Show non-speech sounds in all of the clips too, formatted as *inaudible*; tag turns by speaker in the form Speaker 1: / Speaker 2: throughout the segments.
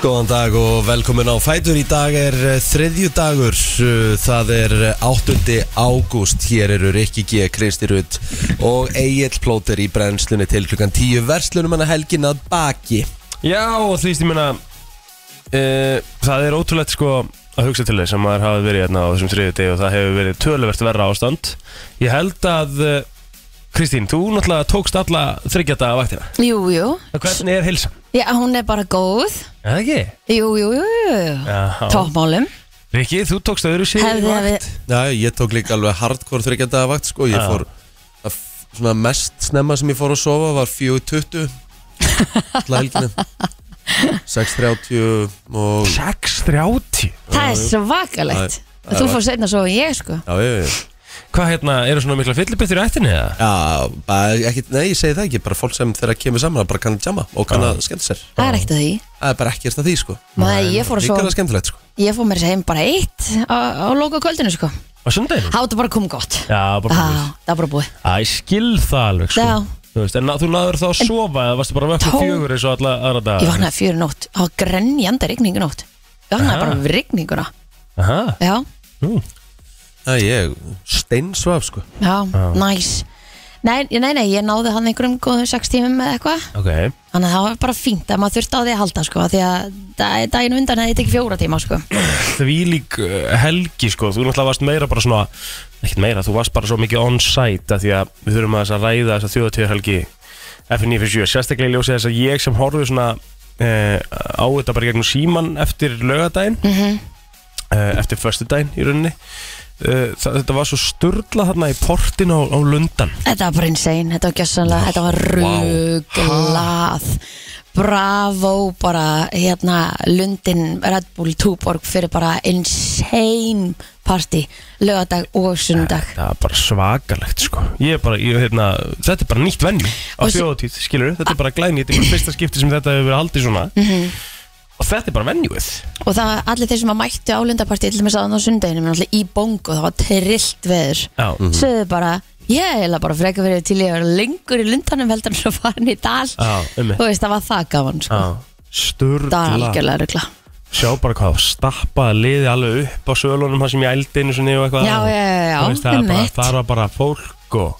Speaker 1: Góðan dag og velkomin á Fætur Í dag er þriðju dagur Það er 8. ágúst Hér eru Rikki G, Kristi Rutt Og Egil Plóter í brennslunni Til klukkan 10 verslunum hann að helgin að baki
Speaker 2: Já, og því ég meina e, Það er ótrúlegt sko að hugsa til þess að maður hafi verið hérna á þessum þriðu degi og það hefur verið töluvert verra ástand Ég held að eh, Kristín, þú náttúrulega tókst alla þryggjata af vaktina
Speaker 3: Jú, jú,
Speaker 2: Hvernig er hilsa?
Speaker 3: já, hún er bara góð
Speaker 2: Eða ekki?
Speaker 3: Jú, jú, jú, jú.
Speaker 2: Já.
Speaker 3: Toppmálum
Speaker 2: Rikki, þú tókst öðru sér
Speaker 3: Hefði að við
Speaker 1: Já, ég tók líka alveg hardcore þryggjanda vakt sko. Ég
Speaker 2: Já.
Speaker 1: fór að f- Svona mest snemma sem ég fór að sofa Var 4.20 Alla *laughs* helgina 6.30 og
Speaker 2: 6.30
Speaker 3: Það er svakalegt
Speaker 1: Æ,
Speaker 3: Þú
Speaker 1: æ,
Speaker 3: fór setna svo en ég sko
Speaker 1: Já, ég, ég.
Speaker 2: Hvað hérna, eru svona mikla fyllibittur í ættinni eða?
Speaker 1: Já, bara, ekki, nei, ég segi það ekki, bara fólk sem þeirra kemur saman bara kann að jamma og kann að skemmt sér
Speaker 3: Það er ekkert að því
Speaker 1: Það er bara ekkert að því, sko
Speaker 3: Maður, ég fór
Speaker 1: Líka
Speaker 3: svo,
Speaker 1: er það skemmtilegt, sko
Speaker 3: ég fór mér heim bara eitt á, á loka kvöldinu sko
Speaker 2: Á sundeginu?
Speaker 3: Hátu bara kom gott
Speaker 2: Já, bara komið
Speaker 3: Á, Það var bara búið
Speaker 2: Æ, skil það alveg sko
Speaker 3: Já.
Speaker 2: Þú veist, en ná- þú náður þá að sofa eða varstu bara að vökka
Speaker 3: Tó-
Speaker 2: fjögur eins og alla aðra daga
Speaker 3: Ég vaknaði fjöru nótt á grenjandi rigningu nótt Ég vaknaði bara við rigninguna
Speaker 2: Aha,
Speaker 3: Já,
Speaker 2: nú
Speaker 1: Það er ég, steinsvaf, sko
Speaker 3: já, næs Nei, nei, nei, ég náði hann einhverjum góðum sex tímum eða eitthvað
Speaker 2: Ok,
Speaker 3: Þannig að það var bara fínt að maður þurfti á því að halda sko af Því að dag- daginn á undan hefði tekið fjóra tíma sko
Speaker 2: því lík uh, helgi sko, þú náttúrulega varst meira bara svona ekkert meira, þú varst bara svo mikið on-site af því að við þurfum að, þess að ræða þessa þjóðatíðar helgi F957, sérstaklega í ljósið þess að ég sem horfði svona eh, á þetta bara í gegnum síman eftir lögadaginn eh, eftir föstudaginn í rauninni eh, það, þetta var svo sturla þarna í portin á, á Lundan
Speaker 3: Þetta var bara insane, þetta var gjössanlega, þetta var ruglað Bravo, bara hérna Lundin Red Bull Túborg fyrir bara insane party Lögadag og sundag
Speaker 2: það var bara svakalegt sko ég er bara, ég, hérna, þetta er bara nýtt venju á
Speaker 3: Og Ah. s-
Speaker 2: þjóðatíð, skilur, þetta er bara glænýtt þetta er bara fyrsta skipti sem þetta hefur verið haldið svona
Speaker 3: Mhm.
Speaker 2: og þetta er bara venjuð
Speaker 3: Og það allir þeir sem að mættu á lundapartí til þess að á sundaginu, menn allir í bongo, það var trillt veður
Speaker 2: Já.
Speaker 3: Sögðu bara, ég er eiginlega bara frekar verið til ég að vera lengur í lundanum heldur en svo farin í dal
Speaker 2: Já, einmitt.
Speaker 3: Þú veist, það var það gaman sko Það var
Speaker 2: Sturla
Speaker 3: algjörlega rugla
Speaker 2: Sjá bara hvað það stappaði liði alveg upp á sölunum Það sem ég ældi einu sinni og eitthvað
Speaker 3: Já, já, já, já,
Speaker 2: Þú veist, það, er bara,
Speaker 3: einmitt.
Speaker 2: það var bara fólk og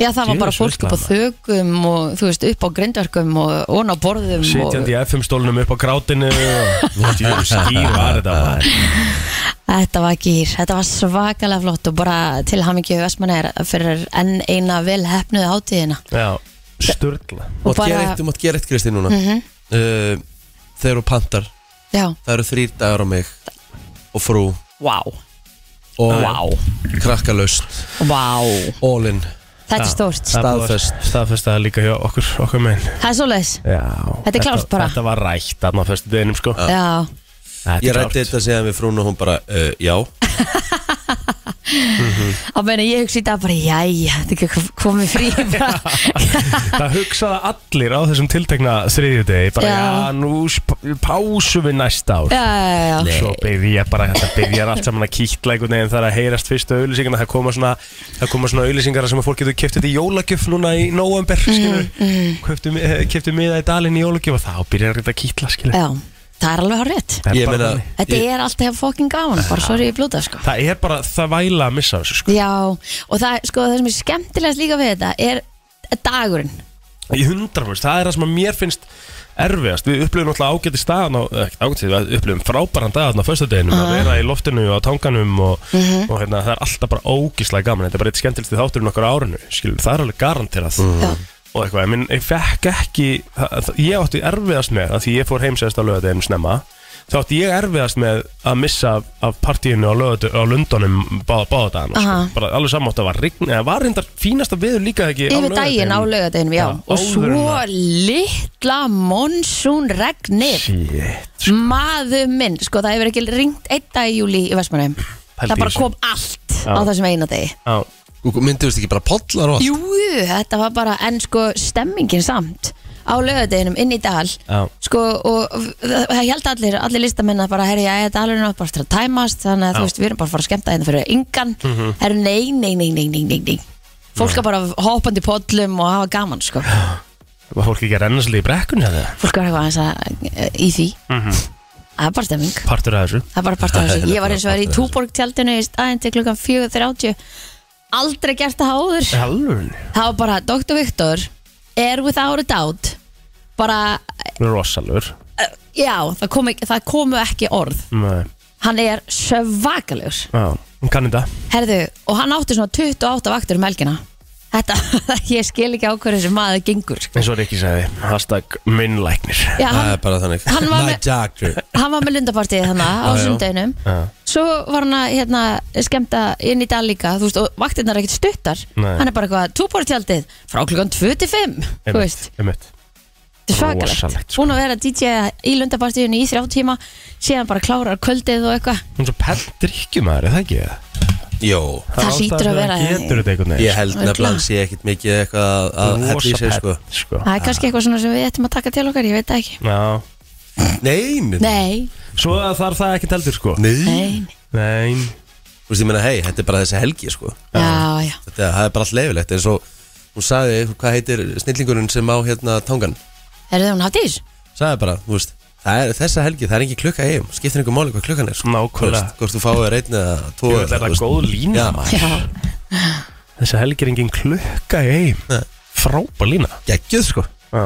Speaker 3: Já, það var
Speaker 2: Djöfull
Speaker 3: bara fólk upp á þögum og þú veist, upp á grindverkum og ón á borðum og
Speaker 2: Sitjandi í FM-stólunum upp á grátinu og djöfull skýr var þetta maður.
Speaker 3: þetta var gýr, þetta var svakalega flott og bara til hamingju Vestmannir fyrir enn eina vel hefnuð hátíðina.
Speaker 2: Já, sturla
Speaker 1: Mátt
Speaker 3: bara- Mhm.
Speaker 1: gera eitt, þú mátt gera eitt, Kristi, núna uh, Þeir eru pantar,
Speaker 3: Já,
Speaker 1: það eru þrýr dagar á mig og frú
Speaker 3: vá,
Speaker 1: og
Speaker 2: Ah,
Speaker 3: vá,
Speaker 1: krakkalaust,
Speaker 3: vá,
Speaker 1: all in
Speaker 3: þetta er stórt.
Speaker 1: Staðfest.
Speaker 2: Staðfest að líka hjá okkur, okkur megin
Speaker 3: Það er svoleiðis,
Speaker 2: Já
Speaker 3: Þetta er klárt bara.
Speaker 2: Þetta var rætt þarna á fyrstu deginum sko
Speaker 3: já,
Speaker 2: Þetta er
Speaker 1: Ég rætti
Speaker 2: klárt.
Speaker 1: þetta síðan við frún og hún bara, uh, já
Speaker 3: á meina ég hugsi í dag bara, jæja, þetta er ekki komið
Speaker 2: *laughs*
Speaker 3: frí bara.
Speaker 2: Það hugsaði allir á þessum tiltekna þriðjudegi Bara
Speaker 3: Já.
Speaker 2: já, nú sp- pásum við næsta ár
Speaker 3: Já, já, já, já,
Speaker 2: Svo byrja bara, þetta byrjar allt saman að kýtla einhvern veginn þar að heyrast fyrstu auðlýsingarna það koma svona, það koma svona auðlýsingar sem að fólk getur kæftið í jólagjöf núna í november, skilur, mm, mm. kæftið miða í dalinn í jólagjöf og þá byrjar þetta að kýtla, skilur.
Speaker 3: já, það er alveg hár rétt.
Speaker 2: Það er
Speaker 1: Ég
Speaker 2: bara
Speaker 1: meina,
Speaker 2: þannig.
Speaker 3: Þetta
Speaker 1: ég-
Speaker 3: er alltaf fokkin gaman, bara sorry ég blúta, sko.
Speaker 2: Það er bara, það væla að missa þessu, sko.
Speaker 3: Já, og það, sko, það sem er skemmtilegast líka við þetta er dagurinn.
Speaker 2: Í hundrafust, það er það sem að mér finnst erfiðast. Við upplifum alltaf ágæti staðan á, ekkert ágæti, við upplifum frábæran dagarn á föstudeginum, að vera í loftinu og á tanganum og, og hérna, það er alltaf bara ógíslega gaman. Þetta er bara eitt skemmtilegst þátturinn okkar á árinu, skilur, það er alveg garanterað.
Speaker 3: Já.
Speaker 2: og eitthvað, menn ég fekk ekki það, það- ég átti erfiðast með að því ég fór heimsæðast á lögadeginu snemma þá átti ég erfiðast með að missa af, af partíinu á, lögade, á Lundunum báða bá dagana, sko.
Speaker 3: Aha.
Speaker 2: bara alveg samátt að var rign, eða var reyndar fínasta viður líka ekki á
Speaker 3: Yfir daginn á
Speaker 2: laugardeginum.
Speaker 3: laugardeginum, já
Speaker 2: Já, áður
Speaker 3: Og
Speaker 2: en
Speaker 3: svo
Speaker 2: að-
Speaker 3: litla monsúnregnir
Speaker 2: Shit, sko.
Speaker 3: Maður minn, sko það hefur ekki ringt einn dag í júli í Vestmannheim Það
Speaker 2: Pældi í
Speaker 3: bara
Speaker 2: þessu.
Speaker 3: kom allt
Speaker 2: Já.
Speaker 3: á þessum eina degi
Speaker 2: á,
Speaker 1: Myndiðust ekki bara pollar og allt
Speaker 3: Jú, þetta var bara, en sko stemmingin samt á laugardeginum inn í dal
Speaker 2: Já.
Speaker 3: sko og það það held allir allir listamennar bara, herri, já, þetta alveg er bara eftir að tæmast, þannig að
Speaker 2: Já.
Speaker 3: þú veist, við erum bara að fara að skemmta hérna fyrir yngan, mm
Speaker 1: Mhm.
Speaker 3: -hmm. herri, nei, nei, nei, nei, nei, nei, nei. fólk er bara hoppandi í pollum og hafa gaman, sko
Speaker 2: Var fólk ekki að renna svolítið í brekkunni eða?
Speaker 3: fólk var eitthvað aðeins að í því það er bara stemming
Speaker 2: Partur af þessu
Speaker 3: það er bara partur af
Speaker 1: Mhm. Það er
Speaker 3: þessu ég var eins og
Speaker 1: bara
Speaker 3: verið í
Speaker 1: partur af þessu.
Speaker 3: túborg tjaldinu í staðinn til klukkan 4.30 aldrei gert það áður
Speaker 2: Alvörun
Speaker 3: það var bara Dr. Viktor er without a doubt bara,
Speaker 2: Rosalur
Speaker 3: uh, já, það, kom ekki, það komu ekki orð
Speaker 2: Nei
Speaker 3: hann er svakalegur
Speaker 2: Já Hún kann þetta
Speaker 3: herðu, og hann átti svona 28 vaktur um helgina þetta, *laughs* ég skil ekki á hverju þessi maður gengur
Speaker 2: eins og Rikki sagði Hashtag minnlæknir
Speaker 3: já,
Speaker 1: Það
Speaker 3: hann,
Speaker 1: er bara þannig
Speaker 3: hann var
Speaker 1: My
Speaker 3: með-
Speaker 1: doctor
Speaker 3: hann var með lundapartið þannig á
Speaker 1: Já, já.
Speaker 3: sundaginum
Speaker 2: Já.
Speaker 3: svo var hann að hérna, skemmta inn í dag líka þú veist, og vaktirnar er ekkert stuttar
Speaker 2: Nei.
Speaker 3: hann er bara eitthvað, túbortjaldið frá klukkan 25 þú veist,
Speaker 2: Einmitt
Speaker 3: þetta er
Speaker 2: Rosalegt,
Speaker 3: svakalegt
Speaker 2: sko.
Speaker 3: búin að vera DJ í lundapartiðinu í þrjá tíma síðan bara klárar kvöldið og eitthvað
Speaker 2: Hún er svo pell drikkjumæður, er það ekki það?
Speaker 1: Jó
Speaker 3: Það
Speaker 2: er
Speaker 3: hlýtur
Speaker 2: ástæðan
Speaker 3: að vera-
Speaker 2: fyrir Getur þetta einhvern
Speaker 1: Ég
Speaker 2: veginn
Speaker 1: held
Speaker 3: Örugglega.
Speaker 1: nefnilega að sé ekkit mikið eitthvað að- að hella í sig sko
Speaker 2: pell sko.
Speaker 3: það er kannski eitthvað svona sem við ættum að taka til okkar, ég veit það ekki
Speaker 2: Já
Speaker 1: Nein
Speaker 3: nei,
Speaker 2: Svo að þarf það ekki heldur sko
Speaker 1: Nein
Speaker 3: nei,
Speaker 2: Nei
Speaker 1: Þú veist ég meina hei, þetta er bara þessi helgi sko
Speaker 3: já, já
Speaker 1: Þetta það er bara allt leifilegt eins og hún sagði, hvað heitir snillingurinn sem á hérna tangan
Speaker 3: er það hún hafdís?
Speaker 1: sagði bara, þú veist Það er þessa helgi, það er engin klukka heim, skiptir einhver máli hvað klukkan er sko.
Speaker 2: Nákvæmlega.
Speaker 1: Þú veist, Hvort þú fáið reyn eða tvo
Speaker 2: Jú, þetta er
Speaker 1: eða,
Speaker 2: það
Speaker 1: þú veist.
Speaker 2: góð lína
Speaker 1: Já.
Speaker 2: maður.
Speaker 3: já,
Speaker 2: Þessi helgi er engin klukka í heim Frábær lína
Speaker 1: Geggjuð sko
Speaker 2: Já.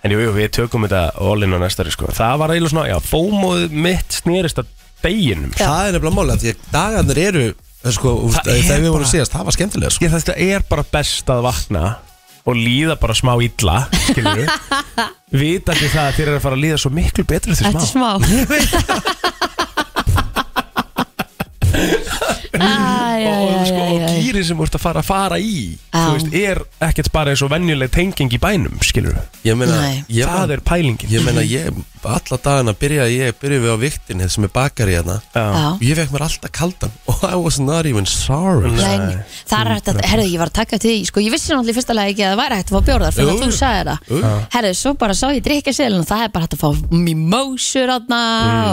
Speaker 2: En jú, jú, við tökum þetta all-in á næstari sko Það var eiginlega svona, já, fómóð mitt snýrist að deginum sko.
Speaker 1: Það er nefnilega máli af því að dagarnir eru eh, sko, þú veist,
Speaker 2: Það er
Speaker 1: þegar við vorum
Speaker 2: bara-
Speaker 1: síðast, það var skemmtilega sko.
Speaker 2: Ég, Þetta er bara best að vakna og líða bara smá illa
Speaker 3: *laughs*
Speaker 2: skilur við vitandi það að þér er að fara að líða svo miklu betur eftir smá
Speaker 3: eftir smá *laughs*
Speaker 2: og,
Speaker 3: Æ, já, já,
Speaker 2: sko,
Speaker 3: já,
Speaker 2: og
Speaker 3: já, já.
Speaker 2: gýrin sem þú ert að fara að fara í þú
Speaker 3: Já.
Speaker 2: veist, er ekkert bara eins og venjuleg tenging í bænum skilur við
Speaker 1: Ég meina,
Speaker 3: Nei.
Speaker 1: ég,
Speaker 2: það er pælingin
Speaker 1: ég meina, ég, alla dagana byrja ég, byrja við á viktinni sem er bakari hérna
Speaker 2: Já.
Speaker 1: og ég fekk mér alltaf kaldan *laughs* og I was not even sorry
Speaker 2: Nei.
Speaker 3: Nei, það er hægt að, herðu, ég var að taka til því sko, ég vissi náttúrulega í fyrsta lagi ekki að það væri hægt að fá bjórðar fyrir
Speaker 1: Jú,
Speaker 3: að þú
Speaker 1: jú.
Speaker 3: sagði það
Speaker 1: Já.
Speaker 3: herðu, svo bara sá ég drikkjaselin og það er bara hægt að fá mimósur aðna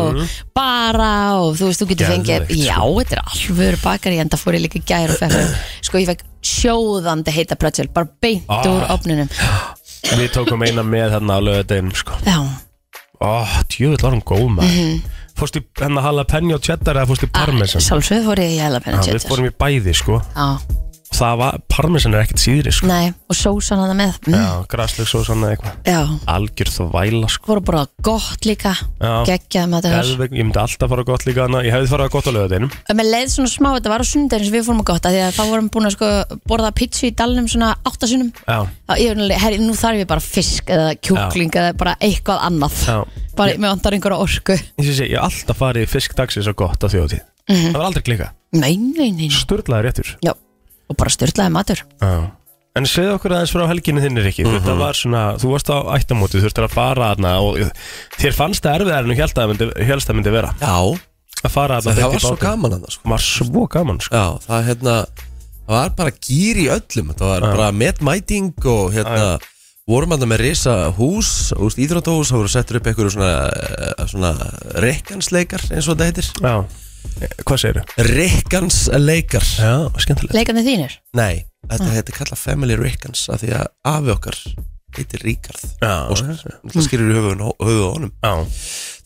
Speaker 3: og bara og þú veist, þú getur fengið,
Speaker 2: Mhm. Geðveikt, sko.
Speaker 3: já, þetta er alvöru bakari en það fór ég líka í gær og fekk
Speaker 2: *clears throat*
Speaker 3: mér- sko, ég fekk sjóðandi heita pretzel bara beint
Speaker 2: Ah.
Speaker 3: úr opnunum
Speaker 2: við tókum eina með þarna á lögadeginum sko.
Speaker 3: já,
Speaker 2: Ó, djöfull var hún góð maður
Speaker 3: Mhm.
Speaker 2: Fórstu í hennar jalapeno cheddar eða fórstu í parmesan?
Speaker 3: sjálfsög Ah, fór ég í
Speaker 2: Já,
Speaker 3: helapenna
Speaker 2: við fórum í bæði sko
Speaker 3: já,
Speaker 2: Það var, parmesan er ekkert síðri sko
Speaker 3: nei, og sósan hana með mm,
Speaker 2: Já, græsleg svo svona eitthvað
Speaker 3: já,
Speaker 2: Algjör þú væla sko
Speaker 3: voru bara gott líka
Speaker 2: Já.
Speaker 3: geggjað með þetta
Speaker 2: Elveg, Ég myndi alltaf fara gott líka hana Ég hefði farað gott á lögadeinum
Speaker 3: En mér leið svona smá, þetta var á sundar eins og við fórum að gotta því að þá vorum búin að sko borða pizzu í dalnum svona áttasunum
Speaker 2: Já,
Speaker 3: þá ég var alveg, herri, nú þarf ég bara fisk eða kjúkling eða bara eitthvað annað
Speaker 2: Já.
Speaker 3: bara, mér vantar einhverja orku
Speaker 2: ég sé, ég hef alltaf farið í fisk dagsins og gott á þjóðtíð
Speaker 3: Mhm.
Speaker 2: Það var aldrei klika
Speaker 3: Nei, nei, nei, nei.
Speaker 2: Sturlaði réttur
Speaker 3: Já, og bara styrlaði matur
Speaker 2: Já Mhm. En segðu okkur aðeins frá helginu þinni, Rikki Þetta var svona, þú varst á ættamóti, þú þurftir að fara aðna og þér fannst það erfiðar en þú hélst að það myndi, hélst að myndi vera
Speaker 1: Já,
Speaker 2: að fara aðna
Speaker 1: það,
Speaker 2: beint í
Speaker 1: var svo
Speaker 2: bátinn.
Speaker 1: gaman hann sko.
Speaker 2: var svo gaman sko.
Speaker 1: Já, það hérna það var bara gýr í öllum það var bara metmæting og hérna vorum hann með risa hús úst, íþróttahús, það voru settur upp einhverju svona, eh, svona rekkansleikar eins og þetta heitir
Speaker 2: Já, Eh, hvað segir þau?
Speaker 1: Rikkansleikar
Speaker 2: Já, skemmtilegt
Speaker 3: Leikandi þínir
Speaker 1: Nei, þetta heitir kallað Family Rikkans af því að afi okkar heitir Ríkarð
Speaker 2: Já,
Speaker 1: og það skilur í höfuð höfuð á honum
Speaker 2: Já,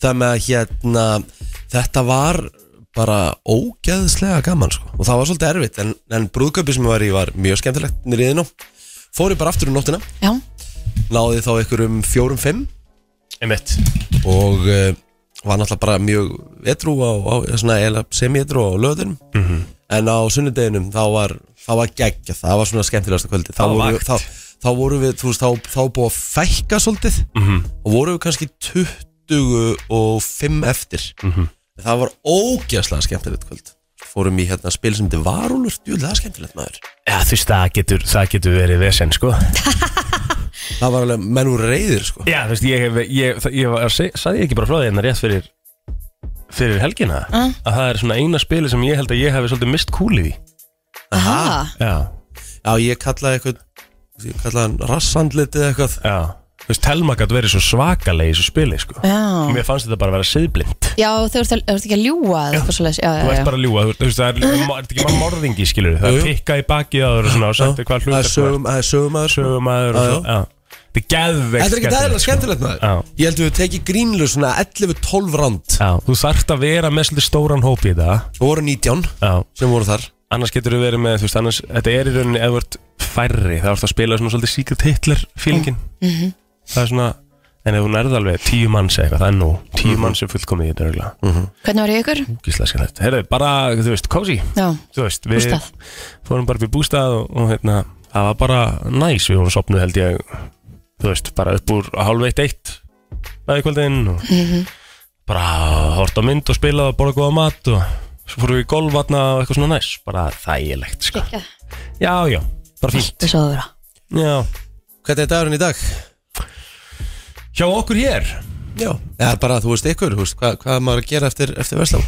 Speaker 1: þannig að hérna þetta var bara ógeðslega gaman sko. og það var svolítið erfitt en, en brúðköpi sem ég var í var mjög skemmtilegt nýriðin og fór ég bara aftur um nóttina
Speaker 3: Já,
Speaker 1: náði þá ykkur um fjórum-fimm
Speaker 2: einmitt
Speaker 1: og uh, var náttúrulega bara mjög etru á, á svona eiginlega semi-etru á löðunum
Speaker 2: Mhm.
Speaker 1: en á sunnudeginum þá var þá var geggja, það var svona skemmtilegasta kvöldi þá
Speaker 2: Það var
Speaker 1: voru,
Speaker 2: vakt.
Speaker 1: þá, þá voru við, þú veist, þá, þá búið að fækka svolítið
Speaker 2: Mhm.
Speaker 1: og voru við kannski 25 eftir
Speaker 2: Mhm.
Speaker 1: það var ógeðslega skemmtilegt kvöld fórum í hérna spil sem þetta var úlur djúlega skemmtilegt maður
Speaker 2: Já, þú veist, það getur, það getur verið vesen, sko
Speaker 1: það var alveg, menn voru reyðir sko
Speaker 2: Já, þú veist, ég hef, ég, það- ég var, seg- sagði ég ekki bara frá því hérna rétt fyrir fyrir helgina að það er svona eina spili sem ég held að ég hefði svolítið mist kúlið í
Speaker 3: aha,
Speaker 2: Já,
Speaker 1: já, ég kallaði eitthvað ég kallaði hann rassandlitið eitthvað
Speaker 2: já Þú veist, Telma gæti verið svo svakaleg í þessu spili, sko
Speaker 3: já
Speaker 2: Mér fannst þetta bara að vera siðblind
Speaker 3: Já, þú ert, þú ert ekki að ljúga eða eitthvað svoleiðis. já,
Speaker 2: Þú
Speaker 3: já,
Speaker 2: veist
Speaker 3: já.
Speaker 2: bara að ljúga, þú veist, það er, það er ekki bara morðingi, skilur Það
Speaker 1: Jú,
Speaker 2: er
Speaker 1: jú.
Speaker 2: tikka í bakið á þér og svona og sagt
Speaker 1: Já,
Speaker 2: þér hvað
Speaker 1: það er
Speaker 2: hlutir
Speaker 1: sögum, það er sögum aður
Speaker 2: sögum
Speaker 1: Já,
Speaker 2: aður og svo, já Þetta er geðveikt sko.
Speaker 1: Þetta er ekki aðeins skemmtilegt maður
Speaker 2: Já.
Speaker 1: Ég held að við tekið grínlega svona 11-12 rand
Speaker 2: Já, þú þarft að vera með svolítið stóran hóp í þetta
Speaker 1: Það voru 19
Speaker 2: Já
Speaker 1: sem voru þar
Speaker 2: Annars getur þú verið með, þú veist, annars Þetta er í rauninni eða þú ert færri Það ert að spila svona svolítið Secret Hitler fílingin
Speaker 3: Mhm.
Speaker 2: Það er svona En ef hún erði alveg tíu manns eða eitthvað, það er nú Tíu
Speaker 3: Mhm.
Speaker 2: manns er fullkomið í þetta regla mm -hmm.
Speaker 3: Hvernig var ég ykkur?
Speaker 2: Gísla skilvægt Herðu, bara, þú veist, cozy
Speaker 3: Já,
Speaker 2: Þú veist, við
Speaker 3: Bústað.
Speaker 2: fórum bara upp í bústað og, og hérna, það var bara næs Við vorum sopnuð held ég Þú veist, bara upp úr hálfveitt eitt Bæði kvöldin og
Speaker 3: Mhm.
Speaker 2: bara hort á mynd og spilað og borða góða mat og svo fórum við í golf þarna og eitthvað svona næs Bara þægilegt, sko
Speaker 3: ekki
Speaker 2: Já, já, bara fínt
Speaker 3: Þú svo að vera
Speaker 2: Já.
Speaker 1: Hvernig er dagurinn í dag?
Speaker 2: Hjá okkur hér
Speaker 1: Já Eða bara þú veist ykkur, þú veist, hvað, hvað maður að gera eftir, eftir verslam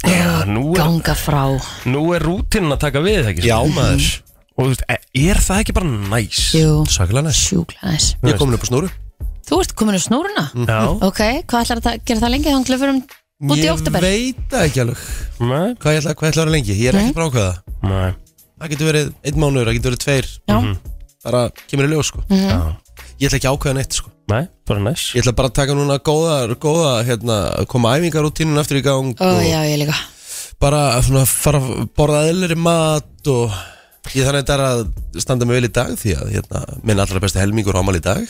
Speaker 2: Já, Ah, nú er,
Speaker 3: Ganga frá
Speaker 2: nú er rútinin að taka við ekki
Speaker 1: Já
Speaker 2: svona?
Speaker 1: maður
Speaker 2: Og þú veist, e- er það ekki bara næs?
Speaker 3: Jú,
Speaker 1: Svakalega næst
Speaker 3: sjúkla næs
Speaker 1: Ég er komin upp á snúru
Speaker 3: Þú ert komin úr snúruna
Speaker 2: Já,
Speaker 3: Ok, hvað ætlar að gera það lengi? Þannig glöfurum út í
Speaker 1: Ég
Speaker 3: óttabæl
Speaker 1: veit það ekki alveg
Speaker 2: nei,
Speaker 1: Hvað ég ætla, hvað ég ætla að vera lengi? Ég er ekki bara ákveða
Speaker 2: nei
Speaker 1: Það getur verið einn mánuður, það getur verið tveir
Speaker 3: Já,
Speaker 1: Bara kemur í ljós sko
Speaker 3: Mhm. Mm.
Speaker 2: Já,
Speaker 1: Ég ætla ekki að ákveða neitt sko
Speaker 2: nei, bara næs
Speaker 1: Ég ætla bara að taka núna góða, góða hérna, koma æfingarútínun aftur í gang
Speaker 3: ó
Speaker 1: og
Speaker 3: já, ég líka
Speaker 1: bara svona fara að borða eðlir mat og ég þannig þetta er að standa mig vel í dag því að hérna, minn allra besti helmingur ámali í dag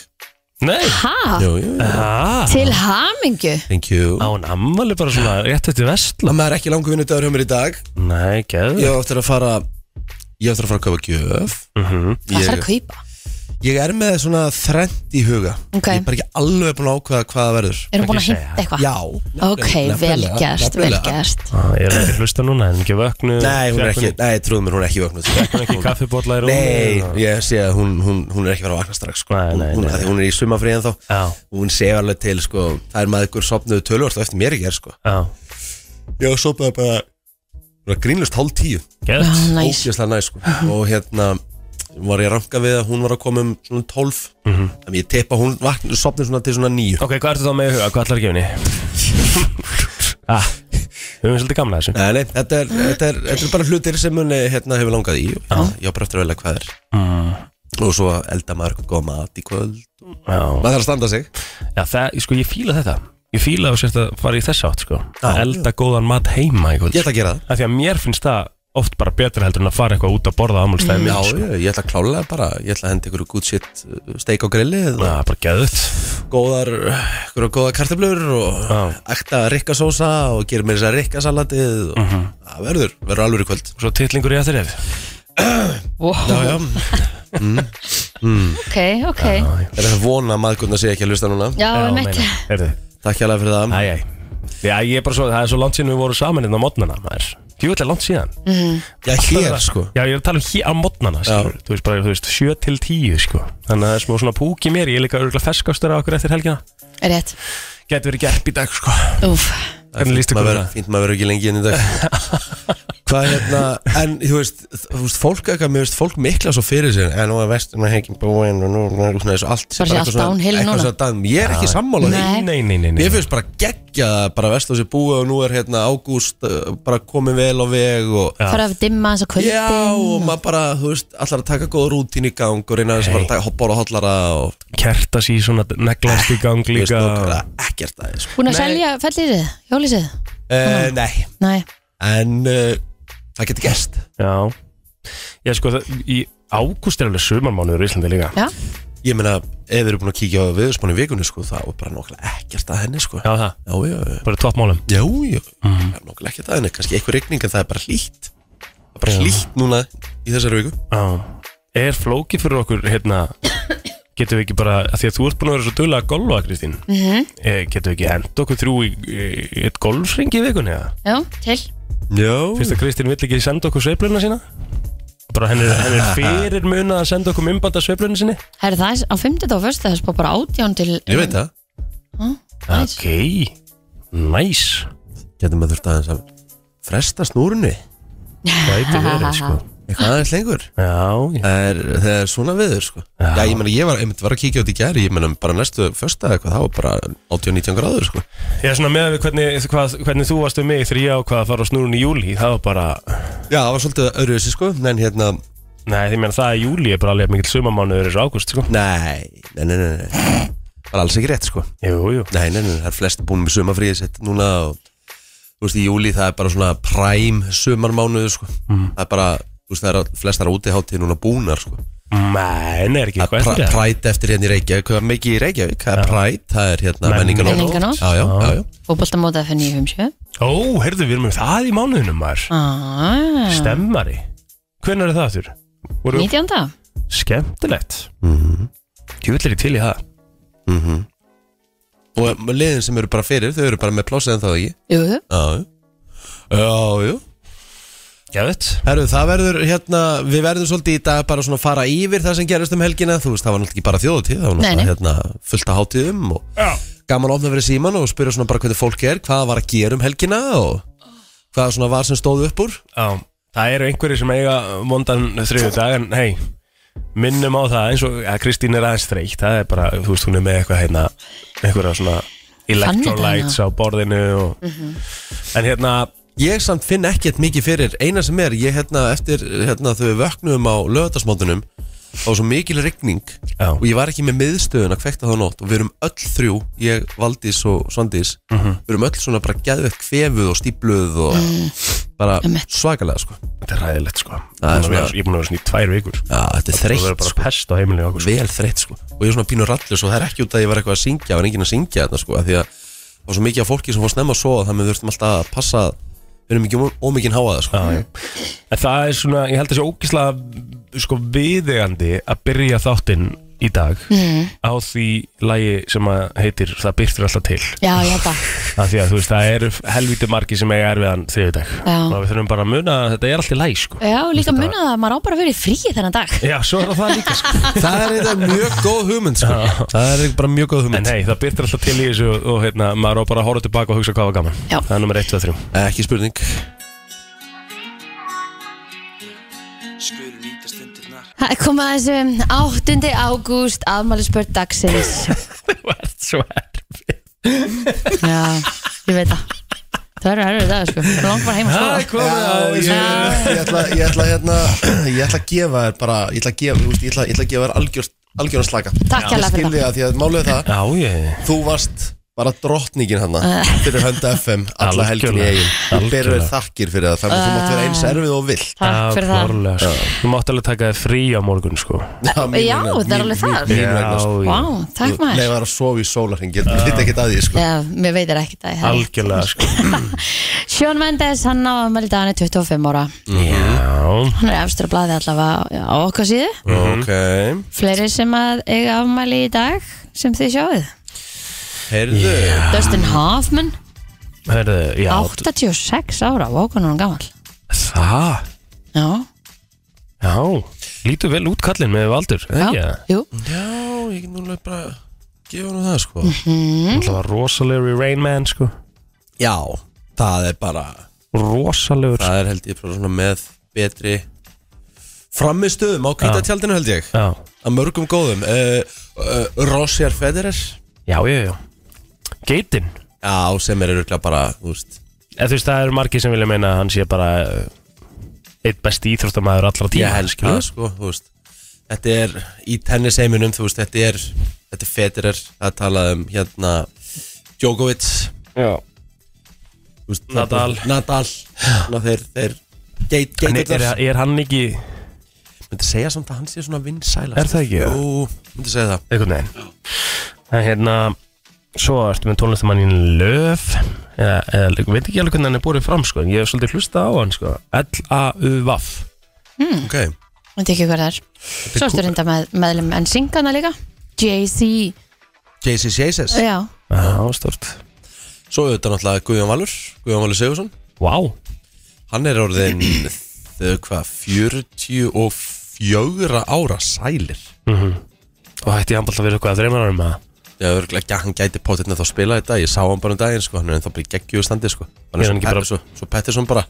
Speaker 2: Nei,
Speaker 3: Ha?
Speaker 1: Jú, jú,
Speaker 2: ah,
Speaker 3: Til hamingju
Speaker 1: thank you
Speaker 2: á hann ammali bara svona rétt eftir vestla
Speaker 1: Það maður er ekki langu vinnudagur hjá mér í dag
Speaker 2: Nei, geðu
Speaker 1: Ég á eftir að fara Ég á eftir að fara að kaupa gjöf
Speaker 3: Mm. Hvað þarf að
Speaker 1: ég,
Speaker 3: kaupa?
Speaker 1: ég er með svona þrend í huga
Speaker 3: Ok.
Speaker 1: Ég er bara ekki alveg búin að ákveða hvað það verður
Speaker 3: Erum búin að
Speaker 2: Ekki
Speaker 3: hinta eitthvað?
Speaker 1: Já
Speaker 3: Ok, vel gert, vel gert
Speaker 2: ah, Ég er ekki að hlusta núna, en ekki vöknu
Speaker 1: Nei, hún er ekki, nei, trúðu mér, hún er ekki vöknuð
Speaker 2: Hún er ekki kaffibólla í rúmi
Speaker 1: Nei, ég sé að hún, hún, hún er ekki verið að vakna strax sko.
Speaker 2: Nei, nei,
Speaker 1: hún,
Speaker 2: nei.
Speaker 1: hún, hún er í sumafríðan þá
Speaker 2: Já,
Speaker 1: Hún sef alveg til, sko, það er maður ykkur sopnuðu tölvort og eftir mér ekki er, sko
Speaker 2: já,
Speaker 1: Ég sopnaði bara bara grínlust hálf tíu
Speaker 3: Já,
Speaker 2: geðu
Speaker 3: næs
Speaker 1: Ógeðslega næ, sko Og hérna var ég að ranka við að hún var að koma um svona tólf
Speaker 2: Mhm.
Speaker 1: Þannig ég teipa hún vakna, sopnið svona til svona níu
Speaker 2: Ok, hvað ertu þá með í huga? Hvað ætlar að gefa henni?
Speaker 1: *laughs*
Speaker 2: ah, við erum svolítið gamla þessu
Speaker 1: Nei, nei, þetta er, þetta, er, þetta er bara hlutir sem hún hérna, hefur langað í og Ég á bara eftir að velja hvað er
Speaker 2: mm,
Speaker 1: Og svo elda maður eitthvað góða mat í kvöld
Speaker 2: Já,
Speaker 1: Maður þarf að standa sig
Speaker 2: Já, það, sko, ég fíla þetta Ég fíla að sérst að fara í þess átt, sko Að
Speaker 1: Já.
Speaker 2: elda góðan mat heima í kvöld
Speaker 1: Ég ætla að gera það
Speaker 2: Af því að mér finnst það oft bara betra heldur en að fara eitthvað út að borða á ámulstæði
Speaker 1: Já,
Speaker 2: minn, sko
Speaker 1: ég, ég ætla að klálega bara Ég ætla að henda ykkur good shit uh, steik á grilli
Speaker 2: Já,
Speaker 1: eða
Speaker 2: Ah, bara geðut
Speaker 1: góðar, ykkur góða kartöflur og
Speaker 2: Já.
Speaker 1: ekta rikkasósa og gera mér þess að rikkasalatið og það
Speaker 2: Mhm.
Speaker 1: verður, verður alveg í kvöld
Speaker 2: Svo titlingur í aðrið
Speaker 3: Wow, *laughs*
Speaker 1: Já, Mm. já,
Speaker 3: Ok, ok
Speaker 1: er það vona að maðgurna sé ekki að hlusta núna
Speaker 3: Já, einmitt
Speaker 2: Erðu,
Speaker 1: Takk hérlega fyrir það
Speaker 2: æj, æj Já, ég er bara svo, það er svo langt síðan við vorum saman hérna á modnana, maður Djúvill er langt síðan
Speaker 1: Já, hér sko
Speaker 2: Já, ég er að tala um hér á modnana, skilur Þú veist bara, þú veist, 7 til 10, sko Þannig að það er smá svona púk í mér, ég er líka örgulega ferskastur á okkur eftir helgina
Speaker 3: Rétt
Speaker 2: Gæti verið gerp í dag, sko
Speaker 3: Úf
Speaker 2: Hvernig líst
Speaker 1: Maður
Speaker 2: ykkur á
Speaker 1: verður-
Speaker 2: það?
Speaker 1: Fínt maður verður ekki lengi inn í dag
Speaker 2: *laughs*
Speaker 1: Hvað hérna, en þú veist, þú veist fólk eitthvað, mér veist fólk mikla svo fyrir sér en nú er vestum að hengið búin og nú er svona þessu allt
Speaker 3: Bara sé
Speaker 1: bara
Speaker 3: allt
Speaker 1: eitthvað svona-
Speaker 3: downhill
Speaker 1: eitthvað
Speaker 3: núna.
Speaker 1: svona dæmi. Ég er ekki sammála því
Speaker 3: Nei.
Speaker 2: Nei, nei, nei, nei
Speaker 1: Mér finnst bara geggja bara vest á sér búið og nú er hérna ágúst uh, bara komið vel á veg og
Speaker 3: Fara að dimma eins og kvöldin
Speaker 1: já og maður bara, þú veist, allar að taka góða rútín í gang og reyna þess að bara taka hoppar og hotlara og
Speaker 2: kertas í svona neglast í gang
Speaker 1: þú veist,
Speaker 2: líka
Speaker 1: nokkara ekkert aðeins sko.
Speaker 3: Búin að
Speaker 2: Nei.
Speaker 3: selja fellirið, hjólísið
Speaker 1: uh, Nei,
Speaker 3: Nei,
Speaker 1: en uh, það getur gerst
Speaker 2: Já Já sko það, í ágúst er alveg sumarmánuður í Íslandi líka
Speaker 3: já,
Speaker 1: Ég meina, ef við erum búin að kíkja á viðspáni vikunni sko, þá er bara nokkara ekkert að henni sko.
Speaker 2: Já Mhm. það,
Speaker 1: já, já, já,
Speaker 2: bara toppmálum
Speaker 1: já, já. það er nokkara ekkert að henni, kannski eitthvað rigning en það er bara hlýtt það er bara hlýtt núna í þessari viku
Speaker 2: Já Er flókið fyrir okkur hérna *coughs* Getum við ekki bara, að því að þú ert búin að vera svo dögulega að golfa Kristín mm Getum við ekki hend okkur þrjú í, í, í eitt golfsring í vikunni eða?
Speaker 3: já, til
Speaker 1: Já,
Speaker 2: Fyrst að Kristín vill ekki senda okkur sveifluna sína Bara henn er, henn er fyrir munað að senda okkur umbanda sveifluna sinni
Speaker 3: Herri það er á 50 og fyrstu þess bara átján til
Speaker 1: ég veit það
Speaker 3: Næs.
Speaker 2: Ok, nice
Speaker 1: getum við þurft aðeins að fresta snúrunni
Speaker 2: Gæti verið sko
Speaker 1: eitthvað aðeins lengur
Speaker 2: Já, já
Speaker 1: það er, það er svona viður sko já, ég meina ég var, einmitt var að kíkja út í gæri ég meina bara næstu första eitthvað það var bara 80-90 gráður sko
Speaker 2: Ég er svona með við hvernig, hvað, hvernig þú varst um mig þegar ég ákvað að fara á snúrun í júli Það var bara,
Speaker 1: já það var svolítið öðruvísi sko en hérna
Speaker 2: Nei, því meina það að júli er bara alveg mikil sumamánuður eins og ágúst, sko
Speaker 1: Nei, nei, nei, nei, nei Það er alls ekki rétt sko
Speaker 2: Jú, jú
Speaker 1: Nei, nei, nei, það er flest búin með sumafríði sitt núna og þú veist í júli það er bara svona præm sumarmánuðu sko Það er bara, þú veist það er að flestar útiháttir núna búnar sko
Speaker 2: Nei, nei, er ekki
Speaker 1: Það er
Speaker 2: eitthvað
Speaker 1: præ,
Speaker 2: eftir það
Speaker 1: præt eftir hérna í Reykjavík, hvað er mikið í Reykjavík? Það er præt, það er hérna menninganótt
Speaker 3: Menningarnótt.
Speaker 1: Já, já, já, já
Speaker 3: Fótboltamóta F957
Speaker 2: Ó, heyrðu, við erum með það í mánuðinum, maður
Speaker 3: ah,
Speaker 2: Stemmari Hvernig er það aftur? Voru
Speaker 3: 19.
Speaker 2: skemmtilegt
Speaker 1: Mhm.
Speaker 2: Tjúvillir ég til í það
Speaker 1: Og liðin sem eru bara fyrir, þau eru bara með plássið en þá ekki
Speaker 3: Jú,
Speaker 1: Já, já, já, já
Speaker 2: Já, veit
Speaker 1: Herru, það verður hérna, við verðum svolítið í dag bara svona að fara yfir það sem gerist um helgina Þú veist, það var náttúrulega ekki bara þjóðutíð, það var
Speaker 3: Nei, nei.
Speaker 1: náttúrulega hérna, fullt af hátíðum og
Speaker 2: Já
Speaker 1: gaman að opna fyrir síman og spyrja svona bara hvernig fólk er, hvað var að gera um helgina og hvað svona var sem stóð upp úr
Speaker 2: Já, það eru einhverjir sem eiga vondan þriðu dag en hei, minnum á það eins og að Kristín er aðeins þreytt það er bara, þú veist, hún er með eitthvað hérna einhverja svona electrolytes á borðinu og, en hérna,
Speaker 1: Ég samt finn ekkert mikið fyrir, eina sem er, ég hérna eftir hérna þau vöknum á lögatarsmóndunum og svo mikil rigning
Speaker 2: Já.
Speaker 1: og ég var ekki með miðstöðun að kvekta þá nótt og við erum öll þrjú, ég, Valdís og Svandís við erum öll svona bara geðvett kvefuð og stípluð og bara
Speaker 3: Einmitt.
Speaker 1: svakalega sko
Speaker 2: þetta er ræðilegt sko
Speaker 1: Það er
Speaker 2: Búin að vera-
Speaker 1: svona-
Speaker 2: ég er búin að vera svona í tvær vikur
Speaker 1: Já, þetta er
Speaker 2: það verður
Speaker 1: þreytt
Speaker 2: bara
Speaker 1: sko,
Speaker 2: pest á heimilinu okkur sko.
Speaker 1: vel þreytt sko og ég er svona pínur rallus og það er ekki út að ég var eitthvað að syngja, það var enginn að syngja þarna sko af því að það var svo mikið af fólki sem fór snemma að sofa þannig að við þurftum alltaf að passa við erum ekki ómikinn háaða sko
Speaker 2: Já, já. En það er svona, ég held að sé ógislega sko viðegandi að byrja þáttinn í dag
Speaker 3: Mhm.
Speaker 2: á því lægi sem að heitir Það byrtir alltaf til
Speaker 3: já, ég held að
Speaker 2: af því að þú veist það eru helviti margi sem eiga erfiðan þriðudag
Speaker 3: Já. Eh.
Speaker 2: og við þurfum bara að muna að þetta er alltaf læg sko.
Speaker 3: Já, líka muna það að maður á bara að vera í fríi þennan dag
Speaker 2: já, svo er það líka sko.
Speaker 3: *laughs*
Speaker 1: Það er eitthvað mjög góð hugmynd sko. Það er bara mjög góð hugmynd
Speaker 2: en hei, það byrtir alltaf til í þessu og, og hérna, maður á bara að horfa tilbaka og hugsa hvað var gaman
Speaker 3: Já.
Speaker 2: það er nummer 1, 2, 3
Speaker 1: Ekki spurning
Speaker 3: Það er komið að þessu 8. ágúst afmælisbörn dagsins
Speaker 2: þú ert svo erfið
Speaker 3: Já, ég veit það Það eru erfið dag, sko Ég langt bara heim að
Speaker 2: það
Speaker 3: skoða
Speaker 2: komið að
Speaker 1: ég, ég, ætla, ég, ætla, hérna, ég ætla að gefa þér bara Ég ætla að gefa, þú veist, ég ætla, ég ætla að gefa þér algjör, algjörn slaka
Speaker 3: Takk hérlega fyrir
Speaker 1: Skilja því að málið er það
Speaker 2: já, ég
Speaker 1: Þú varst bara drottningin hann
Speaker 3: Eh.
Speaker 1: Fyrir hönda FM alla helgin í
Speaker 2: Algjörlega.
Speaker 1: eigin Þú berur þér
Speaker 2: Algjörlega.
Speaker 1: þakkir fyrir það Þannig að þú mátt vera
Speaker 3: Eh.
Speaker 1: eins erfið og vill
Speaker 3: Takk fyrir það
Speaker 2: klárlega, sko. þú mátt alveg taka þér frí á morgun sko.
Speaker 1: Já, mín
Speaker 3: Já,
Speaker 1: vegna,
Speaker 3: það er
Speaker 1: mín-
Speaker 3: alveg það.
Speaker 1: mín- mín vegna, sko.
Speaker 2: já.
Speaker 3: Vá, takk
Speaker 1: Þú
Speaker 3: maður
Speaker 1: leifar að sofa í sólarhring Ég veit ekki að því sko.
Speaker 3: Já, mér veitir ekki það
Speaker 2: algjörlega sko.
Speaker 3: *laughs* Sjón Mendes, hann á afmæli í dag, hann er 25 ára
Speaker 1: Mhm.
Speaker 2: já,
Speaker 3: Hann er efstur að blaði allavega á okkar síðu
Speaker 1: Ok
Speaker 3: Fleiri sem að eiga afmæli í dag sem þið sjáuð
Speaker 1: Heyrðu
Speaker 3: Dustin Hoffman,
Speaker 2: herðu, já
Speaker 3: 86 ára, vákan hún gammal
Speaker 2: það,
Speaker 3: Já,
Speaker 2: já lítur vel út kallinn með valdur
Speaker 3: já,
Speaker 2: ekki það
Speaker 3: jú
Speaker 1: Já, ég get núlega bara gefa hann það sko
Speaker 3: Mhm.
Speaker 2: Það var rosalegur í Rain Man sko
Speaker 1: Já, það er bara
Speaker 2: Rosalegur
Speaker 1: Það er held ég bara svona með betri framistöðum á kvítatjaldinu held ég
Speaker 2: Já,
Speaker 1: Að mörgum góðum uh, uh, Rossier Federer
Speaker 2: já, já, já Geitin
Speaker 1: Já, sem er öruglega bara, þú veist
Speaker 2: Eða þú veist, það eru margir sem vilja meina að hann sé bara eh, Eitt besti íþróttamæður allra tíma
Speaker 1: Ég helst það sko, þú veist Þetta er í tennisheiminum, þú veist Þetta er, þetta er Federer Það talaði um hérna Djokovic
Speaker 2: Já
Speaker 1: sko. þú veist,
Speaker 2: Nadal.
Speaker 1: Nadal Ná, Þeir, þeir Geit,
Speaker 2: En er, er,
Speaker 1: geiturnar
Speaker 2: er hann ekki
Speaker 1: Myndi segja samt að hann sé svona vinsæla
Speaker 2: Er það ekki?
Speaker 1: Jú, myndi segja það
Speaker 2: einhvern veginn En hérna Svo ertu með tónlistamannin Löf eða, eða, ég veit ekki alveg hvernig hann er borðið fram sko En ég hef svolítið hlusta á hann sko L-A-U-V-A-F
Speaker 1: Ok
Speaker 3: Ég veit ekki hver það er Svo ertu reynda með, meðlum en syngana líka Jay-Z,
Speaker 1: JC Jesus
Speaker 3: já
Speaker 2: Já, stort
Speaker 1: Svo auðvitað náttúrulega Guðjón Valur Guðjón Valur Sigursson
Speaker 2: Vá wow.
Speaker 1: Hann er orðin þau hvað 44 ára sælir
Speaker 2: Og hætti hann bara að vera eitthvað að þreymar árum að
Speaker 1: Já, örgulega ekki að hann gæti potið þá að spila þetta Ég sá hann bara um daginn sko Hann er ennþá bara í geggjöðu standi sko Hann
Speaker 2: Er
Speaker 1: er
Speaker 2: hann
Speaker 1: svo,
Speaker 2: ekki
Speaker 1: pet,
Speaker 2: bara-
Speaker 1: svo, svo Pettersson bara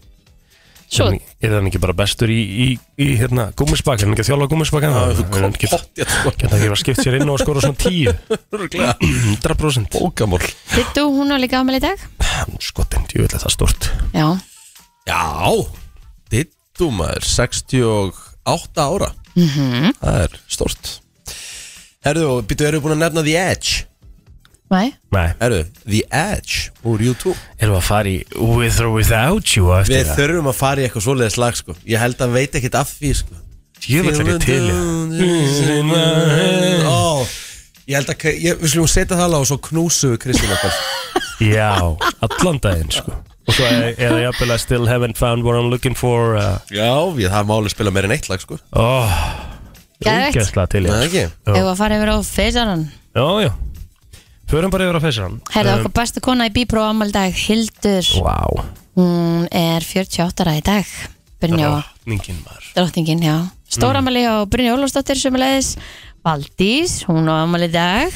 Speaker 2: Er
Speaker 3: Svo,
Speaker 2: hann- Er hann ekki bara bestur í, í, í hérna, gúmisbak, er hann ekki að þjálfa gúmisbak hann?
Speaker 1: Það er
Speaker 2: Er hann
Speaker 1: svo
Speaker 2: ekki
Speaker 1: potið sko
Speaker 2: Geta ekki að skipta sér inn og skora svona 10
Speaker 1: Örgulega
Speaker 2: 100%
Speaker 1: Bókamól
Speaker 3: Dittu, hún er líka afmæli í dag
Speaker 2: Skotin, ég vil það stort
Speaker 3: Já,
Speaker 1: Já Dittu maður 61 8 ára -hmm. Það er stort Herðu, og býttu, erum við búin að nefna The Edge
Speaker 3: Nei,
Speaker 2: Nei,
Speaker 1: Herðu, The Edge úr YouTube
Speaker 2: erum við að fara í With or Without You á eftir
Speaker 1: Við
Speaker 2: það?
Speaker 1: þurfum að fara í eitthvað svoleiðis lag sko Ég held að hann veit ekkert af því sko
Speaker 2: Ég vil ekki til ég
Speaker 1: Ó, Ég held að, ég, við slumum setja það alveg og svo knúsum við Kristín okkar
Speaker 2: Já, allan daginn sko Og svo er er það jafnvel að Still haven't found what I'm looking for uh,
Speaker 1: Já, við það máli spila meira en eitt lag sko
Speaker 2: oh,
Speaker 3: Geðveikt.
Speaker 2: Úgesla til
Speaker 1: Nei,
Speaker 2: ég
Speaker 1: ekki
Speaker 2: Já.
Speaker 3: ef að fara yfir á feysarann
Speaker 2: Já, já Förum bara yfir á fessan
Speaker 3: Herðu, okkar bestu kona í bípró ámæli dag Hildur,
Speaker 2: Vá
Speaker 3: hún er 48 ára í dag Brynjóa
Speaker 2: Ningin maður
Speaker 3: drottningin, já
Speaker 2: Mm.
Speaker 3: Stóramæli á Brynja Ólafsdóttir sem er leiðis Valdís, hún á afmæli í dag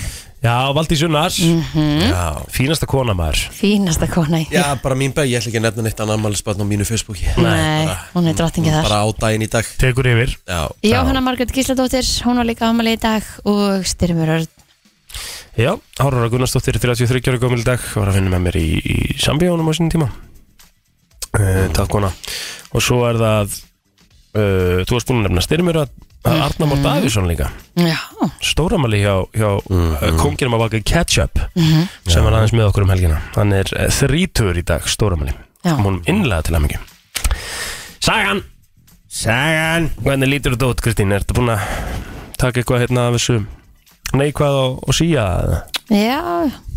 Speaker 2: Já, Valdi Sunnars
Speaker 3: Mhm.
Speaker 2: Já Fínasta kona maður
Speaker 3: Fínasta kona í
Speaker 1: Já, bara mín bæ, ég ætla ekki að nefna neitt annað ammælisbarn á mínu Facebooki
Speaker 3: Nei,
Speaker 1: bara-
Speaker 3: hún er drottningi þar
Speaker 1: Bara á daginn í dag
Speaker 2: Tekur yfir
Speaker 1: Já,
Speaker 3: Jóhanna Margrét Gísladóttir, hún var líka afmæli í dag og Styrmur Örn
Speaker 2: Já, Árara Gunnarsdóttir 33 ára gömul í dag Var að finna með mér í, í sambíónum á sínum tíma uh, Takk kona Og svo er það uh, Þú varst búin að nefna styrmur að
Speaker 3: Mhm.
Speaker 2: að Arna Mór Davíðsson líka
Speaker 3: Já,
Speaker 2: Stóramæli hjá, hjá mm -hmm. konginum að baka Ketchup sem var aðeins með okkur um helgina Hann er uh, þrítur í dag, stóramæli
Speaker 3: Já.
Speaker 2: Hún innlega til að mikið Sagan Sagan Hvernig lítur þetta út, Kristín? Er þetta búin að taka eitthvað hérna af þessu neikvað og, og síja eða?
Speaker 3: já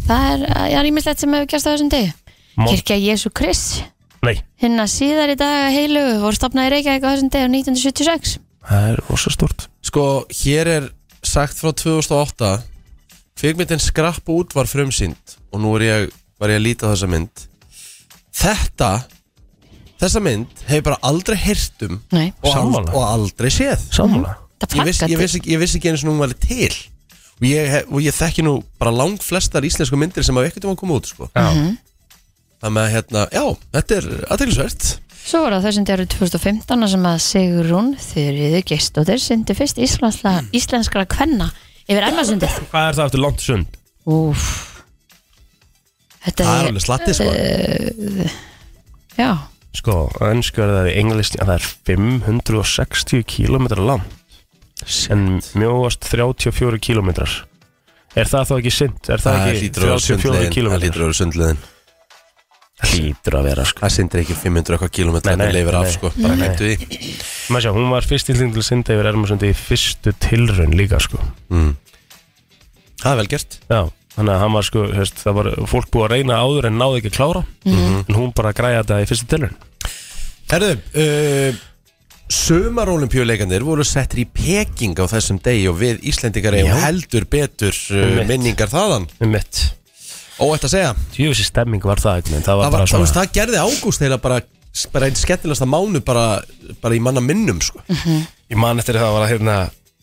Speaker 3: það er, já, rýmislegt sem hefur gerst á þessum degi
Speaker 2: Mál-
Speaker 3: Kirkja Jésu Krist
Speaker 2: Nei,
Speaker 3: hérna síðar í dag heilu voru stopnað í Reykjavík á þessum degi á 1976
Speaker 2: það er rosa stort
Speaker 1: Sko, hér er sagt frá 2008 Kvikmyndin skrapp út var frumsýnd og nú er ég, var ég að líta á þessa mynd Þetta Þessa mynd hefur bara aldrei heyrt um
Speaker 3: Nei,
Speaker 1: og,
Speaker 2: Sammála.
Speaker 1: og aldrei séð
Speaker 2: Sammála
Speaker 3: það
Speaker 1: Ég vissi, ég,
Speaker 3: plakkaði
Speaker 1: vissi, ekki- ég vissi ekki eins og hún var til og ég, hef- og ég þekki nú bara langflestar íslensku myndir sem hafa ekkert um að koma út sko.
Speaker 2: Já.
Speaker 1: Það með að hérna, já, þetta er aðteglisvert
Speaker 3: Svo var það þessum dagur 2015 þar sem að Sigrún Þurriðu Geistóttir syndi fyrst íslenskra,
Speaker 1: Hmm.
Speaker 3: íslenskra kvenna yfir Ermasundið
Speaker 2: Hvað er það eftir langt sund?
Speaker 3: Úf Þetta
Speaker 1: Það er
Speaker 3: er,
Speaker 1: alveg slatti sko
Speaker 3: já,
Speaker 2: Sko, önsku er það í englist að það er 560 km langt en mjóast 34 km Er það þá ekki synd? Er það, ekki
Speaker 1: hlýtur að vera
Speaker 2: 34
Speaker 1: sundleiðin,
Speaker 2: km?
Speaker 1: það hlýtur að vera sundlegin
Speaker 2: Hlýtur að vera sko
Speaker 1: Það sindir ekki 500 eitthvað
Speaker 2: Nei,
Speaker 1: kilómetra
Speaker 2: nei,
Speaker 1: Þetta leifir af
Speaker 2: nei.
Speaker 1: sko, bara hættu því
Speaker 2: Maður sjá, hún var fyrst íslinn til að synda yfir Ermarsundi í fyrstu tilraun líka sko
Speaker 1: Það er vel gert
Speaker 2: Já, þannig að hann var sko, hefst, það var fólk búið að reyna áður en náði ekki að klára
Speaker 1: Mhm.
Speaker 2: en hún bara græði þetta í fyrstu tilraun
Speaker 1: Herðu, uh, sumarolimpíuleikandir voru settir í Peking á þessum degi og við Íslendingar eigum
Speaker 2: Já.
Speaker 1: heldur betur uh,
Speaker 2: Einmitt.
Speaker 1: minningar þaðan
Speaker 2: Um mitt
Speaker 1: Óætt að segja,
Speaker 2: Jöfissi stemming var það ekki, það var
Speaker 1: það,
Speaker 2: bara
Speaker 1: var, það,
Speaker 2: svona
Speaker 1: veist, það gerði ágúst heila bara, bara einn skemmtilegasta mánu bara, bara í manna minnum sko.
Speaker 2: Ég man eftir að það var að hérna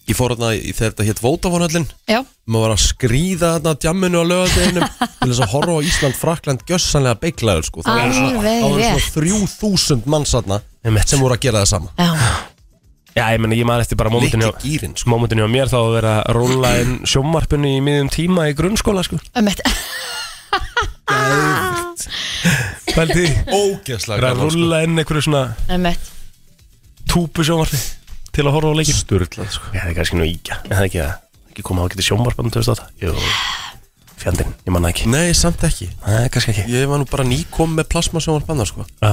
Speaker 1: Ég fór þarna í þegar þetta hétt Vótavonhöllin
Speaker 3: já
Speaker 1: maður var að skríða þarna á djamminu á
Speaker 2: *laughs*
Speaker 1: lögadeginum til þess að horfa á Ísland, Frakland gjössanlega beiglaður sko. það voru svona-
Speaker 3: Alveg
Speaker 1: það voru svona
Speaker 3: rétt.
Speaker 1: 3000 mannsatna
Speaker 2: Einmitt.
Speaker 1: sem voru að gera það sama
Speaker 3: Já,
Speaker 2: Já, ég meni, ég man eftir bara mómentinu
Speaker 1: Likki gýrin sko.
Speaker 2: Mómentinu á mér þá að vera að róla inn sjómarpinu í miðjum tíma í grunnskóla sko
Speaker 3: um eitt
Speaker 2: Fældi
Speaker 1: ógeðslega
Speaker 2: Það er að
Speaker 1: gaman sko.
Speaker 2: rúlla inn einhverju svona
Speaker 3: Um eitt
Speaker 2: túpu sjómarpi til að horfa á leikin
Speaker 1: Sturlað sko.
Speaker 2: Ég hefði kannski nú íkja, ég hefði ekki að ekki koma á getið sjómarpinu 2008 Jú, fjandinn, ég manna ekki
Speaker 1: sko. nei, samt ekki
Speaker 2: Nei, kannski ekki
Speaker 1: ég var nú bara nýkom með plasmasjónvarpanna sko.
Speaker 2: Já,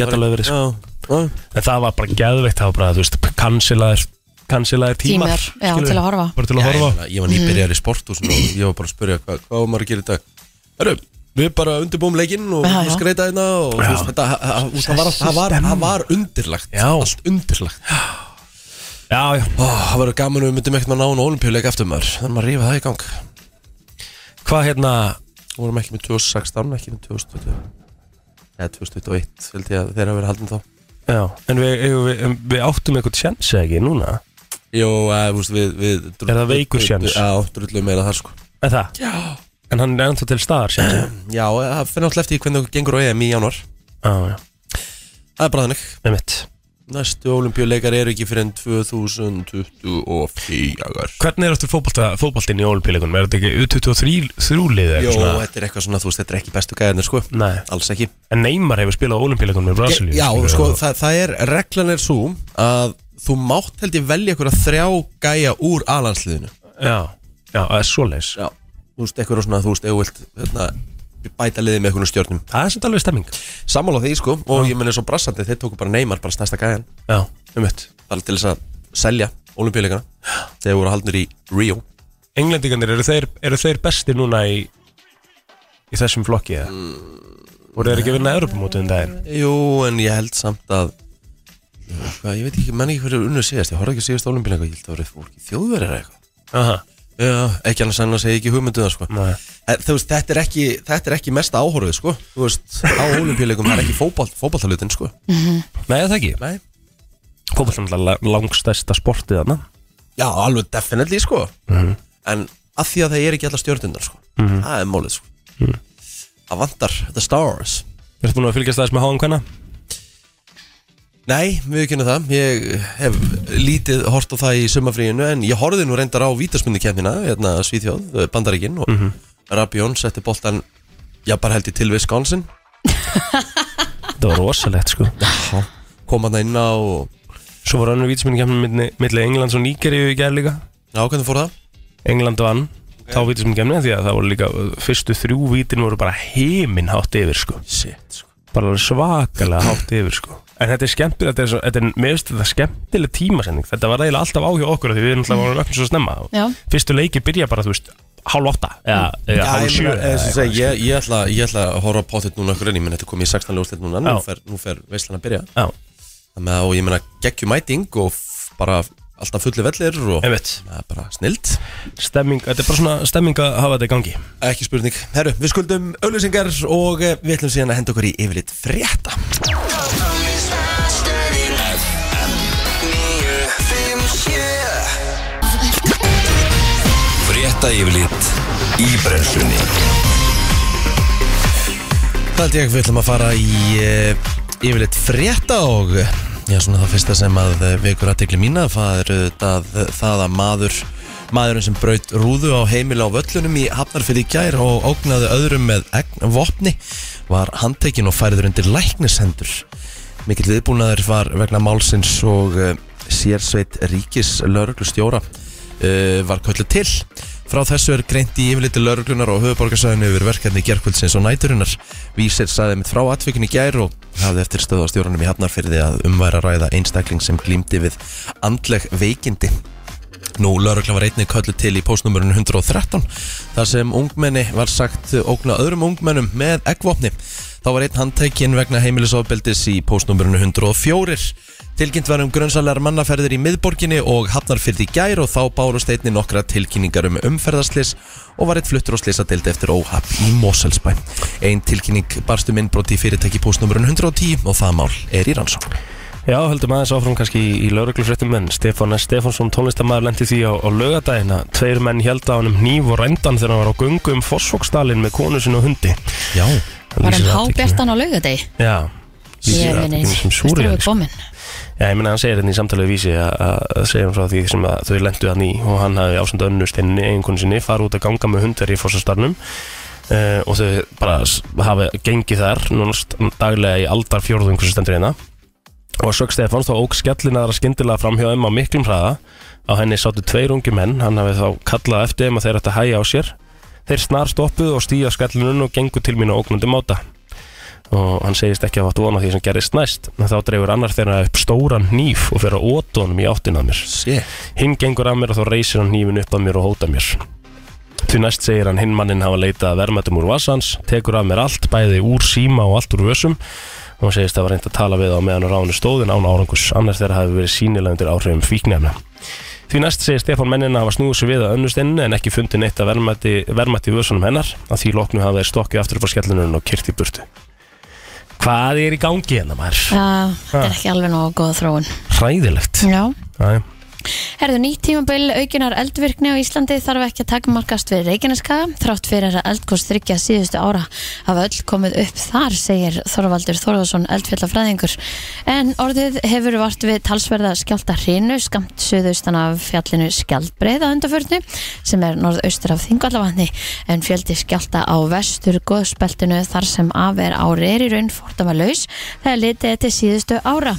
Speaker 2: geta alveg verið sko.
Speaker 1: já, já.
Speaker 2: En það var bara geðveikt, það var bara, þú veist, kansilaðir kansilaðir tímar
Speaker 3: Tímar, já,
Speaker 2: skilurðu.
Speaker 3: til að horfa.
Speaker 2: Bara til
Speaker 1: Já,
Speaker 2: að
Speaker 1: ég,
Speaker 2: horfa
Speaker 1: meina, ég var nýbyrjar í sporthúsinu og ég var bara að spurja hvað, hvað var maður að gera í dag Heru, við bara undirbúum leikinn og
Speaker 3: Já, já.
Speaker 1: skreita hérna og þú veist,
Speaker 2: Já.
Speaker 1: þetta, ha- ha- þú veist, það var- það var- það var undirlagt
Speaker 2: Já.
Speaker 1: allt undirlagt
Speaker 2: Já, já,
Speaker 1: Ó, það verður gaman ef við myndum ekkert að ná hún olimpíuleik eftir maður Þannig maður rífa það í gang Við
Speaker 2: hvað hérna
Speaker 1: vorum ekki með 2016, ekki með 2020 Eða 2021, held ég að þeir hafa verið haldin þá
Speaker 2: Já, en við, eigum við, en við áttum eitthvað tjensi ekki núna
Speaker 1: Jó, eða, eh, þú veist, við, við drull,
Speaker 2: Er það veikur séns?
Speaker 1: Já, drullum meira þar sko
Speaker 2: En það? Já En hann er ennþá til staðar tjensi
Speaker 1: *clears throat*
Speaker 2: Já,
Speaker 1: Já, eða, það finnir alltaf eftir því hvernig okkur gengur á EM í januar
Speaker 2: já,
Speaker 1: Það er bara þannig
Speaker 2: með mitt
Speaker 1: Næstu olimpíuleikar eru ekki fyrir en 2024
Speaker 2: Hvernig er áttu fótbolta, fótboltinn í ólpíleikunum? Er þetta ekki U23 þrúlið
Speaker 1: Jó,
Speaker 2: eða svona?
Speaker 1: þetta er eitthvað svona, þú veist, þetta er ekki bestu gæðinir sko
Speaker 2: Nei
Speaker 1: Alls ekki
Speaker 2: En Neymar hefur spilað á ólpíleikunum í Brasilíu
Speaker 1: Já,
Speaker 2: skilur
Speaker 1: sko,
Speaker 2: þú?
Speaker 1: það, það er, reglan er svo að þú mátt held ég velja eitthvað þrjá gæja úr alansliðinu
Speaker 2: já, já, það er svoleiðis
Speaker 1: Já Þú veist, eitthvað svona, þú veist, eða þú vilt hérna, bæta liðið með eitthvað stjórnum
Speaker 2: Það er sem alveg stemming
Speaker 1: Sammála því, sko, og ég meni svo brassandi þeir tóku bara neymar, bara stærsta gæjan
Speaker 2: Já, um mitt
Speaker 1: bara til þess að selja olimpíuleikana þegar voru haldnir í Rio
Speaker 2: Englendingarnir, eru þeir, eru þeir bestir núna í í þessum flokki eða? Mm, Voru þeir ekki að vinna Europamótið um daginn?
Speaker 1: Jú, en ég held samt að uh, hvað, ég veit ekki, menn ekki hverju unnu síðast ég horfði ekki á síðast olimpíuleika, ég held að það voru þjóðverðar eitthvað
Speaker 2: Aha,
Speaker 1: Já, ekki annars en að segja ekki hugmyndu það sko.
Speaker 2: Nei.
Speaker 1: En Þú veist, þetta er ekki, þetta er ekki mesta áhorfið sko. Þú veist, á olimpíuleikum það er ekki fótbolt, fótboltalutin sko.
Speaker 2: nei það ekki
Speaker 1: Nei.
Speaker 2: Fótbollan langstæsta sportið þarna
Speaker 1: Já, alveg definitely sko. En að því að það er ekki alla stjórnundar sko. Það er málið sko. Það vantar the stars
Speaker 2: Ertu búin að fylgjast aðeins með háðum hvenna?
Speaker 1: Nei, við kynum það Ég hef lítið hort á það í sumafríinu En ég horfði nú reyndar á vítaspundikefnina Hérna Svíþjóð, Bandaríkin Og mm -hmm. Rabjón setti boltan Já, bara held ég til Wisconsin
Speaker 2: Það var rosalegt sko
Speaker 1: Kom hann inn á og...
Speaker 2: Svo var önnur vítisminningkemni milli Englands og Nígeríu í gær líka
Speaker 1: Já, hvernig fór það?
Speaker 2: England vann þá vítisminningkemni því að það voru líka uh, fyrstu þrjú vítin voru bara heimin hátt yfir sko
Speaker 1: Shit, sko
Speaker 2: bara alveg svakalega hátt yfir sko en þetta er skemmtilega, þetta er, svo, þetta er, mér finnst þetta skemmtilega tímasending, þetta var eiginlega alltaf áhjá okkur af því við erum alltaf vorum ökkum svo snemma
Speaker 3: Já.
Speaker 2: fyrstu leiki byrja bara, þú veist, hálf ótta eða, eða
Speaker 1: Já,
Speaker 2: hálf
Speaker 1: ég,
Speaker 2: sjö
Speaker 1: meina, eins og
Speaker 2: eða
Speaker 1: segi, ég, ég, ætla, ég ætla að horfa á potið núna okkur inn, ég menn þetta kom í 16 ljóðslit núna, nú
Speaker 2: Já.
Speaker 1: fer, nú fer veislan að byrja
Speaker 2: eitthvað.
Speaker 1: Þannig að og ég menna geggjumæting og f- bara alltaf fulli vellir og
Speaker 2: já, einmitt,
Speaker 1: það er bara snild
Speaker 2: stemming, þetta er bara svona stemming að hafa þetta í gangi
Speaker 1: Ekki spurning, herru, við skuldum auðlýsingar og eh, við ætlum síðan að henda okkur í yfirleitt frétta
Speaker 4: Frétta yfirlit í brennslunni
Speaker 1: Það held ég að við ætlum að fara í eh, yfirleitt frétta og eh, já, svona það fyrsta sem að eh, vekur aðtegli mína, það er auðvitað eh, það að maður, maðurinn sem braut rúðu á heimili á völlunum í Hafnarfyrði í gær og ógnaði öðrum með egnvopni var handtekinn og færður undir læknishendur. Mikill viðbúnaður var vegna málsins og eh, sérsveit ríkis lörglustjóra var köllu til. Frá þessu er greint í yfirliti lauruglunar og höfuborgarsæðinu yfir verkefni gerkvöldsins og næturinnar. Vísir saði mitt frá atvikinu í gær og hafði eftir stöðastjóranum í Hafnarfyrði að umværa ræða einstakling sem glýmdi við andleg veikindi. Nú, laurugla var einnig köllu til í postnumurinn 113 þar sem ungmenni var sagt ógna öðrum ungmennum með eggvopni. Þá var einn handtekinn vegna heimilisofbeldis í postnumurinn 104. Tilkynnt var um grönsalar mannaferðir í miðborginni og hafnarfyrði gær og þá bárust einni nokkra tilkynningar um umferðarslis og var einn fluttur og slisadeldi eftir óhapp í Moselsbæ. Einn tilkynning barst um innbrot í fyrirtæki postnumurinn 110 og það mál er í rannsókn.
Speaker 2: Já, höldum aðeins áfram kannski í, í lauruglufréttum en Stefán S. Stefánsson tónlistamæður lendi því á, á lögadagina. Tveir menn held á hann um nýf og rændan þegar hann var á göngu um Fossvoksdalinn með konu sinni og hundi.
Speaker 1: Já,
Speaker 2: Hann
Speaker 3: Var
Speaker 2: lýsir
Speaker 3: hann
Speaker 2: atvikinu-
Speaker 3: um hábjartan á laugadei?
Speaker 2: Já. lýsir
Speaker 3: Ég veit
Speaker 2: atvikinu
Speaker 3: ekki,
Speaker 2: sem
Speaker 3: þú
Speaker 2: súrrealist.
Speaker 3: er komin
Speaker 2: Já, ég meina hann segir hérna í samtalið vísi að, að að segja hann frá því sem að þau lendu hann í og hann hafi ásönda önnusteinni einhvern sinni fara út að ganga með hundverði í fossastarnum uh, og þau bara s- hafi gengið þar núnast daglega í aldar fjórðum hversu stendur hérna og sög Stefáns þá óg skellinara skyndilega framhjá þeim á miklum hraða á henni sátu tveir ungi menn hann hafi þá kallað eftir þeim að þeir ættu að hæja á sér þeir snar stoppuð og stíða skellinun og gengu til mín á ógnandi máta og hann segist ekki að vatn vona því sem gerist næst en þá dreifur annar þeirra upp stóran hníf og fer að óta honum í áttin að mér
Speaker 1: sé.
Speaker 2: hinn gengur að mér og þá reysir hann hnífin upp að mér og hóta mér því næst segir hann hinn mannin hafa leitað verðmættum úr vasans tekur að mér allt, bæði úr síma og allt úr vössum og hann segist að var reynd að tala við á meðan og ránu stóðin án árangus annars þeirra hafi verið sínilega undir áhrifum fíknefna Því næst segir Stefán mennina hafa snúið sér við að önnusteinnu en ekki fundið neitt að verðmætti, verðmætti í vössunum hennar að því loknu hafa þeir stokkið aftur upp á skellunum og kyrt í burtu. Hvað er í gangi hérna maður?
Speaker 3: Það er ekki alveg nóg góð þróun
Speaker 2: Hræðilegt.
Speaker 3: Já,
Speaker 2: Æ,
Speaker 3: Herðu, nýtt tímabil aukinar eldvirkni á Íslandi þarf ekki að takmarkast við Reykjaneska þrátt fyrir að eldgóðs þryggja síðustu ára hafa öll komið upp þar segir Þorvaldur Þorðarsson eldfjallafræðingur en orðið hefur vart við talsverða skjálta hrínu skamt suðaustan af fjallinu skjaldbreið að undaförnu sem er norðaustur af þingallavatni en fjöldi skjálta á vestur góðspeltinu þar sem af er ári er í raun fórtamalaus þegar litið er til síðustu ára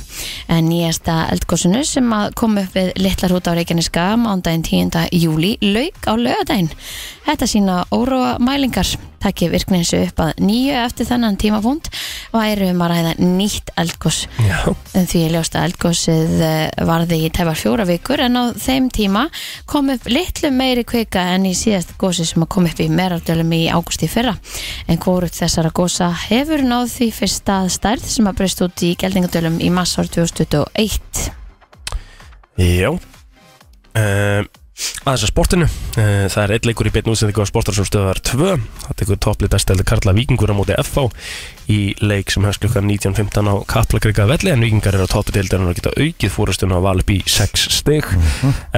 Speaker 3: en nýjasta eldgóðsunu sem að kom upp við litlar út á Reykjaneska mándaginn 10. júli lauk á lögadaginn Þetta sína óróa mælingar takki virkninsu upp að nýju eftir þennan tímafund væri um að ræða nýtt eldgós
Speaker 2: Já.
Speaker 3: en því er ljóst að eldgósið eh, varði í tæfar fjóra vikur en á þeim tíma kom upp litlu meiri kvika en í síðast gósi sem að kom upp í Merardölum í ágúst í fyrra en hvorut þessara gósa hefur náð því fyrsta stærð sem að breyst út í geldingadölum í mars ár 2021
Speaker 2: Já um, Aðeins að sportinu uh, Það er einn leikur í beinu útsendingu á sportarsum stöðar 2 Það tekur topplið besteldi Karla Víkingur á móti FH í leik sem hefst klukkan 19.15 á Kaplakrika velli en Víkingar eru á toppi deildarinnar og geta aukið fórustuna á val upp í 6 stig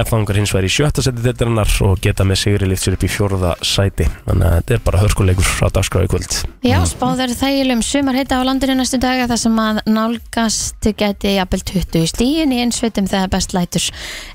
Speaker 2: FH-ingar hins vegar í sjötta seti deildarinnar og geta með sigri lift sér upp í fjórða sæti þannig að þetta er bara hörkuleikur frá dagskráði kvöld
Speaker 3: Já, spáður þægilegum sumar á landinu næstu daga þar sem að nálgast geti jafnvel 20 stíin í einsveitum þegar best lætur.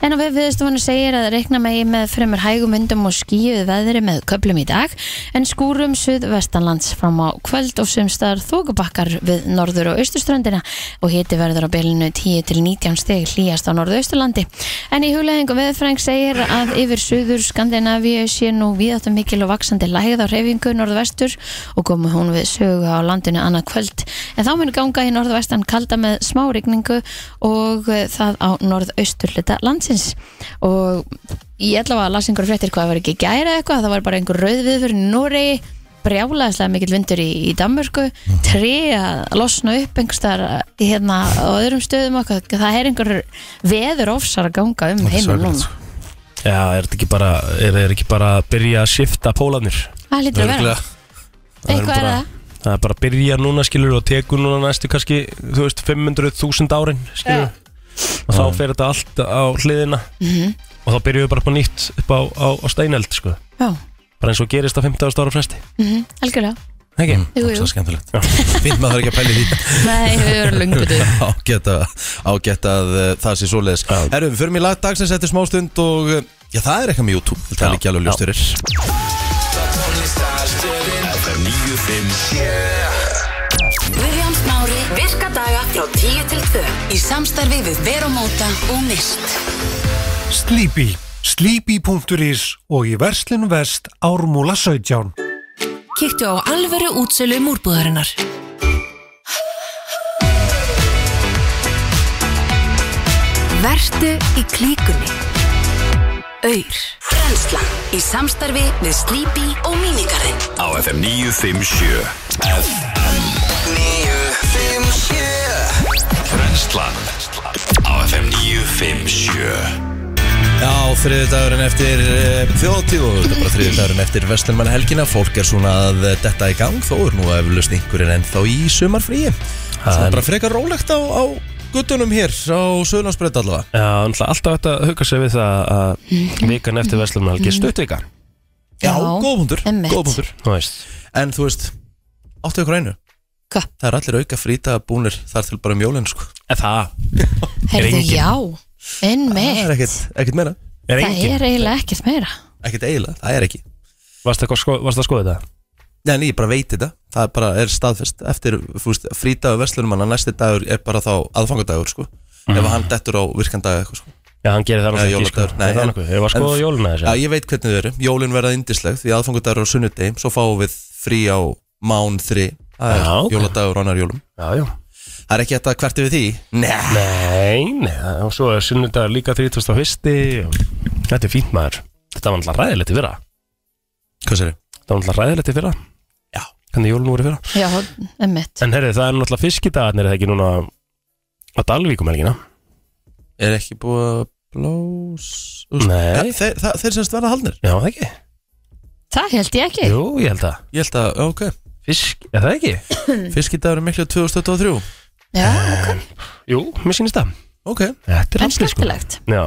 Speaker 3: En á vefviðstofunni segir að reikna megi með fremur hægum undum og skíuð veðri með köplum í dag en skúrum suðvestanlands fram á kvöld og sumstaðar þókubakkar við norður og austurströndina og hiti verður á bylunu 10 til 19 steg hlýjast á norðausturlandi. En í hugleðingu veðfræng segir að yfir suður Skandinavíu sé nú viðáttum mikil og vaksandi lægð á reyfingu norðvestur og komu hún við sögu á landinu annað kvöld. En þá mun ganga í norðvestan kalda með smá rigningu og eh, það á norðausturlita landsins. Og ég ætla að las einhverju fréttir hvað það var ekki í gæra eitthvað, það var bara einhver rauðviður í Noregi brjálaðislega mikill vindur í, í Danmörku
Speaker 5: Mhm.
Speaker 3: tré að losna upp einhverstaðar eh, hérna á öðrum stöðum okkar það er einhver veður ofsar að ganga um
Speaker 5: Þetta er
Speaker 3: heiminn
Speaker 5: svakalegt,
Speaker 3: núna
Speaker 5: sko.
Speaker 2: Já, er þetta ekki bara, er, er ekki bara að byrja að shifta pólarnir?
Speaker 3: Það lítur að vera,
Speaker 2: Það
Speaker 3: eitthvað er
Speaker 2: bara-
Speaker 3: það
Speaker 2: Það er bara að byrja núna skilur og tekur núna næstu kannski þú veist 500.000 árin skilur og þá fer þetta allt á hliðina
Speaker 3: Mhm.
Speaker 2: og þá byrjuðu bara upp á nýtt upp á, á, á steineld sko
Speaker 3: Já,
Speaker 2: bara eins og gerist á 50 ára fresti
Speaker 3: mhm, algjörlega
Speaker 2: ekki?
Speaker 1: Mm,
Speaker 3: Jú,
Speaker 5: Svo
Speaker 3: jú,
Speaker 5: skemmtilegt
Speaker 1: Finn maður þarf ekki að pæli því
Speaker 3: nei, við erum lungu til
Speaker 1: ágætt að, ágætt að uh, það sé svoleiðis
Speaker 2: Já.
Speaker 1: Herru, við förum í lag dagsins eftir smástund og uh, já, það er eitthvað með YouTube, það er
Speaker 2: Já,
Speaker 1: ekki alveg ljóst fyrir
Speaker 4: FM 957
Speaker 6: Guðjón Smári, virka daga frá 10 til 2 í samstarfi við Veromóta og Mist.
Speaker 7: Sleepy. Sleepy.is og í verslun vest ármúla 17.
Speaker 6: Kíktu á alvöru útsölu múrbúðarinnar. Vertu í klíkunni. Öyr. Brenslan í samstarfi við Sleepy og Minigarinn.
Speaker 4: Á FM 957 FM 957 Brenslan Á FM 957
Speaker 1: Já, þriðudagurinn eftir uh, þjóðtíð og þetta er bara þriðudagurinn eftir Vestlunmann helgina, fólk er svona að uh, detta í gang, þó er nú að eflust einhverjir ennþá í sumarfríi Það er bara frekar rólegt á, á guttunum hér á Söðlandsbreyt allavega
Speaker 2: Já, náttúrulega alltaf þetta að huga sig við það að
Speaker 3: Mm.
Speaker 2: vikan eftir Veslumalgi stuttvika
Speaker 1: Já,
Speaker 3: Já,
Speaker 1: góð hundur,
Speaker 3: einmitt.
Speaker 1: góð hundur
Speaker 2: þú veist
Speaker 1: En þú veist, áttu ykkur á einu
Speaker 3: Hvað?
Speaker 1: Það er allir auka frítabúnir þar til bara um jólinn sko
Speaker 2: Er það? Er
Speaker 3: Herðu,
Speaker 2: engin?
Speaker 3: já,
Speaker 1: Það er
Speaker 3: einmitt
Speaker 1: ekkert, ekkert meira,
Speaker 2: Er
Speaker 3: Það
Speaker 2: engin?
Speaker 3: er eiginlega ekkert meira
Speaker 1: ekkert eiginlega, það er ekki
Speaker 2: Varst það að sko, varstu að skoða þetta?
Speaker 1: Nei, en ég bara veit þetta Það er bara, er staðfest Eftir fúst, frítagur verslunumanna Næsti dagur er bara þá aðfangadagur sko.
Speaker 2: Mhm.
Speaker 1: Ef hann dettur á virkan dag eitthvað sko.
Speaker 2: Já, hann gerir það
Speaker 1: Já,
Speaker 2: náttúrulega ekki sko
Speaker 1: jóladagur, nei,
Speaker 2: Er það
Speaker 1: en-
Speaker 2: nokkuð? Ég var að
Speaker 1: en-
Speaker 2: skoða jóluna
Speaker 1: Já,
Speaker 2: þessi
Speaker 1: ég veit hvernig þau eru Jólin verða indisleg Því aðfangadagur er á sunnudegi Svo fáum við frí á mán þri Það er
Speaker 2: Já, ok.
Speaker 1: jóladagur og annar jólum
Speaker 2: Já, já
Speaker 1: Það er ekki hægt að kvarti við því Nei
Speaker 2: Nei, nei, og svo er sunnudagur líka 31. og Þetta er fínt maður Þetta var alltaf ræðilegt í fyrra
Speaker 1: Hvað sér
Speaker 2: Þetta var alltaf ræðilegt í fyrra
Speaker 1: Já.
Speaker 2: Hvernig jólun voru í fyrra
Speaker 3: Já, einmitt
Speaker 2: En herri, það er náttúrulega fiskidagarnir er það ekki núna á Dalvíkum helgina
Speaker 1: Er ekki búið að blós Úst,
Speaker 2: Nei.
Speaker 1: Þeir, það, þeir semst verða haldnir
Speaker 2: Já, það ekki
Speaker 3: Það held ég ekki
Speaker 2: Jú, ég held að
Speaker 1: Ég held að, já, ok
Speaker 2: Fisk, er það ekki?
Speaker 1: Fiskidagur er miklu 2023
Speaker 3: Já, ok,
Speaker 2: Jú, mér sýnist það
Speaker 1: Ok
Speaker 2: Þetta er
Speaker 3: en
Speaker 2: haldið, sko.
Speaker 3: skemmtilegt
Speaker 2: Já,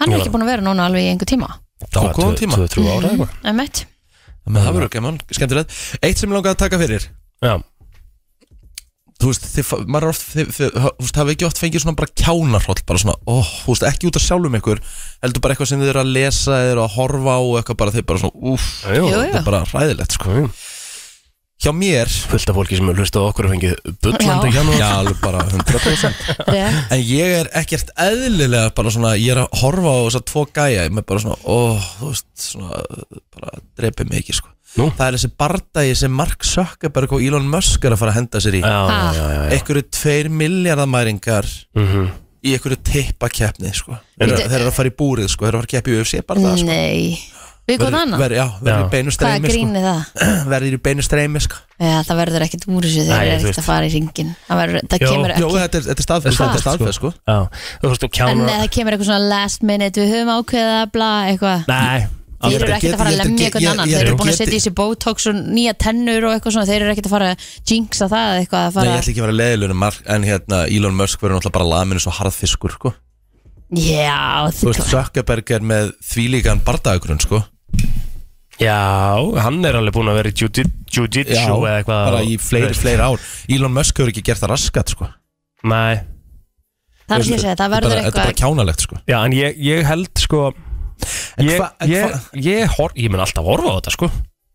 Speaker 3: Hann er
Speaker 2: Já.
Speaker 3: ekki búin að vera núna alveg í einhver tíma
Speaker 1: Dágóðan tíma
Speaker 2: 2-3 ára eitthvað
Speaker 3: Emmett
Speaker 1: Þannig að það verður gaman, skemmtilegt Eitt sem ég langaði að taka fyrir
Speaker 2: Já,
Speaker 1: Þú veist, þið, fa- maður er oft þið, þið, þú veist, hafi ekki oft fengið svona bara kjánarhóll bara svona, ó, þú veist, ekki út af sjálfum ykkur heldur bara eitthvað sem þið eru að lesa þið eru að horfa á og eitthvað bara þið bara svona úff,
Speaker 2: jú,
Speaker 3: Jú,
Speaker 1: þetta er bara ræðilegt sko.
Speaker 2: jú.
Speaker 1: Hjá mér
Speaker 2: fullt af fólki sem er hlustað á okkur og fengið bullandi
Speaker 3: Já.
Speaker 2: hjá nú
Speaker 1: Já, alveg bara 100%
Speaker 3: Rétt.
Speaker 1: En ég er ekkert eðlilega bara svona Ég er að horfa á þessa tvo gæja Ég er bara svona, ó, þú veist svona, Bara drepi mig ekki, sko
Speaker 2: Nú?
Speaker 1: Það er þessi bardagi sem Mark Zuckerberg og Elon Musk er að fara að henda sér í
Speaker 2: Já, já, já, já, já.
Speaker 1: Ekkur er tveir miljardamæringar
Speaker 2: Mhm.
Speaker 1: Í einhverju tippakeppni, sko þeir, eru- þeir eru að fara í búrið, sko Þeir eru að fara að keppi í UFC bara það,
Speaker 3: Nei Við hvað
Speaker 1: sko
Speaker 3: annað?
Speaker 1: Ver, Já, verður
Speaker 2: Já.
Speaker 1: í beinu
Speaker 3: Hvað
Speaker 1: streymi, sko
Speaker 3: grínir það?
Speaker 1: *clears throat* Verður í beinu streymi, sko
Speaker 3: Já, það verður ekkert úr þessu
Speaker 2: Nei,
Speaker 3: þegar það er
Speaker 2: þú
Speaker 3: ekkert
Speaker 2: veist.
Speaker 3: að fara í ringin Það, verður, það
Speaker 2: Jó.
Speaker 3: kemur
Speaker 1: Jó,
Speaker 3: ekki
Speaker 1: þetta er, þetta er staðfest, þetta er staðfest, sko
Speaker 2: Já, þú veist, og
Speaker 3: En
Speaker 2: kjánar
Speaker 3: eða það kemur eitthvað svona last minute Við höfum ákveðið að bla eitthvað
Speaker 2: Nei,
Speaker 3: Þeir
Speaker 1: Ég held
Speaker 3: eru
Speaker 1: að
Speaker 3: ekkert að fara
Speaker 1: geti- ég held að
Speaker 3: að lemja eitthvað
Speaker 1: get-
Speaker 3: annan
Speaker 1: ég- ég
Speaker 3: Þeir
Speaker 1: held
Speaker 3: eru
Speaker 1: að
Speaker 3: búin að setja í
Speaker 1: geti-
Speaker 3: sér botox og nýja tennur og eitthvað svona Þeir eru ekkert að fara að jinxa það eða eitthvað að
Speaker 1: Nei, ég
Speaker 3: fara
Speaker 1: ætla ekki að vera leiðilegur en Mark- en hérna Elon Musk verður náttúrulega bara laminu svo harðfiskur sko.
Speaker 3: Já,
Speaker 1: Þú veist, Zuckerberg er með þvílíkan bardagrun sko.
Speaker 2: Já, hann er alveg búinn að vera í jiu- jiu-jitsu eða eitthvað
Speaker 1: bara í fleiri, fleiri ár Elon Musk hefur ekki gert það raskat sko.
Speaker 2: Nei,
Speaker 3: það er því að segja, það
Speaker 1: Þetta
Speaker 3: verður
Speaker 1: er bara- þetta er
Speaker 3: eitthvað
Speaker 1: bara kjánalegt sko.
Speaker 2: já, en ég, ég held sko
Speaker 1: En
Speaker 2: Ég,
Speaker 1: hva- en
Speaker 2: ég,
Speaker 1: hva-
Speaker 2: ég, hor, ég mun alltaf horfa á þetta sko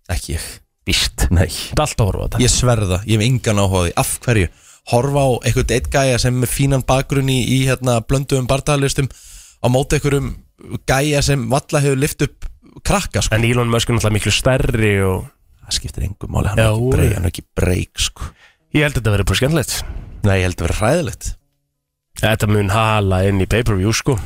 Speaker 1: Ekki ég
Speaker 2: Víst,
Speaker 1: Nei.
Speaker 2: ég mun alltaf horfa á þetta
Speaker 1: Ég sverða, ég hef engan áhugaði Af hverju? Horfa á einhvern eitt gæja sem er með fínan bakgrunn í, í hérna, blönduðum bardagalistum á móti einhverjum gæja sem valla hefur lift upp krakka sko.
Speaker 2: En Elon Musk er náttúrulega miklu stærri og
Speaker 1: Það skiptir engum máli, hann er
Speaker 2: Já,
Speaker 1: ekki breik,
Speaker 2: já.
Speaker 1: hann er ekki breik sko.
Speaker 2: Ég held að þetta verið bara skemmtilegt
Speaker 1: Nei, ég held að vera hræðilegt
Speaker 2: Þetta mun hala inn í pay-per-view sko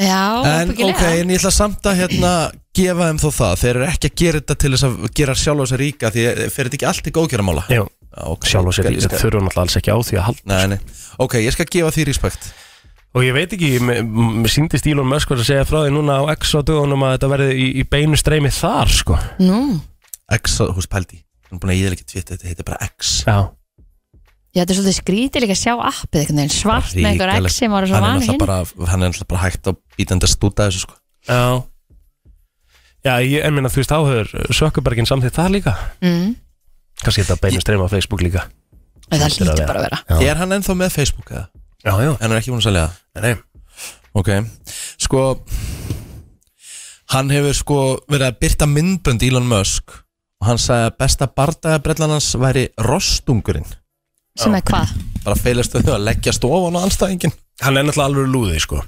Speaker 3: Já,
Speaker 1: En ok,
Speaker 3: ábyggilega
Speaker 1: en ég ætla samt að hérna gefa þeim þó það, þeir eru ekki að gera þetta til þess að gera sjálf á sér ríka því fyrir þetta ekki allt í góðgjöramála
Speaker 2: Jú,
Speaker 1: okay,
Speaker 2: sjálf og sér
Speaker 1: ég skal-
Speaker 2: þurfa náttúrulega alls ekki á því að halda
Speaker 1: Nei, nei, ok, ég skal gefa því respekt
Speaker 2: Og ég veit ekki, mér- mér síndist Elon Musk var að segja frá því núna á X á dögunum að þetta verði í, í beinu streymi þar sko
Speaker 3: Nú,
Speaker 1: X, þú veist pældi, hann er búin að ég er ekki tvitt þetta heitir bara X
Speaker 2: Já,
Speaker 3: já, þetta er svolítið skrítið líka að sjá appið einhvern veginn svart með einhver
Speaker 1: Ríkalegt.
Speaker 3: ekk sem var svo
Speaker 1: hann er
Speaker 3: vanu
Speaker 1: náttúrulega
Speaker 3: hinn
Speaker 1: bara, hann er náttúrulega bara hægt og bítandi að stúta þessu sko
Speaker 2: já Já, ég en minna þú veist áhör Sökkubergin samþýtt það líka
Speaker 3: Mm.
Speaker 2: Kannski þetta beinu streymi á Facebook líka
Speaker 3: En Það
Speaker 2: Hlýtur að
Speaker 3: hlýtur
Speaker 2: vera.
Speaker 3: bara að vera
Speaker 2: Já.
Speaker 1: Er hann ennþá með Facebook eða?
Speaker 2: Já, já,
Speaker 1: Hann er ekki búin að selja það?
Speaker 2: nei, nei.
Speaker 1: Ok, sko Hann hefur sko verið að byrta myndbönd Elon Musk og hann sagði að besta bardagabrellan hans væri rostungurinn
Speaker 3: Sem er hvað?
Speaker 1: bara feilast þau að leggja stofan á anstæðingin
Speaker 2: Hann er náttúrulega alveg lúði sko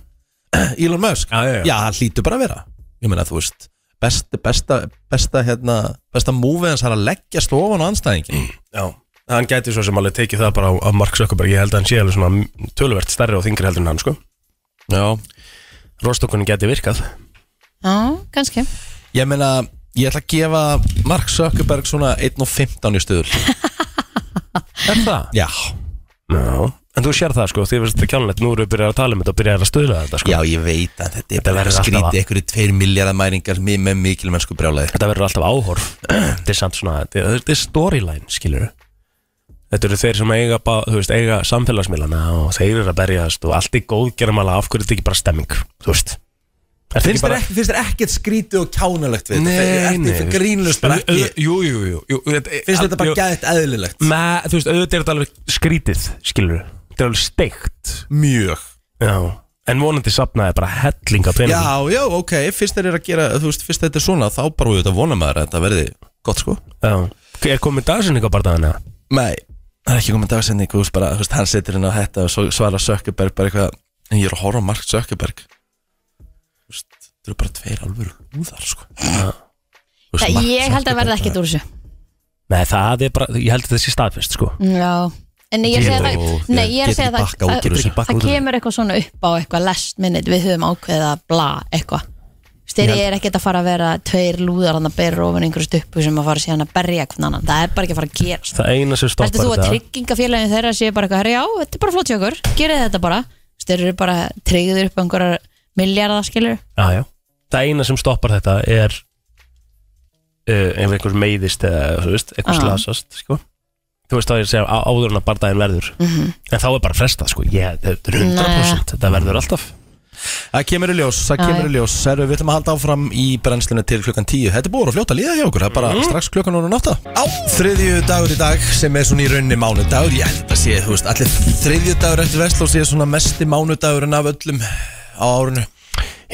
Speaker 1: *clears throat* Elon Musk,
Speaker 2: Já, já, já.
Speaker 1: hann hlýtur bara að vera ég meina þú veist best, besta, besta, hérna, besta múfið hans er að leggja stofan á anstæðingin
Speaker 2: Já, hann gæti svo sem alveg tekið það bara á, á Mark Zuckerberg Ég held að hann sé alveg svona töluvert stærri og þingri heldur en hann sko
Speaker 1: Já,
Speaker 2: Rostokunni gæti virkað
Speaker 3: Já, kannski
Speaker 1: ég meina ég ætla að gefa Mark Zuckerberg svona 1.15 í stuðul
Speaker 2: Er það?
Speaker 1: Já,
Speaker 2: Já, en þú sér það sko, því veist þetta kjánlegt Nú eru við byrjar að tala um þetta og byrjar að stöðla þetta sko
Speaker 1: já ég veit að þetta er
Speaker 2: Þetta
Speaker 1: bara
Speaker 2: verður alltaf að-
Speaker 1: skrítið einhverju 2 miljardar mæringar með mikilmennsku brjálæði
Speaker 2: Þetta verður alltaf áhorf *clears throat* Þetta er samt svona, þetta er- þetta er storyline skilur Þetta eru þeir sem eiga, ba- þú veist, eiga samfélagsmiðlana og þeir eru að berjast og allt er góð gerðamala af hverju þetta er ekki bara stemming, þú veist Er
Speaker 1: Finnst þér ekki, finnst þér ekkert skrítið og kjánalegt við þetta?
Speaker 2: Nei,
Speaker 1: Ertu
Speaker 2: nei
Speaker 1: ekki grínlust bara ekki?
Speaker 2: Jú, jú, jú, jú
Speaker 1: Finnst þetta bara gæðið eðlilegt?
Speaker 2: Nei, þú veist, auðvitað er þetta alveg skrítið, skilur Þetta er alveg steikt
Speaker 1: Mjög
Speaker 2: Já En vonandi sapnaði bara hellinga
Speaker 1: Já,
Speaker 2: peningum
Speaker 1: já, ok, fyrst þeir eru að gera, þú veist, fyrst þetta er svona, þá bara við þetta vona maður að þetta verði gott sko
Speaker 2: Já Er komið dagsinning á barðaðina?
Speaker 1: Nei, það er ekki komin dagsending, þú veist bara, þú veist, hann setur inn á þetta og svo svarar Sökkerberg bara eitthvað En ég er að horfa á Mark Sökkerberg Þú veist, þetta eru bara tveir alvöru úðar sko Þú veist,
Speaker 3: Það,
Speaker 1: Mark
Speaker 3: Ég held að
Speaker 1: Zuckerberg,
Speaker 3: verða ekkert úr þessu
Speaker 2: Nei, það er bara, ég held að þetta sé staðfest, sko
Speaker 3: Já En ég er að segja
Speaker 1: Getur-
Speaker 3: það Nei, ég er að
Speaker 1: getur
Speaker 3: segja
Speaker 1: ekki bakkað út úr
Speaker 3: það
Speaker 1: þessu.
Speaker 3: það- Það kemur eitthvað svona upp á eitthvað last minute Við höfum ákveðið að bla eitthvað Styrir ég er ekkert að fara að vera tveir lúðar hann að berra ofan einhverju stuppu sem að fara síðan að berja hvern annan Það er bara ekki að fara að gerast
Speaker 2: Það eina sem stoppar
Speaker 3: Heldur þú að
Speaker 2: þetta-
Speaker 3: tryggingafélagin þeirra sé bara eitthvað, herra, já, þetta er bara flott hjá okkur, gerið þetta bara Þeir eru bara tryggður upp einhverjar milljarðaskilur
Speaker 2: Já, já Það eina sem stoppar þetta er uh, Ef einhver meiðist eða, þú veist, einhver
Speaker 3: Já.
Speaker 2: slasast, sko Þú veist þá ég að segja á- áður en að barðaðin verður En þá er bara frestað, sko ég, Þetta er 100% Þetta verður alltaf
Speaker 1: Það kemur í ljós, það
Speaker 3: Já,
Speaker 1: kemur í
Speaker 3: já.
Speaker 1: ljós Herru, við ætlum að halda áfram í brennslunni til klukkan 10 Þetta er búið að fljóta líða hjá okkur, það er bara strax klukkan og nátta Á, þriðju dagur í dag sem er svona í rauninni mánudagur Ég held að sé, þú veist, allir þriðju dagur eftir vestló sé svona mesti mánudagurinn af öllum á árinu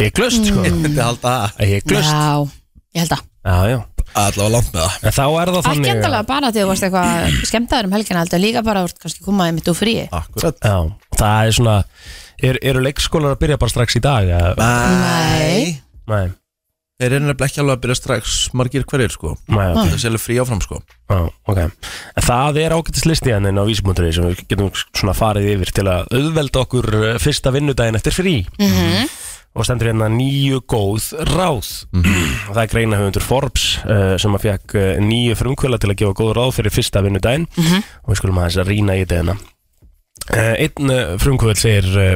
Speaker 2: Hygglust sko
Speaker 1: Ég myndi halda það,
Speaker 2: Hygglust
Speaker 3: Já, ég held að
Speaker 2: Já, já
Speaker 1: allavega langt með það
Speaker 2: En þá er það
Speaker 5: Ekki
Speaker 2: þannig
Speaker 5: endalega bara því að þú varst eitthvað skemmtaður um helgina heldur líka bara að þú ert kannski komaði mitt úr fríi
Speaker 1: Akkurat
Speaker 2: Já, það er svona er, Eru leikskólar að byrja bara strax í dag? eða?
Speaker 1: Nei
Speaker 2: Nei,
Speaker 1: Þeir eru nefnilega ekki alveg að byrja strax margir hverjir sko
Speaker 2: nei, ok,
Speaker 1: Það er sérlega frí áfram sko
Speaker 2: já, ok En það er ágættis listi hann en á vísbúndri sem við getum svona farið yfir til að auðvelda okkur eh, fyrsta vinnudaginn eftir frí og stendur hérna nýju góð ráð og það er greina höfundur Forbes uh, sem að fekk uh, nýju frumkvöla til að gefa góð ráð fyrir fyrsta vinnudaginn og við skulum aðeins að rýna í þetta hérna uh, Einn uh, frumkvöld segir uh,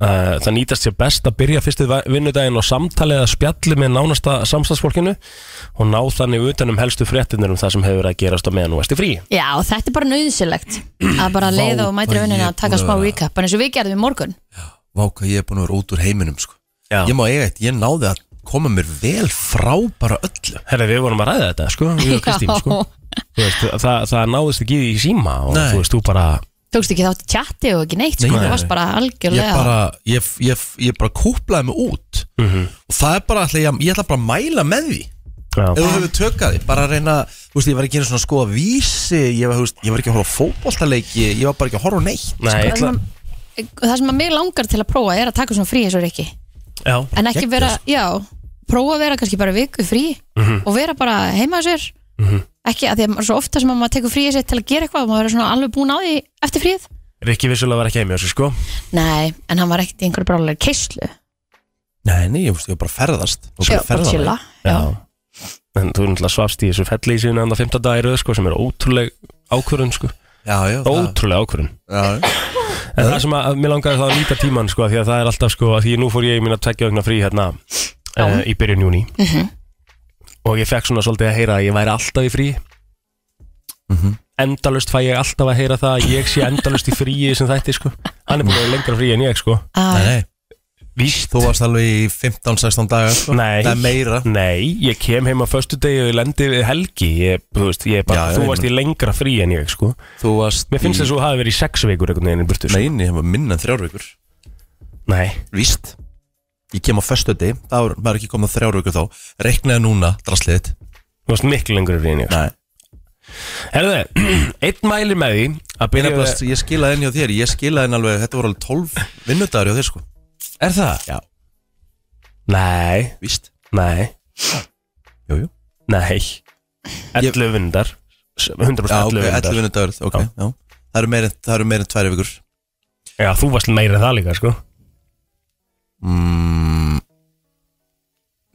Speaker 2: uh, það nýtast sér best að byrja fyrstu va- vinnudaginn og samtalið að spjalli með nánasta samstagsfólkinu og ná þannig utan um helstu fréttinir um það sem hefur verið að gerast á meðan og vesti frí
Speaker 3: Já, þetta er bara nauðsilegt að bara leiða og
Speaker 1: hvað
Speaker 3: mæta
Speaker 1: ég
Speaker 3: rauninni
Speaker 1: er
Speaker 3: að taka
Speaker 1: búin að
Speaker 3: smá
Speaker 1: vera-
Speaker 3: recap bara eins og við gerðum í morgun
Speaker 1: Vá hvað ég er búin að vera út úr heiminum sko
Speaker 2: Já.
Speaker 1: Ég má eiga eitt, ég náði að koma mér vel frá bara öllu
Speaker 2: Herra, við vorum að ræða þetta, sko, við
Speaker 3: *laughs*
Speaker 2: og Kristín, sko Þú veist, það, það náðist ekki í því í síma og
Speaker 1: Nei.
Speaker 2: þú veist, þú bara
Speaker 3: Tókst ekki þátt í chati og ekki neitt
Speaker 1: Nei,
Speaker 3: sko,
Speaker 1: nei,
Speaker 3: þú varst
Speaker 1: nei.
Speaker 3: bara
Speaker 1: Ég
Speaker 3: algjörlega
Speaker 1: bara, ég, ég, ég bara kúplaði mig út -hmm. Og það er bara, ætla ég, ég ætla bara að mæla með því Ef
Speaker 2: Já,
Speaker 1: þú hefur tökað því, bara að reyna Þú veist, ég var ekki einu svona að skoða vísi Ég var, þú veist, ég var ekki að horfa á fótboltaleiki Ég var bara ekki að horfa á neitt
Speaker 2: nei,
Speaker 3: Það
Speaker 2: ætla,
Speaker 3: sem að- það sem að mig langar til að prófa er að taka svona frí eins og Rikki
Speaker 2: já,
Speaker 3: en ekki
Speaker 1: geggjað,
Speaker 3: vera, já, prófa að vera kannski bara viku frí
Speaker 1: Mhm.
Speaker 3: og vera bara heima að sér ekki að því að maður svo ofta sem að maður tekur fríið sér til að gera eitthvað og maður er svona alveg búin á því eftir fríið
Speaker 2: Rikki vissulega var ekki heim hjá sig, sko
Speaker 3: Nei, en hann var ekkert í einhverju brálega keislu
Speaker 1: Nei, nei, ég, þú veist, ég var bara að ferðast Ég var bara að
Speaker 3: Já, bara
Speaker 1: ferðalagi.
Speaker 3: chilla
Speaker 2: Já En þú er náttúrulega svafst í þessu felli í síðan enda 15 dagir, sko, sem er ótrúleg ákvörun, sko
Speaker 1: Já, já, það-
Speaker 2: Ótrúleg ákvörun
Speaker 1: já, já.
Speaker 2: En það sem að, að mér langaði það að nýta tíman sko, því að það er alltaf sko, að því nú fór ég í mín að tekja augna frí hérna uh, í byrjun júni og ég fekk svona svolítið að heyra að ég væri alltaf í frí
Speaker 1: Mhm.
Speaker 2: endalust fæ ég alltaf að heyra það að ég sé endalust í fríi sem þætti sko. hann er búin að vera lengra frí en ég sko.
Speaker 1: Nei, nei,
Speaker 2: Víst?
Speaker 1: þú varst alveg í 15-16 dagar sko.
Speaker 2: Nei.
Speaker 1: Það er meira
Speaker 2: Nei, ég kem heim á föstu degi og ég lendi við helgi ég, þú, veist, ég er bara,
Speaker 1: Já, Mm. já,
Speaker 2: þú
Speaker 1: ég
Speaker 2: varst í lengra frí en ég sko.
Speaker 1: Þú varst
Speaker 2: Mér finnst þess að þú hafi verið í sex vikur einhvern veginn í burtu sko.
Speaker 1: Neini, það var minna en þrjár vikur
Speaker 2: Nei.
Speaker 1: Víst Ég kem á föstudegi, þá er maður ekki komið á þrjár vikur þá Reknaði núna, drasliðið
Speaker 2: Þú varst miklu lengur frí en ég sko.
Speaker 1: Nei
Speaker 2: Herðu, *clears throat* einn mæli með því að
Speaker 1: Ég,
Speaker 2: byrja
Speaker 1: nefnilega- ég skilaði henni á þér, ég skilaði henni alveg Þetta voru alveg 12 vinnudagur hjá þér sko
Speaker 2: Er það?
Speaker 1: Já.
Speaker 2: Nei,
Speaker 1: Víst
Speaker 2: nei,
Speaker 1: Jú, jú
Speaker 2: nei 11 ég... vundar 100%
Speaker 1: Já, ok, 11
Speaker 2: 11 vundar
Speaker 1: vinnudagur, ok
Speaker 2: Já.
Speaker 1: já. Það eru meira en- það eru meira en tvær vikur
Speaker 2: Já, þú varst meira en það líka, sko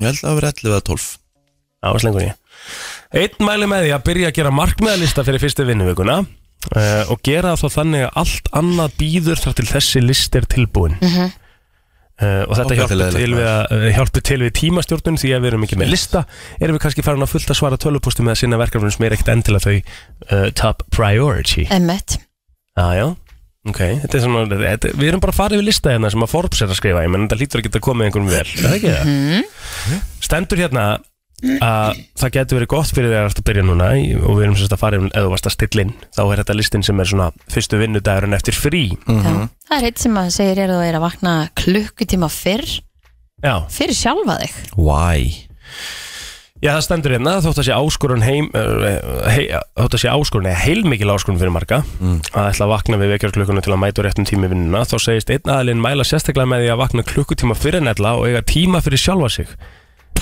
Speaker 1: Ég held að það verið 11 eða 12
Speaker 2: Já, varst lengur en ég Einn mæli með því að byrja að gera markmiðalista fyrir fyrstu vinnuvikuna uh, og gera það þá þannig að allt annað býður þar til þessi list er tilbúin uh, og þetta
Speaker 1: Ógeðslega
Speaker 2: hjálpar til,
Speaker 1: leiðilegt,
Speaker 2: við að- eh, hjálpar til við tímastjórnun því að við erum ekki með lista erum við kannski farin að fullt að svara tölupústum með að sinna verkefnum sem er ekkert endilega þau uh, top priority
Speaker 3: Emmett
Speaker 2: Já, Ah, já, ok þetta er svona, þetta, Við erum bara að fara yfir lista hérna sem að Forbes er að skrifa ég menn þetta lítur að geta komið einhverjum vel Er það ekki það? Stendur hérna að það getur verið gott fyrir þér að byrja núna í- og við erum sérst að fara yfir eða þú varst að stilla inn þá er þetta listin sem er svona fyrstu vinnudagurinn eftir frí
Speaker 3: Já, það er eitt sem að segir er að þú er að vakna klukkutíma fyrr
Speaker 2: Já,
Speaker 3: fyrir sjálfa þig
Speaker 1: Why?
Speaker 2: já það stendur hérna þótt að sé áskorun heim eh, hei, þótt að sé áskorun eða heilmikil áskorun fyrir marga að ætla að vakna við vekjarklukkunum til að mæta á réttum tími í vinnuna þá segist einn aðalinn mæla sérstaklega með því að vakna klukkutíma fyrir en ella og eiga tíma fyrir sjálfa sig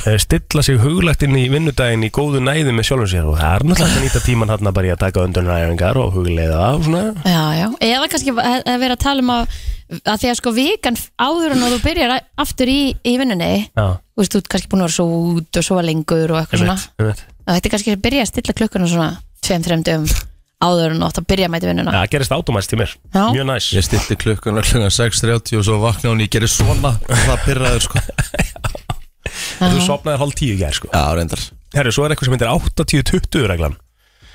Speaker 2: Eh, stilla sig huglægt inn í vinnudaginn í góðu næði með sjálfum sér og það er náttúrulega hægt að nýta tíman hann bara í að taka öndunaræfingar og hugleiða það og svona
Speaker 3: Já, já, eða kannski að að vera að tala um að, að því að sko vikan áður en að þú byrjar a- aftur í, í vinnunni
Speaker 2: Já,
Speaker 3: þú veist, þú ert kannski búin að vera svo út og svo lengur og eitthvað svona
Speaker 2: einmitt, einmitt.
Speaker 3: að þetta er kannski að byrja að stilla klukkuna svona tveim, þreim dögum áður en þú átt að byrja að mæta í
Speaker 2: Já,
Speaker 3: vinnuna
Speaker 2: það gerist átomæst í mér,
Speaker 3: Já.
Speaker 2: mjög næs
Speaker 1: Ég stilti klukkuna klukkan 6.30 og svo vakna hún ég gerir svona og það pyrraður *laughs* sko
Speaker 2: Þú sopnaðir hálf tíu í gær sko
Speaker 1: Já, reyndar
Speaker 2: Herru, svo er eitthvað sem heitir 80-20 reglan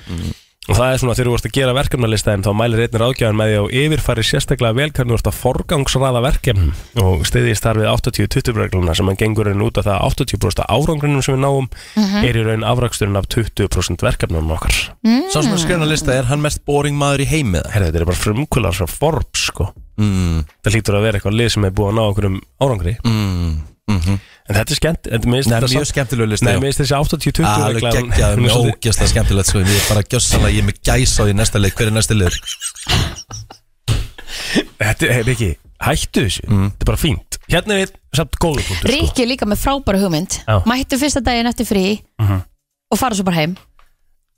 Speaker 2: Og það er svona þegar þú vorst að gera verkefnalistaðin þá mælir einnig ráðgjafan með því að yfirfæri sérstaklega vel hvernig þú vorst að forgangsraða verkefnum og stiðist þar við 80-20 regluna sem að gengur einn út af það að 80% af árangrunum sem við náum
Speaker 1: Mhm.
Speaker 2: er í raun afraksturinn af 20% verkefnunum okkar.
Speaker 1: Sá sem er skrifin að lista, er hann mest boring maður í heimi það?
Speaker 2: Herðu, þetta er bara frumkvölar frá Forbes sko.
Speaker 1: Mm,
Speaker 2: Það lítur að vera eitthvað lið sem er búið að ná okkur um árangri.
Speaker 1: mm, mm -hmm.
Speaker 2: En þetta er skemmt, en mér finnst
Speaker 1: Nei,
Speaker 2: þetta
Speaker 1: mjög
Speaker 2: samt-
Speaker 1: skemmtileg listi
Speaker 2: Nei,
Speaker 1: já.
Speaker 2: mér finnst þessi 80-20
Speaker 1: Alveg
Speaker 2: regla, hún- *laughs*
Speaker 1: geggjað,
Speaker 2: hún er
Speaker 1: mjög
Speaker 2: svolítið-
Speaker 1: ógjast skemmtilegt sko. Ég er bara gjössalega, ég er með gæsa á því næsta leik Hver er næsta liður?
Speaker 2: Þetta er hey, ekki, hættu þessu Þetta er bara fínt Hérna er einn samt góður punktur sko.
Speaker 3: Ríkki er líka með frábæra hugmynd
Speaker 2: Já. Mhm.
Speaker 3: Mættu fyrsta daginn eftir frí og fara svo bara heim